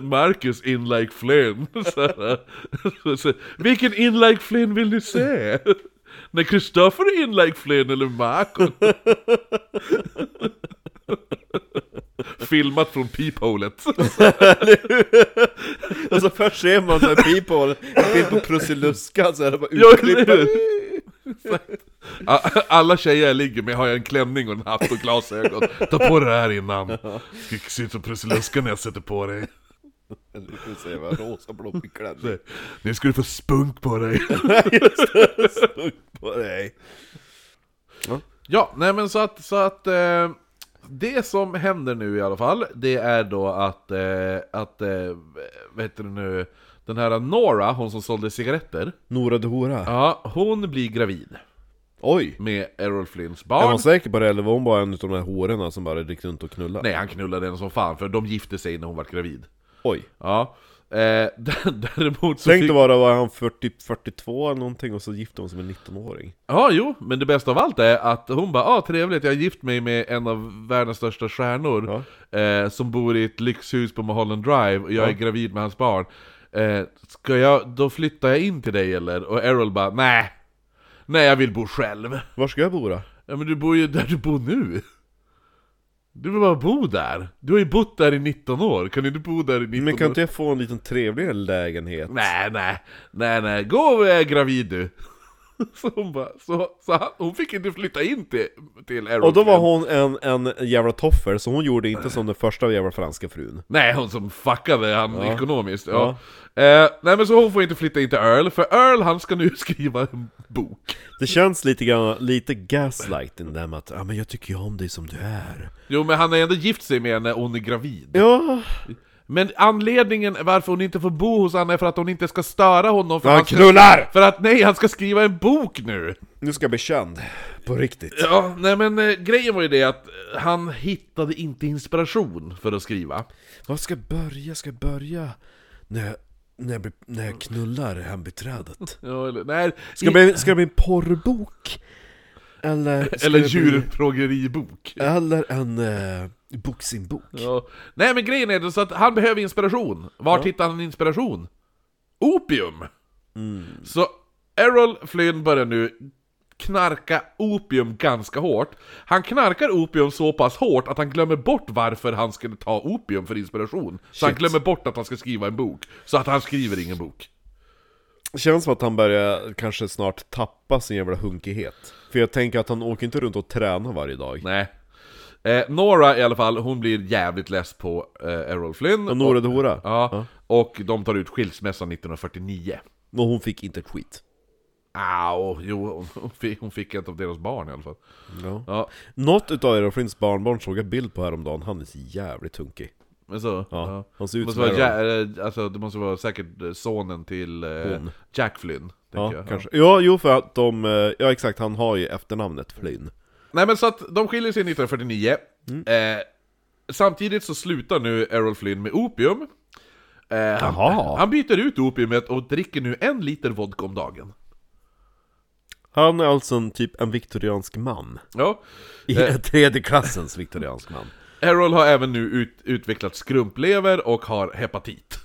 [SPEAKER 2] Marcus in like Flynn. Så här. Så- så- Vilken in like Flynn vill ni se? När Kristoffer är in like Flynn eller Marco? Filmat från peepholet.
[SPEAKER 1] Och så först ser man såhär people, en bild på Prussiluskan så är det bara
[SPEAKER 2] Ja, eller
[SPEAKER 1] utklippta
[SPEAKER 2] hur? A- Alla tjejer jag ligger med har jag en klänning och en hatt och glasögon. Ta på dig det här innan. Ska se ut som Prussiluskan när jag sätter på dig.
[SPEAKER 1] Du får se vad rosa blommig klänning
[SPEAKER 2] Nu ska du få spunk på dig.
[SPEAKER 1] på dig
[SPEAKER 2] Ja, nej men så att, så att eh, det som händer nu i alla fall, det är då att, eh, att eh, vad heter det nu, den här Nora, hon som sålde cigaretter,
[SPEAKER 1] Nora de Hora
[SPEAKER 2] ja, hon blir gravid
[SPEAKER 1] Oj!
[SPEAKER 2] med Errol Flynns
[SPEAKER 1] Är
[SPEAKER 2] barn.
[SPEAKER 1] hon säker på det eller var hon bara en av de här hårorna som bara gick runt och knullade?
[SPEAKER 2] Nej, han knullade henne som fan, för de gifte sig när hon var gravid.
[SPEAKER 1] Oj.
[SPEAKER 2] Ja. Eh, d- däremot så
[SPEAKER 1] Tänk
[SPEAKER 2] fick...
[SPEAKER 1] att vara, var han 40, 42 eller någonting och så gifte hon sig med en 19-åring.
[SPEAKER 2] Ja, jo, men det bästa av allt är att hon bara ah, trevligt, jag har gift mig med en av världens största stjärnor eh, som bor i ett lyxhus på Mulholland Drive och jag är gravid med hans barn. Eh, ska jag, då flyttar jag in till dig eller? Och Errol bara nej, nej jag vill bo själv.
[SPEAKER 1] Var ska jag bo då?
[SPEAKER 2] Ja men du bor ju där du bor nu. Du vill bara bo där. Du har ju bott där i 19 år, kan du inte bo där i 19
[SPEAKER 1] Men kan
[SPEAKER 2] år?
[SPEAKER 1] inte jag få en liten trevligare lägenhet?
[SPEAKER 2] Nej, nej, nej, nej, gå eh, gravid du. Så hon bara, så, så han, hon fick inte flytta in till, till Aeroflot.
[SPEAKER 1] Och då var hon en, en jävla toffel, så hon gjorde inte som den första jävla franska frun.
[SPEAKER 2] Nej, hon som fuckade han ekonomiskt. Ja. Eh, nej men så hon får inte flytta in till Earl, för Earl han ska nu skriva en bok.
[SPEAKER 1] Det känns lite grann, lite gaslighting där med att ah, men jag tycker ju om dig som du är.
[SPEAKER 2] Jo men han har ändå gift sig med henne, hon är gravid.
[SPEAKER 1] Ja,
[SPEAKER 2] Men anledningen varför hon inte får bo hos Anna är för att hon inte ska störa honom för
[SPEAKER 1] han
[SPEAKER 2] ska-
[SPEAKER 1] knullar!
[SPEAKER 2] För att nej, han ska skriva en bok nu!
[SPEAKER 1] Nu ska jag bli känd. På riktigt.
[SPEAKER 2] Ja, nej men eh, grejen var ju det att eh, han hittade inte inspiration för att skriva.
[SPEAKER 1] Var ska jag börja? Ska jag börja? När jag, när jag, blir- när jag knullar hembiträdet?
[SPEAKER 2] Ja, eller, nej,
[SPEAKER 1] Ska det bli, ska det bli en porrbok? Eller, ska
[SPEAKER 2] eller
[SPEAKER 1] det bli-
[SPEAKER 2] djurplågeribok.
[SPEAKER 1] Eller en eh, boxingbok?
[SPEAKER 2] Ja. Nej men grejen är det så att han behöver inspiration. Vart hittar han inspiration? Opium!
[SPEAKER 1] Mm.
[SPEAKER 2] Så Errol Flynn börjar nu knarka opium ganska hårt. Han knarkar opium så pass hårt att han glömmer bort varför han skulle ta opium för inspiration. Så han
[SPEAKER 1] Shit.
[SPEAKER 2] glömmer bort att han ska skriva en bok. Så att han skriver ingen bok.
[SPEAKER 1] Känns som att han börjar kanske snart tappa sin jävla hunkighet. För jag tänker att han åker inte runt och tränar varje dag.
[SPEAKER 2] Nej. Eh, Nora i alla fall, hon blir jävligt less på eh, Errol Flynn.
[SPEAKER 1] Och Nora och Hora,
[SPEAKER 2] Ja, och de tar ut skilsmässan 1949.
[SPEAKER 1] och hon fick inte ett skit.
[SPEAKER 2] Au, Ah, jo, hon fick, hon fick ett av deras barn i alla fall.
[SPEAKER 1] Ja.
[SPEAKER 2] Ja,
[SPEAKER 1] Något utav Errol Flynns barnbarn såg jag bild på häromdagen, han är så jävligt hunkig.
[SPEAKER 2] men så. Ja.
[SPEAKER 1] han ser ut
[SPEAKER 2] måste
[SPEAKER 1] som
[SPEAKER 2] vara ja, eh, alltså, det måste vara säkert eh, sonen till eh, Jack Flynn.
[SPEAKER 1] Ja,
[SPEAKER 2] tänker jag.
[SPEAKER 1] kanske. Ja, jo för att de, eh, ja exakt, han har ju efternamnet Flynn.
[SPEAKER 2] Nej men så att de skiljer sig 1949.
[SPEAKER 1] Mm.
[SPEAKER 2] Eh, samtidigt så slutar nu Errol Flynn med opium. Eh, han,
[SPEAKER 1] Jaha.
[SPEAKER 2] han byter ut opiumet och dricker nu en liter vodka om dagen.
[SPEAKER 1] Han är alltså en typ en viktoriansk man. Eh.
[SPEAKER 2] Ja.
[SPEAKER 1] I en tredje klassens viktoriansk man.
[SPEAKER 2] Errol har även nu ut, utvecklat skrumplever och har hepatit.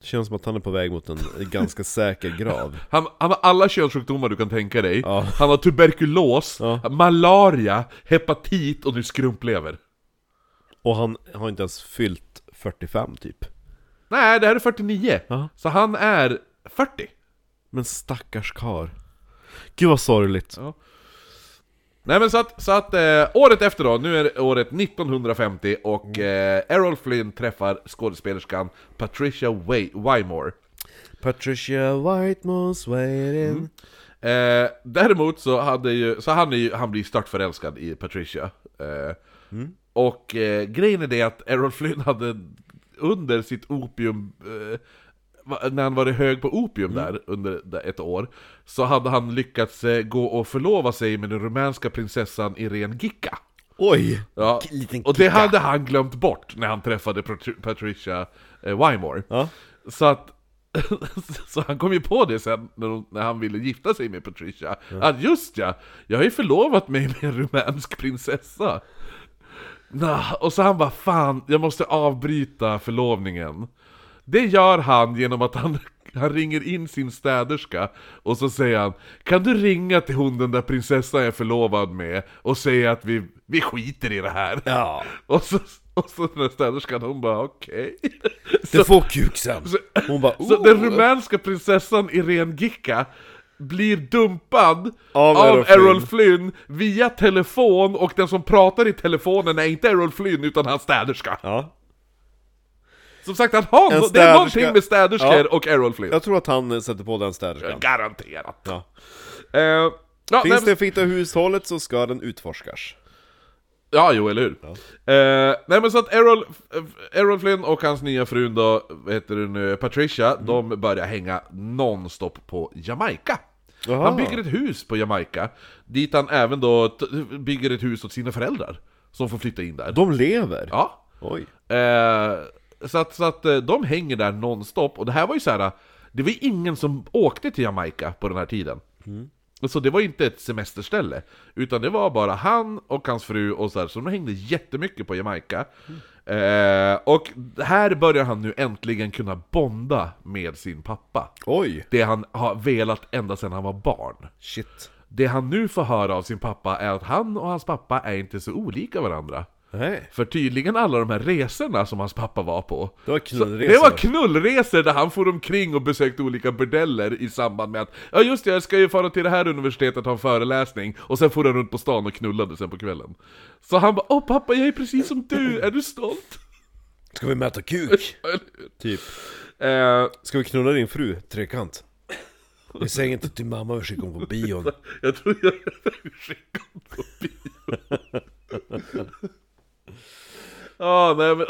[SPEAKER 1] Det känns som att han är på väg mot en ganska säker grav.
[SPEAKER 2] Han, han har alla könssjukdomar du kan tänka dig.
[SPEAKER 1] Ja.
[SPEAKER 2] Han har tuberkulos, malaria, hepatit och nu skrumplever.
[SPEAKER 1] Och han har inte ens fyllt 45 typ.
[SPEAKER 2] Nej, det här är 49. Så han är 40.
[SPEAKER 1] Men stackars kar. Gud vad sorgligt.
[SPEAKER 2] Nej men så att, så att eh, året efter då, nu är det året 1950 och eh, Errol Flynn träffar skådespelerskan Patricia Way- Wymore.
[SPEAKER 1] Patricia Whitemore's waiting.
[SPEAKER 2] Eh, däremot så hade ju, så han, är ju, han blir störtförälskad i Patricia. Eh, Och eh, grejen är det att Errol Flynn hade under sitt opium, eh, va- när han var hög på opium där under det- ett år, så hade han lyckats eh, gå och förlova sig med den rumänska prinsessan Irene Gicka.
[SPEAKER 1] Oj!
[SPEAKER 2] Ja,
[SPEAKER 1] K- liten
[SPEAKER 2] och det
[SPEAKER 1] kicka.
[SPEAKER 2] hade han glömt bort när han träffade Patri- Patricia eh, Wymore.
[SPEAKER 1] Ja.
[SPEAKER 2] Så att så han kom ju på det sen när, hon- när han ville gifta sig med Patricia. Att just ja, jag har ju förlovat mig med en rumänsk prinsessa. Nah, och så han bara fan, jag måste avbryta förlovningen. Det gör han genom att han, han ringer in sin städerska och så säger han Kan du ringa till hon den där prinsessan jag är förlovad med och säga att vi, vi skiter i det här?
[SPEAKER 1] Ja.
[SPEAKER 2] Och så, och så den där städerskan hon bara okej.
[SPEAKER 1] Det får kuk sen. Hon bara
[SPEAKER 2] Så
[SPEAKER 1] oh.
[SPEAKER 2] den rumänska prinsessan Irene Gicka blir dumpad av,
[SPEAKER 1] Av
[SPEAKER 2] Errol,
[SPEAKER 1] Errol
[SPEAKER 2] Flynn via telefon och den som pratar i telefonen är inte Errol Flynn utan hans städerska.
[SPEAKER 1] Ja.
[SPEAKER 2] Som sagt, han har
[SPEAKER 1] En
[SPEAKER 2] nå- det är
[SPEAKER 1] städerska-
[SPEAKER 2] någonting med städerskor
[SPEAKER 1] Ja.
[SPEAKER 2] och Errol Flynn.
[SPEAKER 1] Jag tror att han eh, sätter på den städerskan.
[SPEAKER 2] Garanterat.
[SPEAKER 1] Ja.
[SPEAKER 2] Eh, ja, nej,
[SPEAKER 1] Finns det en fitta i hushållet så ska den utforskas.
[SPEAKER 2] Ja, jo, eller hur? Eh, nej men så att Errol, Errol Flynn och hans nya fru då, vad heter det nu, Patricia, de börjar hänga nonstop på Jamaica.
[SPEAKER 1] Jaha.
[SPEAKER 2] Han bygger ett hus på Jamaica, dit han även då t- bygger ett hus åt sina föräldrar, som får flytta in där.
[SPEAKER 1] De lever?
[SPEAKER 2] Ja.
[SPEAKER 1] Oj.
[SPEAKER 2] Eh, Så att, så att eh, de hänger där nonstop, och det här var ju så här. Det var ju ingen som åkte till Jamaica på den här tiden. Och Så det var ju inte ett semesterställe, utan det var bara han och hans fru och så här, så de hängde jättemycket på Jamaica. Eh, och här börjar han nu äntligen kunna bonda med sin pappa.
[SPEAKER 1] Oj!
[SPEAKER 2] Det han har velat ända sedan han var barn.
[SPEAKER 1] Shit.
[SPEAKER 2] Det han nu får höra av sin pappa är att han och hans pappa är inte så olika varandra.
[SPEAKER 1] Nej.
[SPEAKER 2] För tydligen alla de här resorna som hans pappa var på
[SPEAKER 1] Det var
[SPEAKER 2] så-
[SPEAKER 1] knullresor.
[SPEAKER 2] Det var knullresor där han for omkring och besökte olika bordeller i samband med att Ja just det, jag ska ju fara till det här universitetet och ha en föreläsning Och sen for han runt på stan och knullade sen på kvällen Så han bara Åh pappa, jag är precis som du, är du stolt?
[SPEAKER 1] Ska vi mäta kuk? typ.
[SPEAKER 2] Eh,
[SPEAKER 1] Ska vi knulla din fru? Trekant. Vi säger inte till mamma, vi skickar hon på bion.
[SPEAKER 2] jag tror jag skickade på bio Ja, Ah, nej men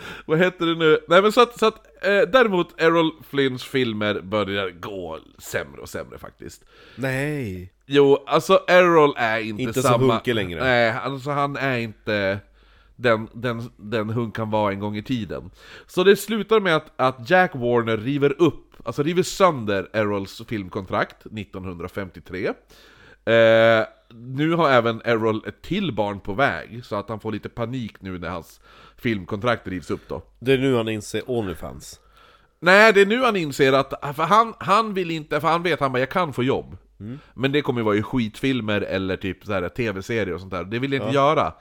[SPEAKER 2] Vad heter det nu? Nej men så att, så att eh, däremot Errol Flynns filmer börjar gå sämre och sämre faktiskt
[SPEAKER 1] Nej.
[SPEAKER 2] Jo, alltså Errol är inte,
[SPEAKER 1] Inte så
[SPEAKER 2] samma...
[SPEAKER 1] hunkig längre.
[SPEAKER 2] Nej, alltså han är inte den, den, den hunk han var en gång i tiden. Så det slutar med att, att Jack Warner river upp, alltså river sönder Errols filmkontrakt 1953. Eh, nu har även Errol ett till barn på väg, så att han får lite panik nu när hans filmkontrakt rivs upp då.
[SPEAKER 1] Det är nu han inser Onlyfans.
[SPEAKER 2] Nej, det är nu han inser att, för han, han vill inte, för han vet han bara, jag kan få jobb.
[SPEAKER 1] Mm.
[SPEAKER 2] Men det kommer ju vara i skitfilmer eller typ så här tv-serier och sånt där, det vill jag inte göra.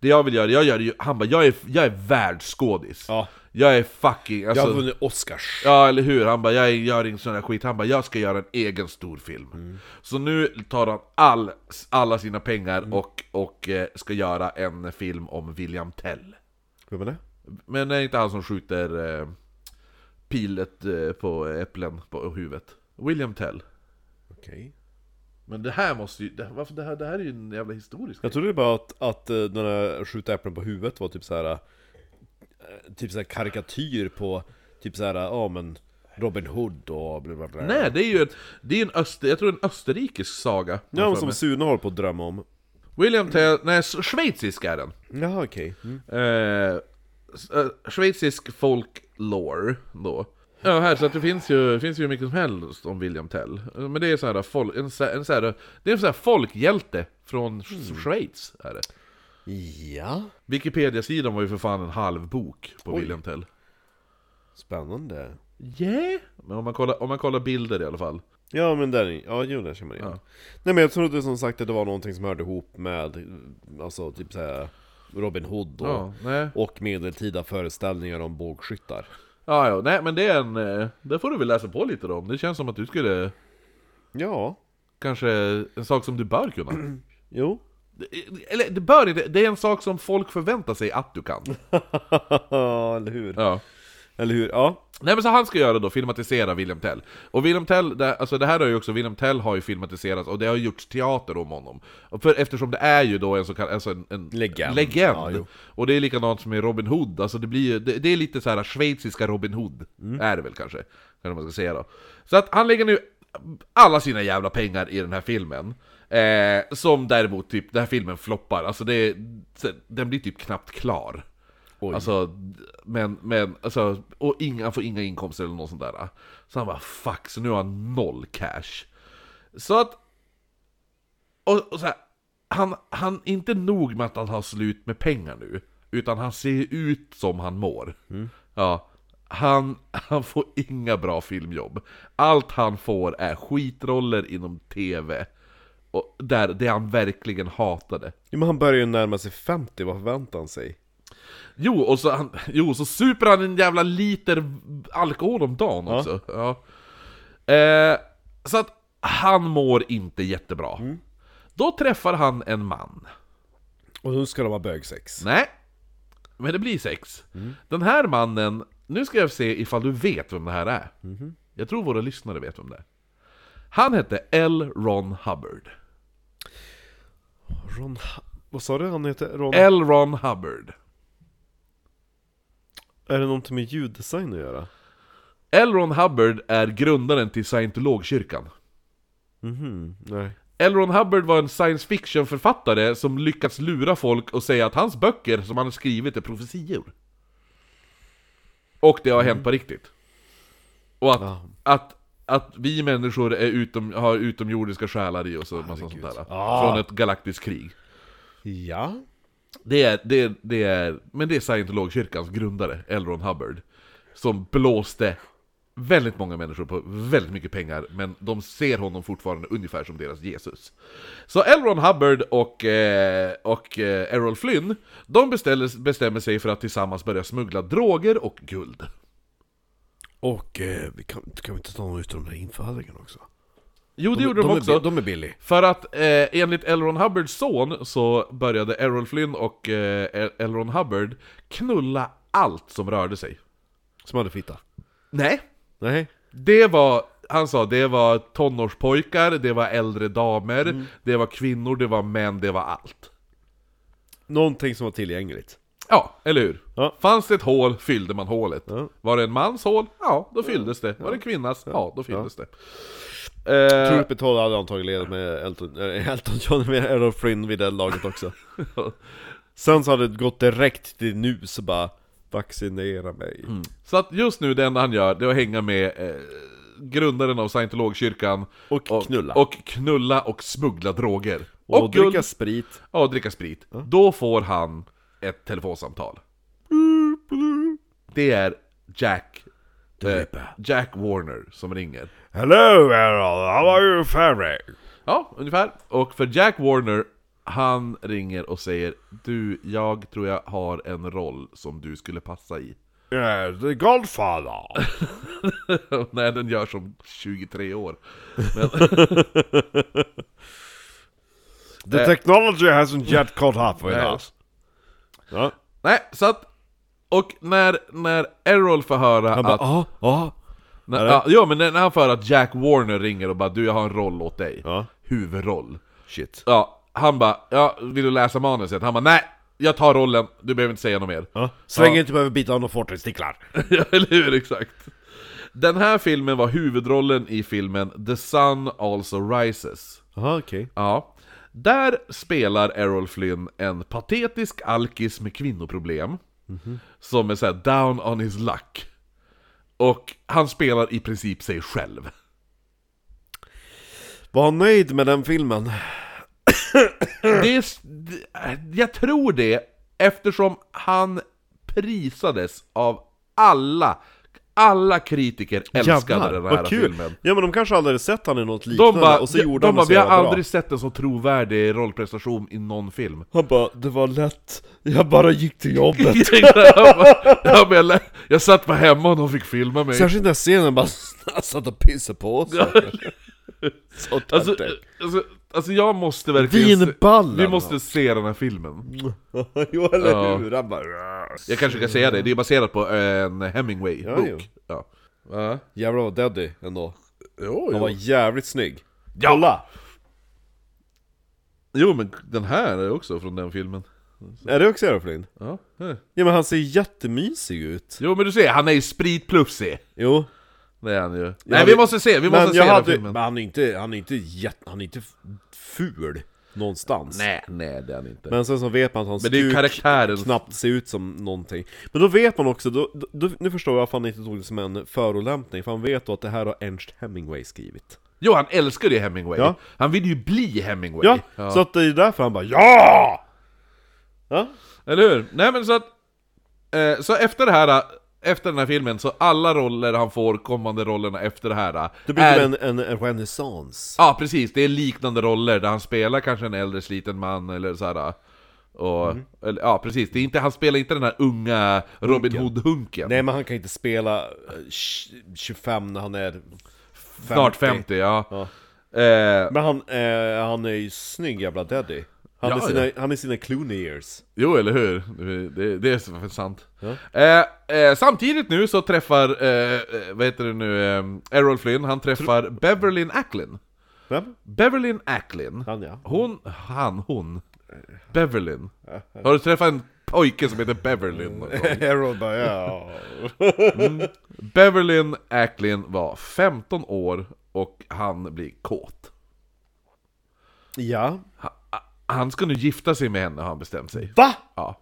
[SPEAKER 2] Det jag vill göra, jag gör det ju, han bara, jag är, jag är världsskådis.
[SPEAKER 1] Ja.
[SPEAKER 2] Jag är fucking,
[SPEAKER 1] Jag
[SPEAKER 2] alltså,
[SPEAKER 1] har vunnit Oscars.
[SPEAKER 2] Ja, eller hur? Han bara, jag gör ingen sån där skit. Han bara, jag ska göra en egen stor film.
[SPEAKER 1] Mm.
[SPEAKER 2] Så nu tar han all, alla sina pengar
[SPEAKER 1] Mm.
[SPEAKER 2] och, och eh, ska göra en film om William Tell.
[SPEAKER 1] Vem är det?
[SPEAKER 2] Men är inte han som skjuter eh, pilet eh, på äpplen på huvudet? William Tell.
[SPEAKER 1] Okej.
[SPEAKER 2] Men det här måste ju... Det, varför, det, här, det här är ju en jävla historisk
[SPEAKER 1] Jag trodde bara att, att eh, den där skjuta äpplen på huvudet var typ så här. eh, Typ så här karikatyr på typ så här, ja men Robin Hood och bla bla bla.
[SPEAKER 2] Nej, det är ju en, det är en, öster, jag tror en österrikisk saga.
[SPEAKER 1] Ja, men
[SPEAKER 2] För
[SPEAKER 1] som
[SPEAKER 2] mig.
[SPEAKER 1] Sune håller på att drömma om.
[SPEAKER 2] William Tell... Nej, s- schweizisk är den.
[SPEAKER 1] Jaha okej. Mm.
[SPEAKER 2] Eh, s- eh, schweizisk folklore då. Ja, här, så att det finns ju, det finns ju hur mycket som helst om William Tell. Eh, Men det är så här, folk, en, så- en, så här, det är en så här folkhjälte från
[SPEAKER 1] Mm.
[SPEAKER 2] Schweiz. Är det.
[SPEAKER 1] Ja.
[SPEAKER 2] Wikipedia-sidan var ju för fan en halv bok på William Tell.
[SPEAKER 1] Spännande.
[SPEAKER 2] Yeah! Men om man, kollar, om man kollar bilder i alla fall.
[SPEAKER 1] Ja men där, är- ja jo där känner man igen.
[SPEAKER 2] Ja.
[SPEAKER 1] Nej men jag trodde som sagt att det var någonting som hörde ihop med, alltså typ såhär Robin Hood och,
[SPEAKER 2] Ja, nej.
[SPEAKER 1] och medeltida föreställningar om bågskyttar.
[SPEAKER 2] Ja, ja, nej men det är en... eh, Det får du väl läsa på lite då om. Det känns som att du skulle...
[SPEAKER 1] Ja,
[SPEAKER 2] Kanske en sak som du bör kunna.
[SPEAKER 1] jo.
[SPEAKER 2] Eller det bör inte, det är en sak som folk förväntar sig att du kan.
[SPEAKER 1] Ja, eller hur?
[SPEAKER 2] Ja.
[SPEAKER 1] Eller hur? Ja.
[SPEAKER 2] Nej men så han ska göra då, filmatisera William Tell. Och William Tell, det, alltså det här har ju också, William Tell har ju filmatiserats och det har gjorts teater om honom. Och för, eftersom det är ju då en så kallad, alltså en, en
[SPEAKER 1] Legend.
[SPEAKER 2] legend.
[SPEAKER 1] Ja, jo.
[SPEAKER 2] och det är likadant som i Robin Hood, alltså det blir ju, det, det är lite så här schweiziska Robin Hood,
[SPEAKER 1] Mm.
[SPEAKER 2] är det väl kanske. Kanske man ska säga då. Så att han lägger nu alla sina jävla pengar i den här filmen. Eh, som däremot typ, den här filmen floppar, alltså det, den blir typ knappt klar.
[SPEAKER 1] Oj.
[SPEAKER 2] Alltså, d- men, men, alltså, och inga, han får inga inkomster eller något sånt där. Så han bara fuck, så nu har han noll cash. Så att, och, och så här, han, han, inte nog med att han har slut med pengar nu, utan han ser ut som han mår. Ja, han, han får inga bra filmjobb. Allt han får är skitroller inom TV. Och där, det han verkligen hatade.
[SPEAKER 1] Jo, men han börjar ju närma sig 50, vad förväntar han sig?
[SPEAKER 2] Jo, och så, han, jo, så super han en jävla liter alkohol om dagen också. Ja. Eh, så att han mår inte jättebra. Då träffar han en man.
[SPEAKER 1] Och nu ska de ha bögsex.
[SPEAKER 2] Nej, men det blir sex. Den här mannen, nu ska jag se ifall du vet vem det här är. Jag tror våra lyssnare vet vem det är. Han hette L. Ron Hubbard.
[SPEAKER 1] Ron... Ha- Vad sa du han heter? Ron...
[SPEAKER 2] L. Ron Hubbard.
[SPEAKER 1] Är det någonting med ljuddesign att göra?
[SPEAKER 2] L. Ron Hubbard är grundaren till scientologkyrkan.
[SPEAKER 1] Nej.
[SPEAKER 2] L. Ron Hubbard var en science fiction-författare som lyckats lura folk och säga att hans böcker som han har skrivit är profetior. Och det har hänt på riktigt. Och att, att, att vi människor är utom, har utomjordiska själar i oss och massa sånt där. Från ett galaktiskt krig.
[SPEAKER 1] Ja.
[SPEAKER 2] Det är, det, är- det är, men det är scientologkyrkans grundare, Elron Hubbard, som blåste väldigt många människor på väldigt mycket pengar, men de ser honom fortfarande ungefär som deras Jesus. Så Elron Hubbard och, eh, och eh, Errol Flynn, de beställer, bestämmer sig för att tillsammans börja smuggla droger och guld.
[SPEAKER 1] Och eh, vi kan, kan vi inte ta någon utav de där infödingarna också?
[SPEAKER 2] Jo, det
[SPEAKER 1] De-
[SPEAKER 2] gjorde de,
[SPEAKER 1] de är
[SPEAKER 2] också.
[SPEAKER 1] bi- de är billig.
[SPEAKER 2] För att eh, enligt Elron Hubbards son så började Errol Flynn och eh, El- Elron Hubbard knulla allt som rörde sig.
[SPEAKER 1] Som hade fitta?
[SPEAKER 2] Nej.
[SPEAKER 1] Nej.
[SPEAKER 2] Det var, han sa, det var tonårspojkar, det var äldre damer,
[SPEAKER 1] Mm.
[SPEAKER 2] det var kvinnor, det var män, det var allt.
[SPEAKER 1] Någonting som var tillgängligt.
[SPEAKER 2] Ja, eller hur?
[SPEAKER 1] Ja.
[SPEAKER 2] Fanns det ett hål, fyllde man hålet.
[SPEAKER 1] Ja.
[SPEAKER 2] Var det en mans hål? Ja, då fylldes det. Var det en kvinnas? Ja, då fylldes
[SPEAKER 1] Uh,
[SPEAKER 2] det. Eh,
[SPEAKER 1] Trupet hade antagligen ledat med Elton, eh, Elton John med Errol Flynn vid det laget också. Sen så hade det gått direkt till nu så bara Vaccinera mig.
[SPEAKER 2] så att just nu det enda han gör, det är att hänga med eh, grundaren av scientologkyrkan.
[SPEAKER 1] Och knulla.
[SPEAKER 2] Och knulla och smuggla droger.
[SPEAKER 1] Och,
[SPEAKER 2] Och, guld.
[SPEAKER 1] dricka sprit.
[SPEAKER 2] Ja, och dricka sprit. Då får han ett telefonsamtal. Det är Jack... Eh, Jack Warner som ringer.
[SPEAKER 1] Hello Errol, how are you faring?
[SPEAKER 2] Ja, ungefär. Och för Jack Warner, han ringer och säger Du, jag tror jag har en roll som du skulle passa i.
[SPEAKER 1] Yeah, the Godfather.
[SPEAKER 2] Nej, den gör som 23 år.
[SPEAKER 1] The technology hasn't yet caught up with
[SPEAKER 2] Eh. Nej.
[SPEAKER 1] us. Ja.
[SPEAKER 2] Nej, så att... Och när, när Errol får höra
[SPEAKER 1] Han bara, "Ah,
[SPEAKER 2] att...
[SPEAKER 1] ja, ja.
[SPEAKER 2] När, ja, ja, men när han får höra att Jack Warner ringer och bara Du, jag har en roll åt dig.
[SPEAKER 1] Ja.
[SPEAKER 2] Huvudroll.
[SPEAKER 1] Shit.
[SPEAKER 2] Ja, han bara ja, 'Vill du läsa manuset?' Han bara 'Nej, jag tar rollen, du behöver inte säga något mer'
[SPEAKER 1] Ja. Så länge
[SPEAKER 2] Ja.
[SPEAKER 1] jag inte behöver bita av några fortinsticklar.
[SPEAKER 2] Ja, eller hur? Exakt. Den här filmen var huvudrollen i filmen 'The Sun Also Rises'
[SPEAKER 1] Jaha, okej.
[SPEAKER 2] Ja. Där spelar Errol Flynn en patetisk alkis med kvinnoproblem. Mhm. Som är såhär down on his luck. Och han spelar i princip sig själv.
[SPEAKER 1] Var han nöjd med den filmen?
[SPEAKER 2] Det är, s- d- jag tror det, eftersom han prisades av alla, alla kritiker älskade den här
[SPEAKER 1] vad kul!
[SPEAKER 2] filmen.
[SPEAKER 1] Ja men de kanske aldrig hade sett han i något
[SPEAKER 2] De
[SPEAKER 1] liknande,
[SPEAKER 2] bara,
[SPEAKER 1] och så gjorde
[SPEAKER 2] de
[SPEAKER 1] han
[SPEAKER 2] bara,
[SPEAKER 1] det så
[SPEAKER 2] vi har
[SPEAKER 1] jävla bra.
[SPEAKER 2] aldrig sett en så trovärdig rollprestation i någon film.
[SPEAKER 1] Han bara, det var lätt, jag bara gick till jobbet.
[SPEAKER 2] Jag, tänkte, jag, bara, jag, bara, jag lä- jag satt bara hemma och de fick filma mig.
[SPEAKER 1] Särskilt den där scenen, bara han satt och pissade på sig. så
[SPEAKER 2] Alltså,
[SPEAKER 1] töntigt.
[SPEAKER 2] alltså, alltså jag måste verkligen... se-
[SPEAKER 1] Vinballen,
[SPEAKER 2] Vi måste se den här filmen.
[SPEAKER 1] jo eller
[SPEAKER 2] Ja.
[SPEAKER 1] hur? Han bara,
[SPEAKER 2] Jag kanske ska säga det, det är baserat på en Hemingway-bok. Ja. Ja.
[SPEAKER 1] jävlar vad daddy ändå.
[SPEAKER 2] Jo,
[SPEAKER 1] Han var jävligt snygg.
[SPEAKER 2] Jalla! Jo men den här är också från den filmen.
[SPEAKER 1] Är det också Aeroflin?
[SPEAKER 2] Ja. här.
[SPEAKER 1] Ja men han ser jättemysig ut.
[SPEAKER 2] Jo men du ser, han är ju spritplufsig.
[SPEAKER 1] Jo.
[SPEAKER 2] Det är han ju. Nej
[SPEAKER 1] hade-
[SPEAKER 2] vi måste se, vi måste
[SPEAKER 1] men
[SPEAKER 2] se
[SPEAKER 1] jag
[SPEAKER 2] den
[SPEAKER 1] hade,
[SPEAKER 2] filmen.
[SPEAKER 1] men han är inte, han är inte jätte, han är inte f- ful någonstans.
[SPEAKER 2] Nej, nej det är han inte.
[SPEAKER 1] Men sen så vet man att hans
[SPEAKER 2] Men det är ju
[SPEAKER 1] kuk
[SPEAKER 2] karaktären.
[SPEAKER 1] knappt ser ut som någonting. Men då vet man också, då, då- då, nu förstår jag varför han inte tog det som en förolämpning, för han vet då att det här har Ernst Hemingway skrivit.
[SPEAKER 2] Jo han älskar ju Hemingway.
[SPEAKER 1] Ja.
[SPEAKER 2] Han vill ju bli Hemingway.
[SPEAKER 1] Ja, så att det är därför han bara ja! Ja,
[SPEAKER 2] Eller hur? Nej men så att... Eh, så efter det här... Efter den här filmen, så alla roller han får, kommande rollerna efter det typ här...
[SPEAKER 1] det blir
[SPEAKER 2] är-
[SPEAKER 1] som en, en, en renässans.
[SPEAKER 2] Ja precis, det är liknande roller där han spelar kanske en äldre sliten man eller sådär. Och,
[SPEAKER 1] Mm.
[SPEAKER 2] eller, ja precis, det är inte, han spelar inte den här unga Robin Hood-hunken.
[SPEAKER 1] Nej men han kan inte spela eh, tj- 25 när han är 50.
[SPEAKER 2] Snart 50, ja. Eh,
[SPEAKER 1] Men han, eh, han är ju snygg jävla daddy. Han,
[SPEAKER 2] Ja,
[SPEAKER 1] är, sina,
[SPEAKER 2] ja.
[SPEAKER 1] han är sina Clooney years.
[SPEAKER 2] jo, eller hur? Det, det är så sant. Eh, eh, samtidigt nu så träffar, eh, eh, vad heter det nu, eh, Errol Flynn, han träffar Beverlyn Acklin.
[SPEAKER 1] Vem?
[SPEAKER 2] Beverlyn Acklin.
[SPEAKER 1] Han Eh. ja.
[SPEAKER 2] Hon, han, hon. Beverlyn. Har du träffat en pojke som heter Beverlyn? någon gång?
[SPEAKER 1] Errol bara ja.
[SPEAKER 2] Beverlyn Acklin var 15 år och han blir kåt.
[SPEAKER 1] Ja.
[SPEAKER 2] Han ska nu gifta sig med henne har han bestämt sig.
[SPEAKER 1] Va?
[SPEAKER 2] Ja.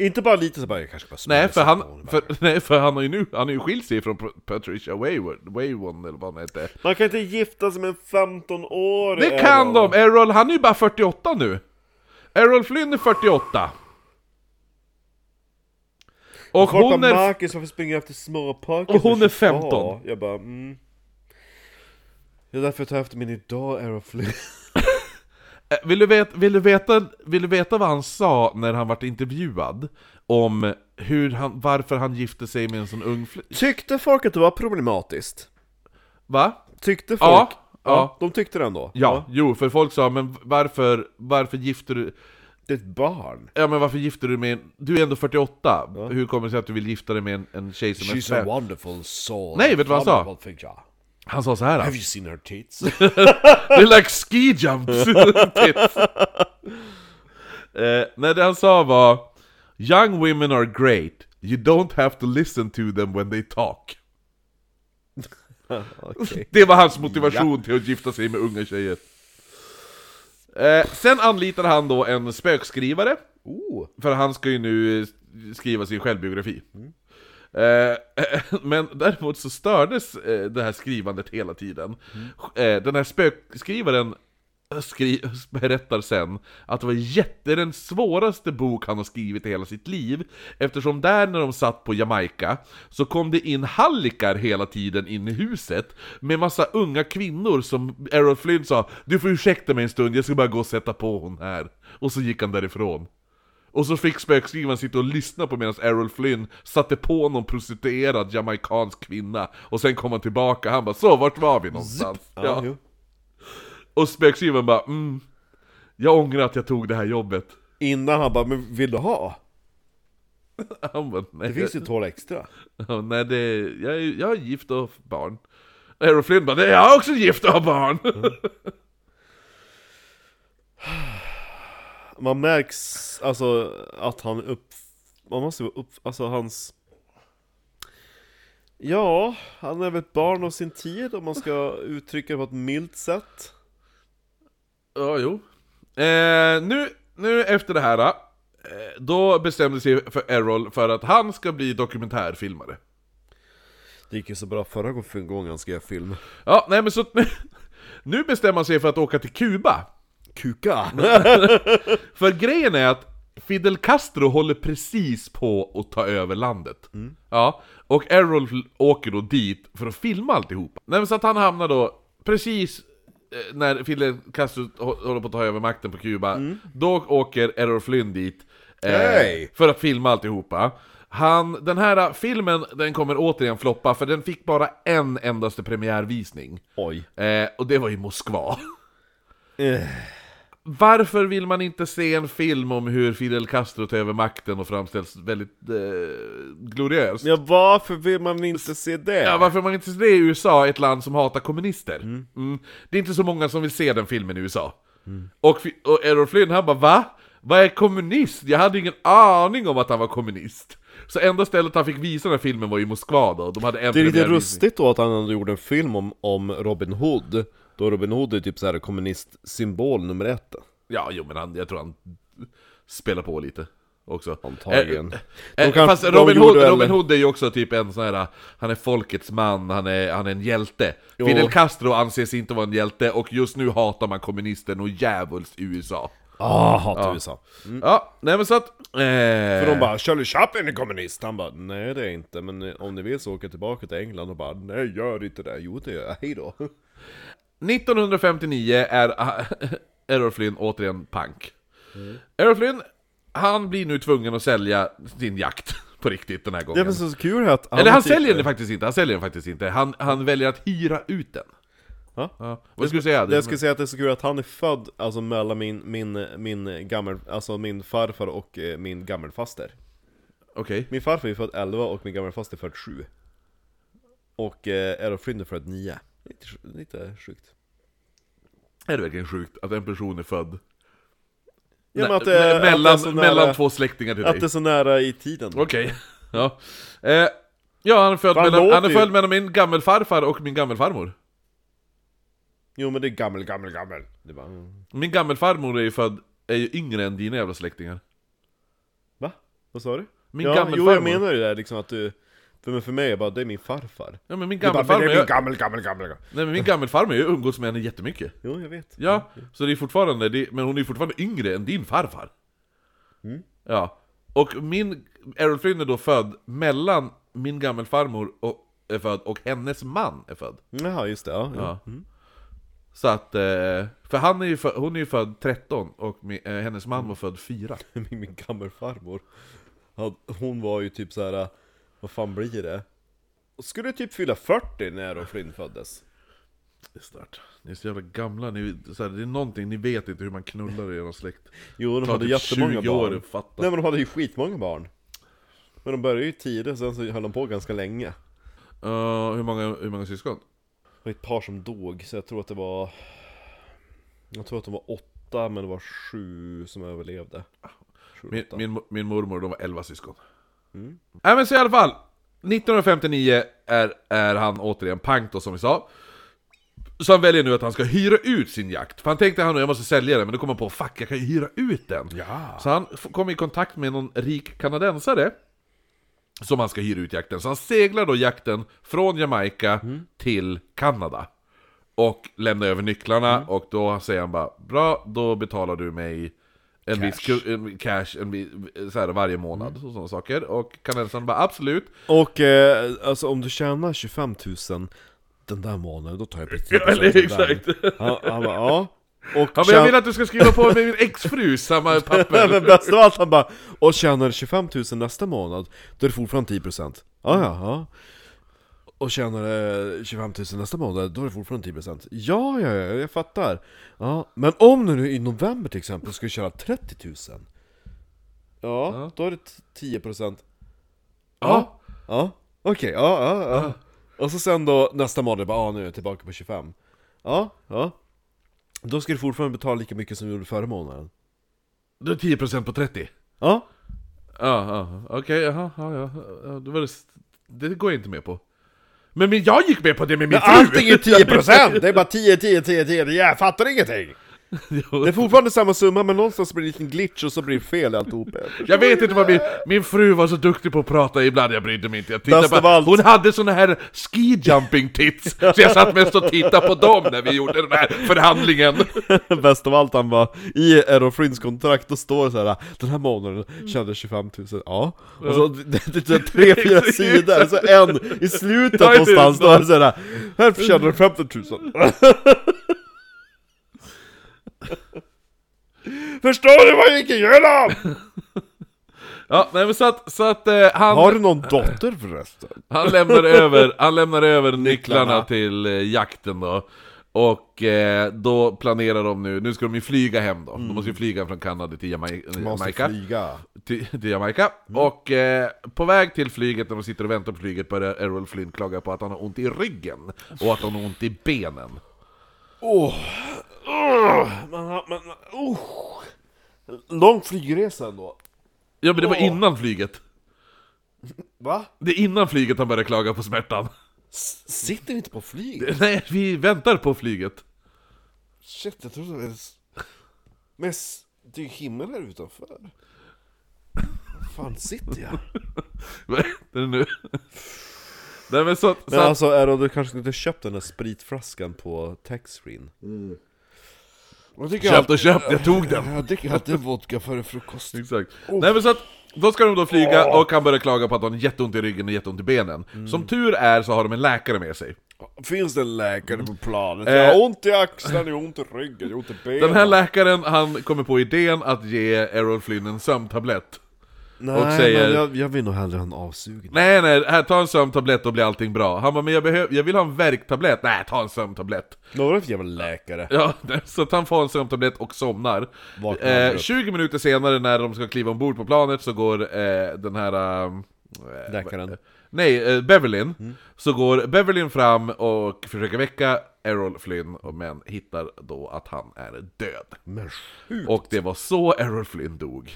[SPEAKER 1] Inte bara lite så bara, jag kanske ska bara smälla
[SPEAKER 2] Nej för,
[SPEAKER 1] soffan.
[SPEAKER 2] han, för, nej, för han har ju nu, han har ju skilt sig ifrån Pro- Patricia Wayward, Waywon eller vad hon heter.
[SPEAKER 1] Man kan inte gifta sig med en 15-åring!
[SPEAKER 2] Det kan de! Errol, han är ju bara 48 nu! Errol Flynn är 48! Och
[SPEAKER 1] Folk
[SPEAKER 2] hon
[SPEAKER 1] bara,
[SPEAKER 2] är...
[SPEAKER 1] Marcus varför springer du efter småpojkar?
[SPEAKER 2] Och hon
[SPEAKER 1] som
[SPEAKER 2] är
[SPEAKER 1] tjugotvå?"
[SPEAKER 2] 15.
[SPEAKER 1] Jag bara, mm. Det är därför jag tar efter min idag, Aeroflip.
[SPEAKER 2] Eh, Vill du, veta, vill, du veta, vill du veta vad han sa när han vart intervjuad? Om hur han, varför han gifte sig med en sån ung flicka?
[SPEAKER 1] Tyckte folk att det var problematiskt?
[SPEAKER 2] Va?
[SPEAKER 1] Tyckte folk?
[SPEAKER 2] Ja, ja.
[SPEAKER 1] De tyckte det ändå?
[SPEAKER 2] Ja, jo, för folk sa men varför, varför gifter du...
[SPEAKER 1] Det är ett barn.
[SPEAKER 2] Ja men varför gifter du med en... Du är ändå 48, hur kommer det sig att du vill gifta dig med en, en tjej som är fem?
[SPEAKER 1] wonderful soul.
[SPEAKER 2] Nej, vet du vad han sa?
[SPEAKER 1] Wonderful figure.
[SPEAKER 2] Han sa så här.
[SPEAKER 1] you seen her tits?
[SPEAKER 2] They're like ski jumps! Tits. eh, nej, det han sa var Young women are great, you don't have to listen to them when they talk. Det var hans motivation till att gifta sig med unga tjejer. Eh, sen anlitar han då en spökskrivare,
[SPEAKER 1] oh.
[SPEAKER 2] för han ska ju nu eh, skriva sin självbiografi. Eh, men däremot så stördes eh, det här skrivandet hela tiden. Eh, den här spökskrivaren skri berättar sen att det var jätte den svåraste bok han har skrivit i hela sitt liv, eftersom där när de satt på Jamaica så kom det in hallikar hela tiden in i huset med massa unga kvinnor som Errol Flynn sa ”Du får ursäkta mig en stund, jag ska bara gå och sätta på hon här” och så gick han därifrån. Och så fick spökskrivaren sitta och lyssna på medan Errol Flynn satte på någon prostituerad jamaicansk kvinna Och sen kom han tillbaka, han bara 'Så, vart var vi någonstans?'
[SPEAKER 1] Ja. jo.
[SPEAKER 2] Och spökskrivaren bara mm, Jag ångrar att jag tog det här jobbet
[SPEAKER 1] Innan han bara, men vill du ha?
[SPEAKER 2] Han bara, nej,
[SPEAKER 1] Det finns ju ett hål extra.
[SPEAKER 2] Ja, nej det, jag, är, jag är gift och har barn Errol Flynn bara, nej jag är också gift och har barn!
[SPEAKER 1] Man märks alltså att han upp... Man måste vara upp... Alltså hans... Ja, han är väl ett barn av sin tid om man ska uttrycka det på ett milt sätt.
[SPEAKER 2] ja, jo eh, nu, nu efter det här eh, Då bestämde sig för Errol för att han ska bli dokumentärfilmare
[SPEAKER 1] Det gick ju så bra förra gången- gången han skrev film.
[SPEAKER 2] Ja, nej men så att nu, nu bestämmer han sig för att åka till Kuba
[SPEAKER 1] Kuka!
[SPEAKER 2] För grejen är att Fidel Castro håller precis på att ta över landet. Ja, och Errol åker då dit för att filma alltihopa. Nej, men så att han hamnar då precis eh, när Fidel Castro hå- håller på att ta över makten på Kuba, då åker Errol Flynn dit eh,
[SPEAKER 1] Hey!
[SPEAKER 2] för att filma alltihopa. Han, den här äh, filmen den kommer återigen floppa, för den fick bara en endaste premiärvisning.
[SPEAKER 1] Oj.
[SPEAKER 2] Eh, och det var i Moskva.
[SPEAKER 1] Eh.
[SPEAKER 2] Varför vill man inte se en film om hur Fidel Castro tar över makten och framställs väldigt eh, gloriöst?
[SPEAKER 1] Ja, varför vill man inte se det?
[SPEAKER 2] Ja, varför man inte ser det i USA, ett land som hatar kommunister? Mm. Det är inte så många som vill se den filmen i USA. Och, fi- och Errol Flynn, han bara va? Vad är kommunist? Jag hade ingen aning om att han var kommunist. Så enda stället han fick visa den här filmen var i Moskva då, de hade en
[SPEAKER 1] det är lite
[SPEAKER 2] premiärvisning.
[SPEAKER 1] rustigt då att han ändå gjorde en film om, om Robin Hood. Då Robin Hood är typ så här kommunistsymbol nummer ett.
[SPEAKER 2] Ja, jo men han, jag tror han spelar på lite också.
[SPEAKER 1] Antagligen.
[SPEAKER 2] Eh,
[SPEAKER 1] De
[SPEAKER 2] eh,
[SPEAKER 1] kan-
[SPEAKER 2] fast
[SPEAKER 1] de
[SPEAKER 2] Robin, Hood,
[SPEAKER 1] gjorde väl-
[SPEAKER 2] Robin Hood är ju också typ en sån här, han är folkets man, han är, han är en hjälte. Fidel Castro anses inte vara en hjälte, och just nu hatar man kommunister och djävulskt i USA.
[SPEAKER 1] Ah, hatar USA.
[SPEAKER 2] Ja, nej men så att... Eh,
[SPEAKER 1] Mm. För de bara 'Charlie Chaplin är kommunist' Han bara 'Nej det är inte, men eh, om ni vill så åka tillbaka till England' och bara 'Nej gör inte det' Jo det gör jag, hejdå
[SPEAKER 2] 1959 är Errol Flynn återigen pank.
[SPEAKER 1] Mm.
[SPEAKER 2] Errol Flynn, han blir nu tvungen att sälja sin jakt på riktigt den här gången.
[SPEAKER 1] Det är så kul här att typ-
[SPEAKER 2] Eller han säljer den faktiskt inte, han säljer den faktiskt inte. Han, han väljer att hyra ut den.
[SPEAKER 1] Ja.
[SPEAKER 2] Vad skulle du säga?
[SPEAKER 1] Jag skulle säga att det är så kul att han är född alltså mellan min, min, min gammel, alltså min farfar och eh, min gammelfaster
[SPEAKER 2] Okej.
[SPEAKER 1] Min farfar är född 11 och min gammelfaster är född 7 Och eh, Errol Flynn är född 9 Lite, sj- lite sjukt
[SPEAKER 2] Är det verkligen sjukt att en person är född
[SPEAKER 1] ja, men
[SPEAKER 2] nä-
[SPEAKER 1] att, det är-
[SPEAKER 2] nä-
[SPEAKER 1] att det är
[SPEAKER 2] mellan,
[SPEAKER 1] så nära-
[SPEAKER 2] mellan två släktingar till
[SPEAKER 1] Att det är
[SPEAKER 2] dig?
[SPEAKER 1] så nära i tiden
[SPEAKER 2] Okej. ja. Eh, ja, han är född,
[SPEAKER 1] Fan,
[SPEAKER 2] mellan,
[SPEAKER 1] låter
[SPEAKER 2] han är
[SPEAKER 1] ju-
[SPEAKER 2] född mellan min gammelfarfar och min gammelfarmor.
[SPEAKER 1] Jo men det är gammel, gammel, gammel det är bara, mm.
[SPEAKER 2] Min gammelfarmor är ju född, är ju yngre än dina jävla släktingar.
[SPEAKER 1] Va? Vad sa du?
[SPEAKER 2] Min
[SPEAKER 1] ja,
[SPEAKER 2] gammelfarmor.
[SPEAKER 1] Jo, jag menar ju det där liksom att du... För, men för mig, jag bara, det är min farfar.
[SPEAKER 2] Ja men min
[SPEAKER 5] Du bara, men det
[SPEAKER 2] gammelfarmor,
[SPEAKER 5] är min
[SPEAKER 2] jag,
[SPEAKER 5] gammel, gammel, gammel, gammel.
[SPEAKER 2] nej, men min gammelfarmor, jag umgås med henne jättemycket.
[SPEAKER 1] Jo, jag vet.
[SPEAKER 2] Ja, så det är fortfarande, det, men hon är ju fortfarande yngre än din farfar. Mm. Ja, och min, Errol Flynn är då född mellan min gammelfarmor och, är född och hennes man är född.
[SPEAKER 1] Jaha, just det. Ja, ja.
[SPEAKER 2] Ja. Så att, eh, för han är ju född, hon är ju född 13 och mi- eh, hennes man var född 4.
[SPEAKER 1] Min, min gammelfarmor. Ja, Hon var ju typ så här. vad fan blir det? Skulle typ fylla 40 när Errol Flynn föddes.
[SPEAKER 2] Det är snart. Ni är så jävla gamla, ni, så här, det är någonting, ni vet inte hur man knullar i er släkt.
[SPEAKER 1] Jo, de
[SPEAKER 2] Tar
[SPEAKER 1] hade
[SPEAKER 2] typ
[SPEAKER 1] jättemånga
[SPEAKER 2] 20 år
[SPEAKER 1] barn.
[SPEAKER 2] att fatta.
[SPEAKER 1] Nej men de hade ju skitmånga barn. Men de började ju tidigt, sen så höll de på ganska länge.
[SPEAKER 2] Eh, hur, många, hur många syskon?
[SPEAKER 1] Det var ett par som dog, så jag tror att det var... Jag tror att de var åtta, men det var sju som överlevde. Sju,
[SPEAKER 2] Min,
[SPEAKER 1] åtta.
[SPEAKER 2] min, min mormor, de var 11 syskon. Nej men så i alla fall, 1959 är, är han återigen pank då som vi sa. Så han väljer nu att han ska hyra ut sin jakt, för han tänkte han jag måste sälja den, men då kom han på fuck, jag kan ju hyra ut den! Så han f- kom i kontakt med någon rik kanadensare som han ska hyra ut jakten. Så han seglar då jakten från Jamaica till Kanada. Och lämnar över nycklarna och då säger han bara Bra, då betalar du mig en viss ku- en, cash en, vi- så här, varje månad
[SPEAKER 1] Mm.
[SPEAKER 2] och sådana saker. Och kanadensaren bara absolut.
[SPEAKER 1] Och eh, alltså om du tjänar 25 000 den där månaden, då tar jag precis
[SPEAKER 2] eller exakt.
[SPEAKER 1] Han, han bara, ja. Och
[SPEAKER 2] Ja, men jag vill att du ska skriva på med min exfru samma
[SPEAKER 1] Nej,
[SPEAKER 2] papper.
[SPEAKER 1] men bäst av allt, han bara Och tjänar 25 000 nästa månad, då är det fortfarande 10% Ja, ja, ja Och tjänar eh, 25 000 nästa månad, då är det fortfarande 10% Ja, ja, ja, jag fattar ja. Men om du nu i november till exempel ska köra 30 000 Ja,
[SPEAKER 2] Ja.
[SPEAKER 1] då är det 10%
[SPEAKER 2] Ja,
[SPEAKER 1] Ja, okej, ja, ja, ja Och så sen då nästa månad, bara ah, nu är jag tillbaka på 25 Ja, ja Då ska du fortfarande betala lika mycket som du gjorde förra månaden
[SPEAKER 2] då är det 10% på 30.
[SPEAKER 1] Ja,
[SPEAKER 2] Ja, ja, okej, jaha, ja, ja, ja, det var det, det går jag inte med på. Men, men jag gick med på det med min
[SPEAKER 1] Men allting är 10%! Det är bara 10, 10, 10, 10, jag fattar ingenting! Det är
[SPEAKER 2] fru!
[SPEAKER 1] fortfarande samma summa men någonstans blir det en liten glitch och så blir det fel i alltihop
[SPEAKER 2] Jag vet inte vad min, min fru var så duktig på att prata ibland, jag brydde mig inte. Jag
[SPEAKER 1] Bäst
[SPEAKER 2] tittade
[SPEAKER 1] av
[SPEAKER 2] bara,
[SPEAKER 1] allt.
[SPEAKER 2] hon hade såna här ski jumping tits, så jag satt mest och tittade på dem när vi gjorde den här förhandlingen.
[SPEAKER 1] Bäst av allt han bara, i Aerofrins kontrakt då står det så här Den här månaden tjänade 25 000, ja Och så det det är tre, fyra sidor, så en i slutet
[SPEAKER 2] Ja, det är
[SPEAKER 1] någonstans då är det så här Här tjänade du 15 000 Förstår du vad jag gick igenom?
[SPEAKER 2] Ja, nej men så att, så att eh, han...
[SPEAKER 1] Har du någon dotter förresten?
[SPEAKER 2] Han lämnar över, han lämnar över nycklarna till eh, jakten då. Och eh, då planerar de nu, nu ska de ju flyga hem då. De
[SPEAKER 1] Mm.
[SPEAKER 2] måste ju flyga från Kanada till Jamai- eh, Jamaica.
[SPEAKER 1] flyga
[SPEAKER 2] Till, till Jamaica.
[SPEAKER 1] Mm.
[SPEAKER 2] Och eh, på väg till flyget, när de sitter och väntar på flyget, börjar Errol Flynn klaga på att han har ont i ryggen. Och att han har ont i benen.
[SPEAKER 1] Man har, man, man, oh. Lång flygresa ändå.
[SPEAKER 2] Ja men det var
[SPEAKER 1] Åh.
[SPEAKER 2] innan flyget.
[SPEAKER 1] Va?
[SPEAKER 2] Det är innan flyget han börjar klaga på smärtan.
[SPEAKER 1] Sitter inte på flyg?
[SPEAKER 2] Nej, vi väntar på flyget.
[SPEAKER 1] Shit, jag trodde det var... Men s- det är ju himmel här utanför. Var fan sitter jag?
[SPEAKER 2] Vad är det nu? Nej men så, så
[SPEAKER 1] Men
[SPEAKER 2] att-
[SPEAKER 1] alltså Errol, du kanske skulle köpt den där spritflaskan på taxfreen? Mm. Jag tycker
[SPEAKER 2] Köpt och köpt, jag tog den! Oh.
[SPEAKER 1] jag dricker alltid vodka före frukost. Oh.
[SPEAKER 2] Exakt. Nej men så att, då ska de då flyga och han börjar klaga på att han har jätteont i ryggen och jätteont i benen. Som tur är så har de en läkare med sig.
[SPEAKER 1] Finns det en läkare på planet? Jag har ont i axlarna, jag har ont i ryggen, jag har ont i benen.
[SPEAKER 2] Den här läkaren, han kommer på idén att ge Errol Flynn en sömntablett.
[SPEAKER 1] Nej,
[SPEAKER 2] säger-
[SPEAKER 1] men jag, jag vill nog hellre ha en avsugning.
[SPEAKER 2] Nej nej, här ta en sömntablett och blir allting bra. Han bara, men jag, behöver, jag vill ha en värktablett. Nej, ta en sömntablett.
[SPEAKER 1] Några för jävla läkare.
[SPEAKER 2] Ja, så att han får en sömntablett och somnar.
[SPEAKER 1] Vaknar
[SPEAKER 2] Eh,
[SPEAKER 1] upp.
[SPEAKER 2] 20 minuter senare när de ska kliva ombord på planet så går eh, den här... ehm, Eh,
[SPEAKER 1] Läkaren.
[SPEAKER 2] Nej, eh, Beverlyn.
[SPEAKER 1] Mm.
[SPEAKER 2] Så går Beverlyn fram och försöker väcka Errol Flynn, och men hittar då att han är död.
[SPEAKER 1] Men
[SPEAKER 2] Och det var så Errol Flynn dog.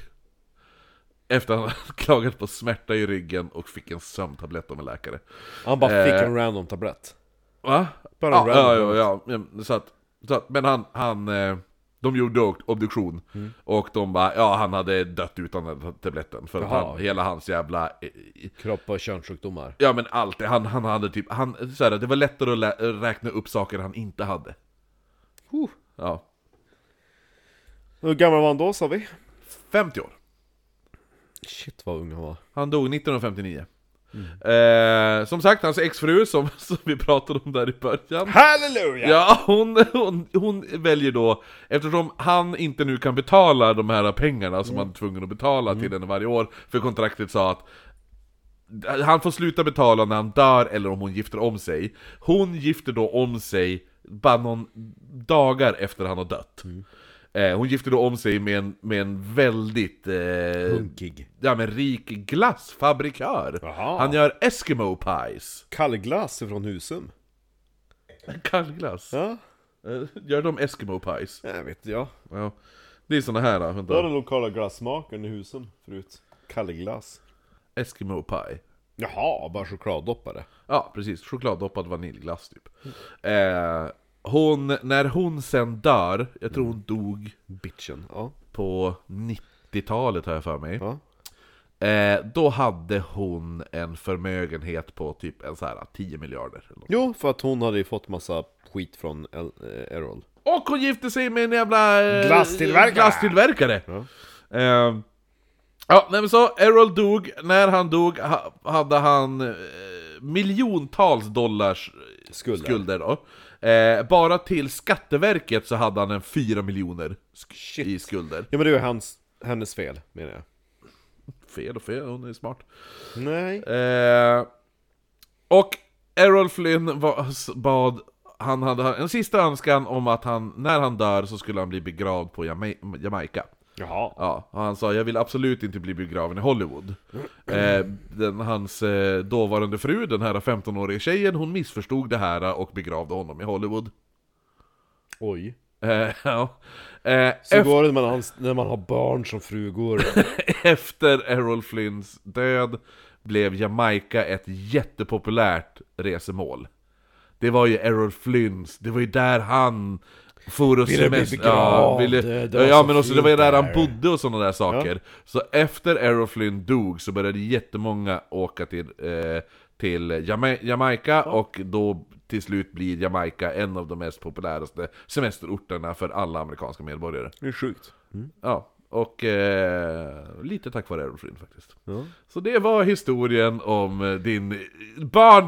[SPEAKER 2] Efter att han hade klagat på smärta i ryggen och fick en sömntablett av en läkare.
[SPEAKER 1] Han bara fick
[SPEAKER 2] Eh.
[SPEAKER 1] en random tablett.
[SPEAKER 2] Va?
[SPEAKER 1] Bara
[SPEAKER 2] ja,
[SPEAKER 1] random.
[SPEAKER 2] ja, ja, ja, men så att, så att, men han, han, eh, De gjorde ob- obduktion,
[SPEAKER 1] Mm.
[SPEAKER 2] och de bara ja han hade dött utan den här tabletten för att
[SPEAKER 1] Jaha.
[SPEAKER 2] han, hela hans jävla eh, eh,
[SPEAKER 1] Kropp och könssjukdomar.
[SPEAKER 2] Ja men allt, det. han, han hade typ, han, så här, det var lättare att lä- räkna upp saker han inte hade Ja,
[SPEAKER 1] Hur gammal var han då sa vi?
[SPEAKER 2] 50 år
[SPEAKER 1] Shit vad ung han var.
[SPEAKER 2] Han dog 1959
[SPEAKER 1] Mm.
[SPEAKER 2] eh, Som sagt, hans exfru som, som vi pratade om där i början
[SPEAKER 1] Halleluja!
[SPEAKER 2] Ja, hon, hon, hon väljer då, eftersom han inte nu kan betala de här pengarna som han är tvungen att betala till henne varje år, för kontraktet sa att han får sluta betala när han dör eller om hon gifter om sig. Hon gifter då om sig bara någon dagar efter han har dött. Eh, hon gifter då om sig med en, med en väldigt... Eh,
[SPEAKER 1] Punkig.
[SPEAKER 2] ja, men rik glassfabrikör.
[SPEAKER 1] Jaha.
[SPEAKER 2] Han gör Eskimo pies.
[SPEAKER 1] Kallglass från Husum.
[SPEAKER 2] Kallglass.
[SPEAKER 1] Ja,
[SPEAKER 2] Eh, Gör de Eskimo pies?
[SPEAKER 1] jag vet jag.
[SPEAKER 2] Ja. Det är såna här då,
[SPEAKER 1] Det var
[SPEAKER 2] vänta.
[SPEAKER 1] den lokala glassmakaren i Husum förut. Kallglass.
[SPEAKER 2] Eskimo pie.
[SPEAKER 1] Jaha, bara chokladdoppare.
[SPEAKER 2] Ja, precis. Chokladdoppad vaniljglass typ.
[SPEAKER 1] Mm.
[SPEAKER 2] Eh, hon, när hon sen dör, jag tror hon dog
[SPEAKER 1] Mm. Bitchen. Ja.
[SPEAKER 2] på 90-talet har jag för mig.
[SPEAKER 1] Ja.
[SPEAKER 2] Eh, då hade hon en förmögenhet på typ en så här 10 miljarder. Eller något.
[SPEAKER 1] Jo, för att hon hade ju fått massa skit från El- eh, Errol.
[SPEAKER 2] Och hon gifte sig med en jävla... eh,
[SPEAKER 1] Glasstillverkare.
[SPEAKER 2] glasstillverkare. Eh, ja, nej men så, Errol dog, när han dog ha, hade han eh, miljontals dollars eh,
[SPEAKER 1] Skulder.
[SPEAKER 2] skulder då. Eh, bara till Skatteverket så hade han en 4 miljoner sk-
[SPEAKER 1] Shit.
[SPEAKER 2] i skulder.
[SPEAKER 1] Ja men det var ju hans, hennes fel menar jag.
[SPEAKER 2] Fel och fel, hon är smart.
[SPEAKER 1] Nej.
[SPEAKER 2] Eh, och Errol Flynn var, s- bad, han hade en sista önskan om att han, när han dör så skulle han bli begravd på Jama- Jamaica.
[SPEAKER 1] Jaha.
[SPEAKER 2] Ja, och han sa jag vill absolut inte bli begraven i Hollywood. Eh, den, hans eh, dåvarande fru, den här 15-åriga tjejen, hon missförstod det här och begravde honom i Hollywood.
[SPEAKER 1] Oj.
[SPEAKER 2] Eh, ja. eh,
[SPEAKER 1] Så
[SPEAKER 2] ef-
[SPEAKER 1] går det när man, har- när man har barn som frugor.
[SPEAKER 2] efter Errol Flynns död blev Jamaica ett jättepopulärt resemål. Det var ju Errol Flynns, det var ju där han for och
[SPEAKER 1] Ville bli
[SPEAKER 2] semester-
[SPEAKER 1] begravd, det- det var
[SPEAKER 2] ja
[SPEAKER 1] så
[SPEAKER 2] men också det var ju
[SPEAKER 1] fint
[SPEAKER 2] där han
[SPEAKER 1] där.
[SPEAKER 2] bodde och sådana där saker. Så efter Errol Flynn dog så började jättemånga åka till, eh, till Jama- Jamaica och då till slut blir Jamaica en av de mest populäraste semesterorterna för alla amerikanska medborgare.
[SPEAKER 1] Det är sjukt.
[SPEAKER 2] Ja, och eh, lite tack vare Errol Flynn faktiskt. Så det var historien om eh, din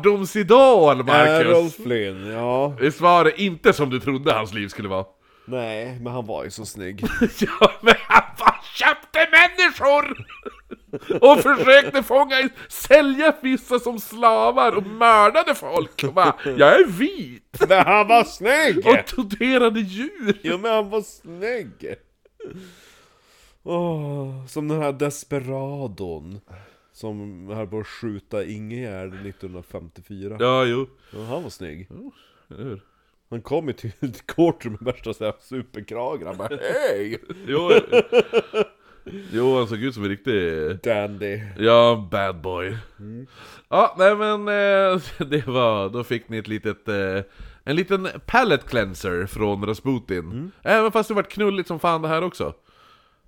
[SPEAKER 2] barndomsidol,
[SPEAKER 1] Errol
[SPEAKER 2] Marcus!
[SPEAKER 1] Flynn, ja.
[SPEAKER 2] Visst var det inte som du trodde hans liv skulle vara?
[SPEAKER 1] Nej, men han var ju så snygg.
[SPEAKER 2] Ja, men han var köpte människor! Och försökte fånga, in- sälja vissa som slavar och mördade folk! Och bara, jag är vit!
[SPEAKER 1] men han var snygg!
[SPEAKER 2] Och torterade djur!
[SPEAKER 1] Jo men han var snygg! Åh, som den här desperadon Som höll på att skjuta Ingegärd 1954
[SPEAKER 2] Ja, jo.
[SPEAKER 1] ja, Han var snygg
[SPEAKER 2] Eller hur?
[SPEAKER 1] Han kom ju till ett courtroom med värsta så här superkragen Han bara hej!
[SPEAKER 2] Jo, jo, han såg ut som en riktig...
[SPEAKER 1] Dandy
[SPEAKER 2] Ja, bad boy. Ja, nej men eh, det var, då fick ni ett litet, eh, en liten palette cleanser från Rasputin.
[SPEAKER 1] Mm.
[SPEAKER 2] Även fast det vart knulligt som fan det här också.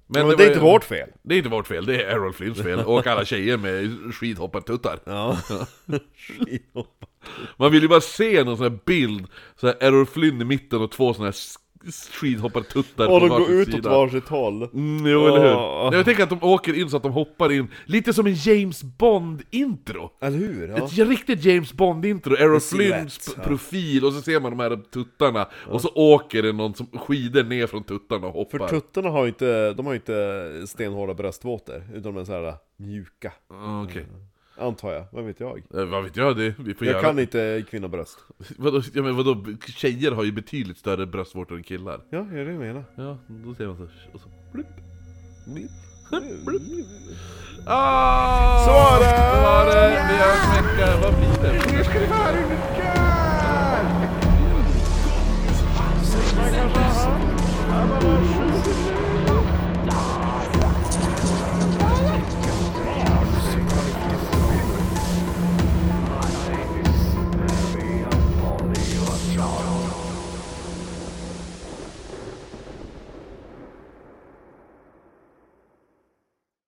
[SPEAKER 1] Men det,
[SPEAKER 2] var
[SPEAKER 1] är
[SPEAKER 2] ju-
[SPEAKER 1] inte vårt fel!
[SPEAKER 2] Det är inte vårt fel, det är Errol Flynns fel. Och alla tjejer med skidhoppartuttar.
[SPEAKER 1] Ja
[SPEAKER 2] Man vill ju bara se någon sån här bild, så här Errol Flynn i mitten och två såna här sk- skidhoppartuttar
[SPEAKER 1] Och
[SPEAKER 2] på
[SPEAKER 1] de går
[SPEAKER 2] varsin
[SPEAKER 1] ut åt
[SPEAKER 2] sida.
[SPEAKER 1] varsitt håll
[SPEAKER 2] Mm, jo, eller hur?
[SPEAKER 1] Åh.
[SPEAKER 2] Jag tänker att de åker in så att de hoppar in, lite som en James Bond-intro.
[SPEAKER 1] Eller hur? Ja.
[SPEAKER 2] Ett riktigt James Bond-intro, Errol Flynns
[SPEAKER 1] silhuett,
[SPEAKER 2] p-
[SPEAKER 1] ja.
[SPEAKER 2] profil och så ser man de här tuttarna och så åker det någon som skidor ner från tuttarna och
[SPEAKER 1] För
[SPEAKER 2] hoppar.
[SPEAKER 1] tuttarna har ju inte, de har ju inte stenhårda bröstvåtor Utan de är så här mjuka
[SPEAKER 2] Mm, Okej,
[SPEAKER 1] Antar jag, vad vet jag?
[SPEAKER 2] Eh, vad vet jag? Det, vi får
[SPEAKER 1] Jag
[SPEAKER 2] göra.
[SPEAKER 1] kan inte kvinnobröst
[SPEAKER 2] Vadå, ja, men vadå, tjejer har ju betydligt större bröstvårtor än killar.
[SPEAKER 1] Ja, det är det jag menar.
[SPEAKER 2] Ja, då ser man så här, och så blipp, blipp, blipp. Ah,
[SPEAKER 1] Så var det!
[SPEAKER 2] Så var det! Vi hörs om en vecka, vad blir det?
[SPEAKER 1] ska ni få höra hur det går!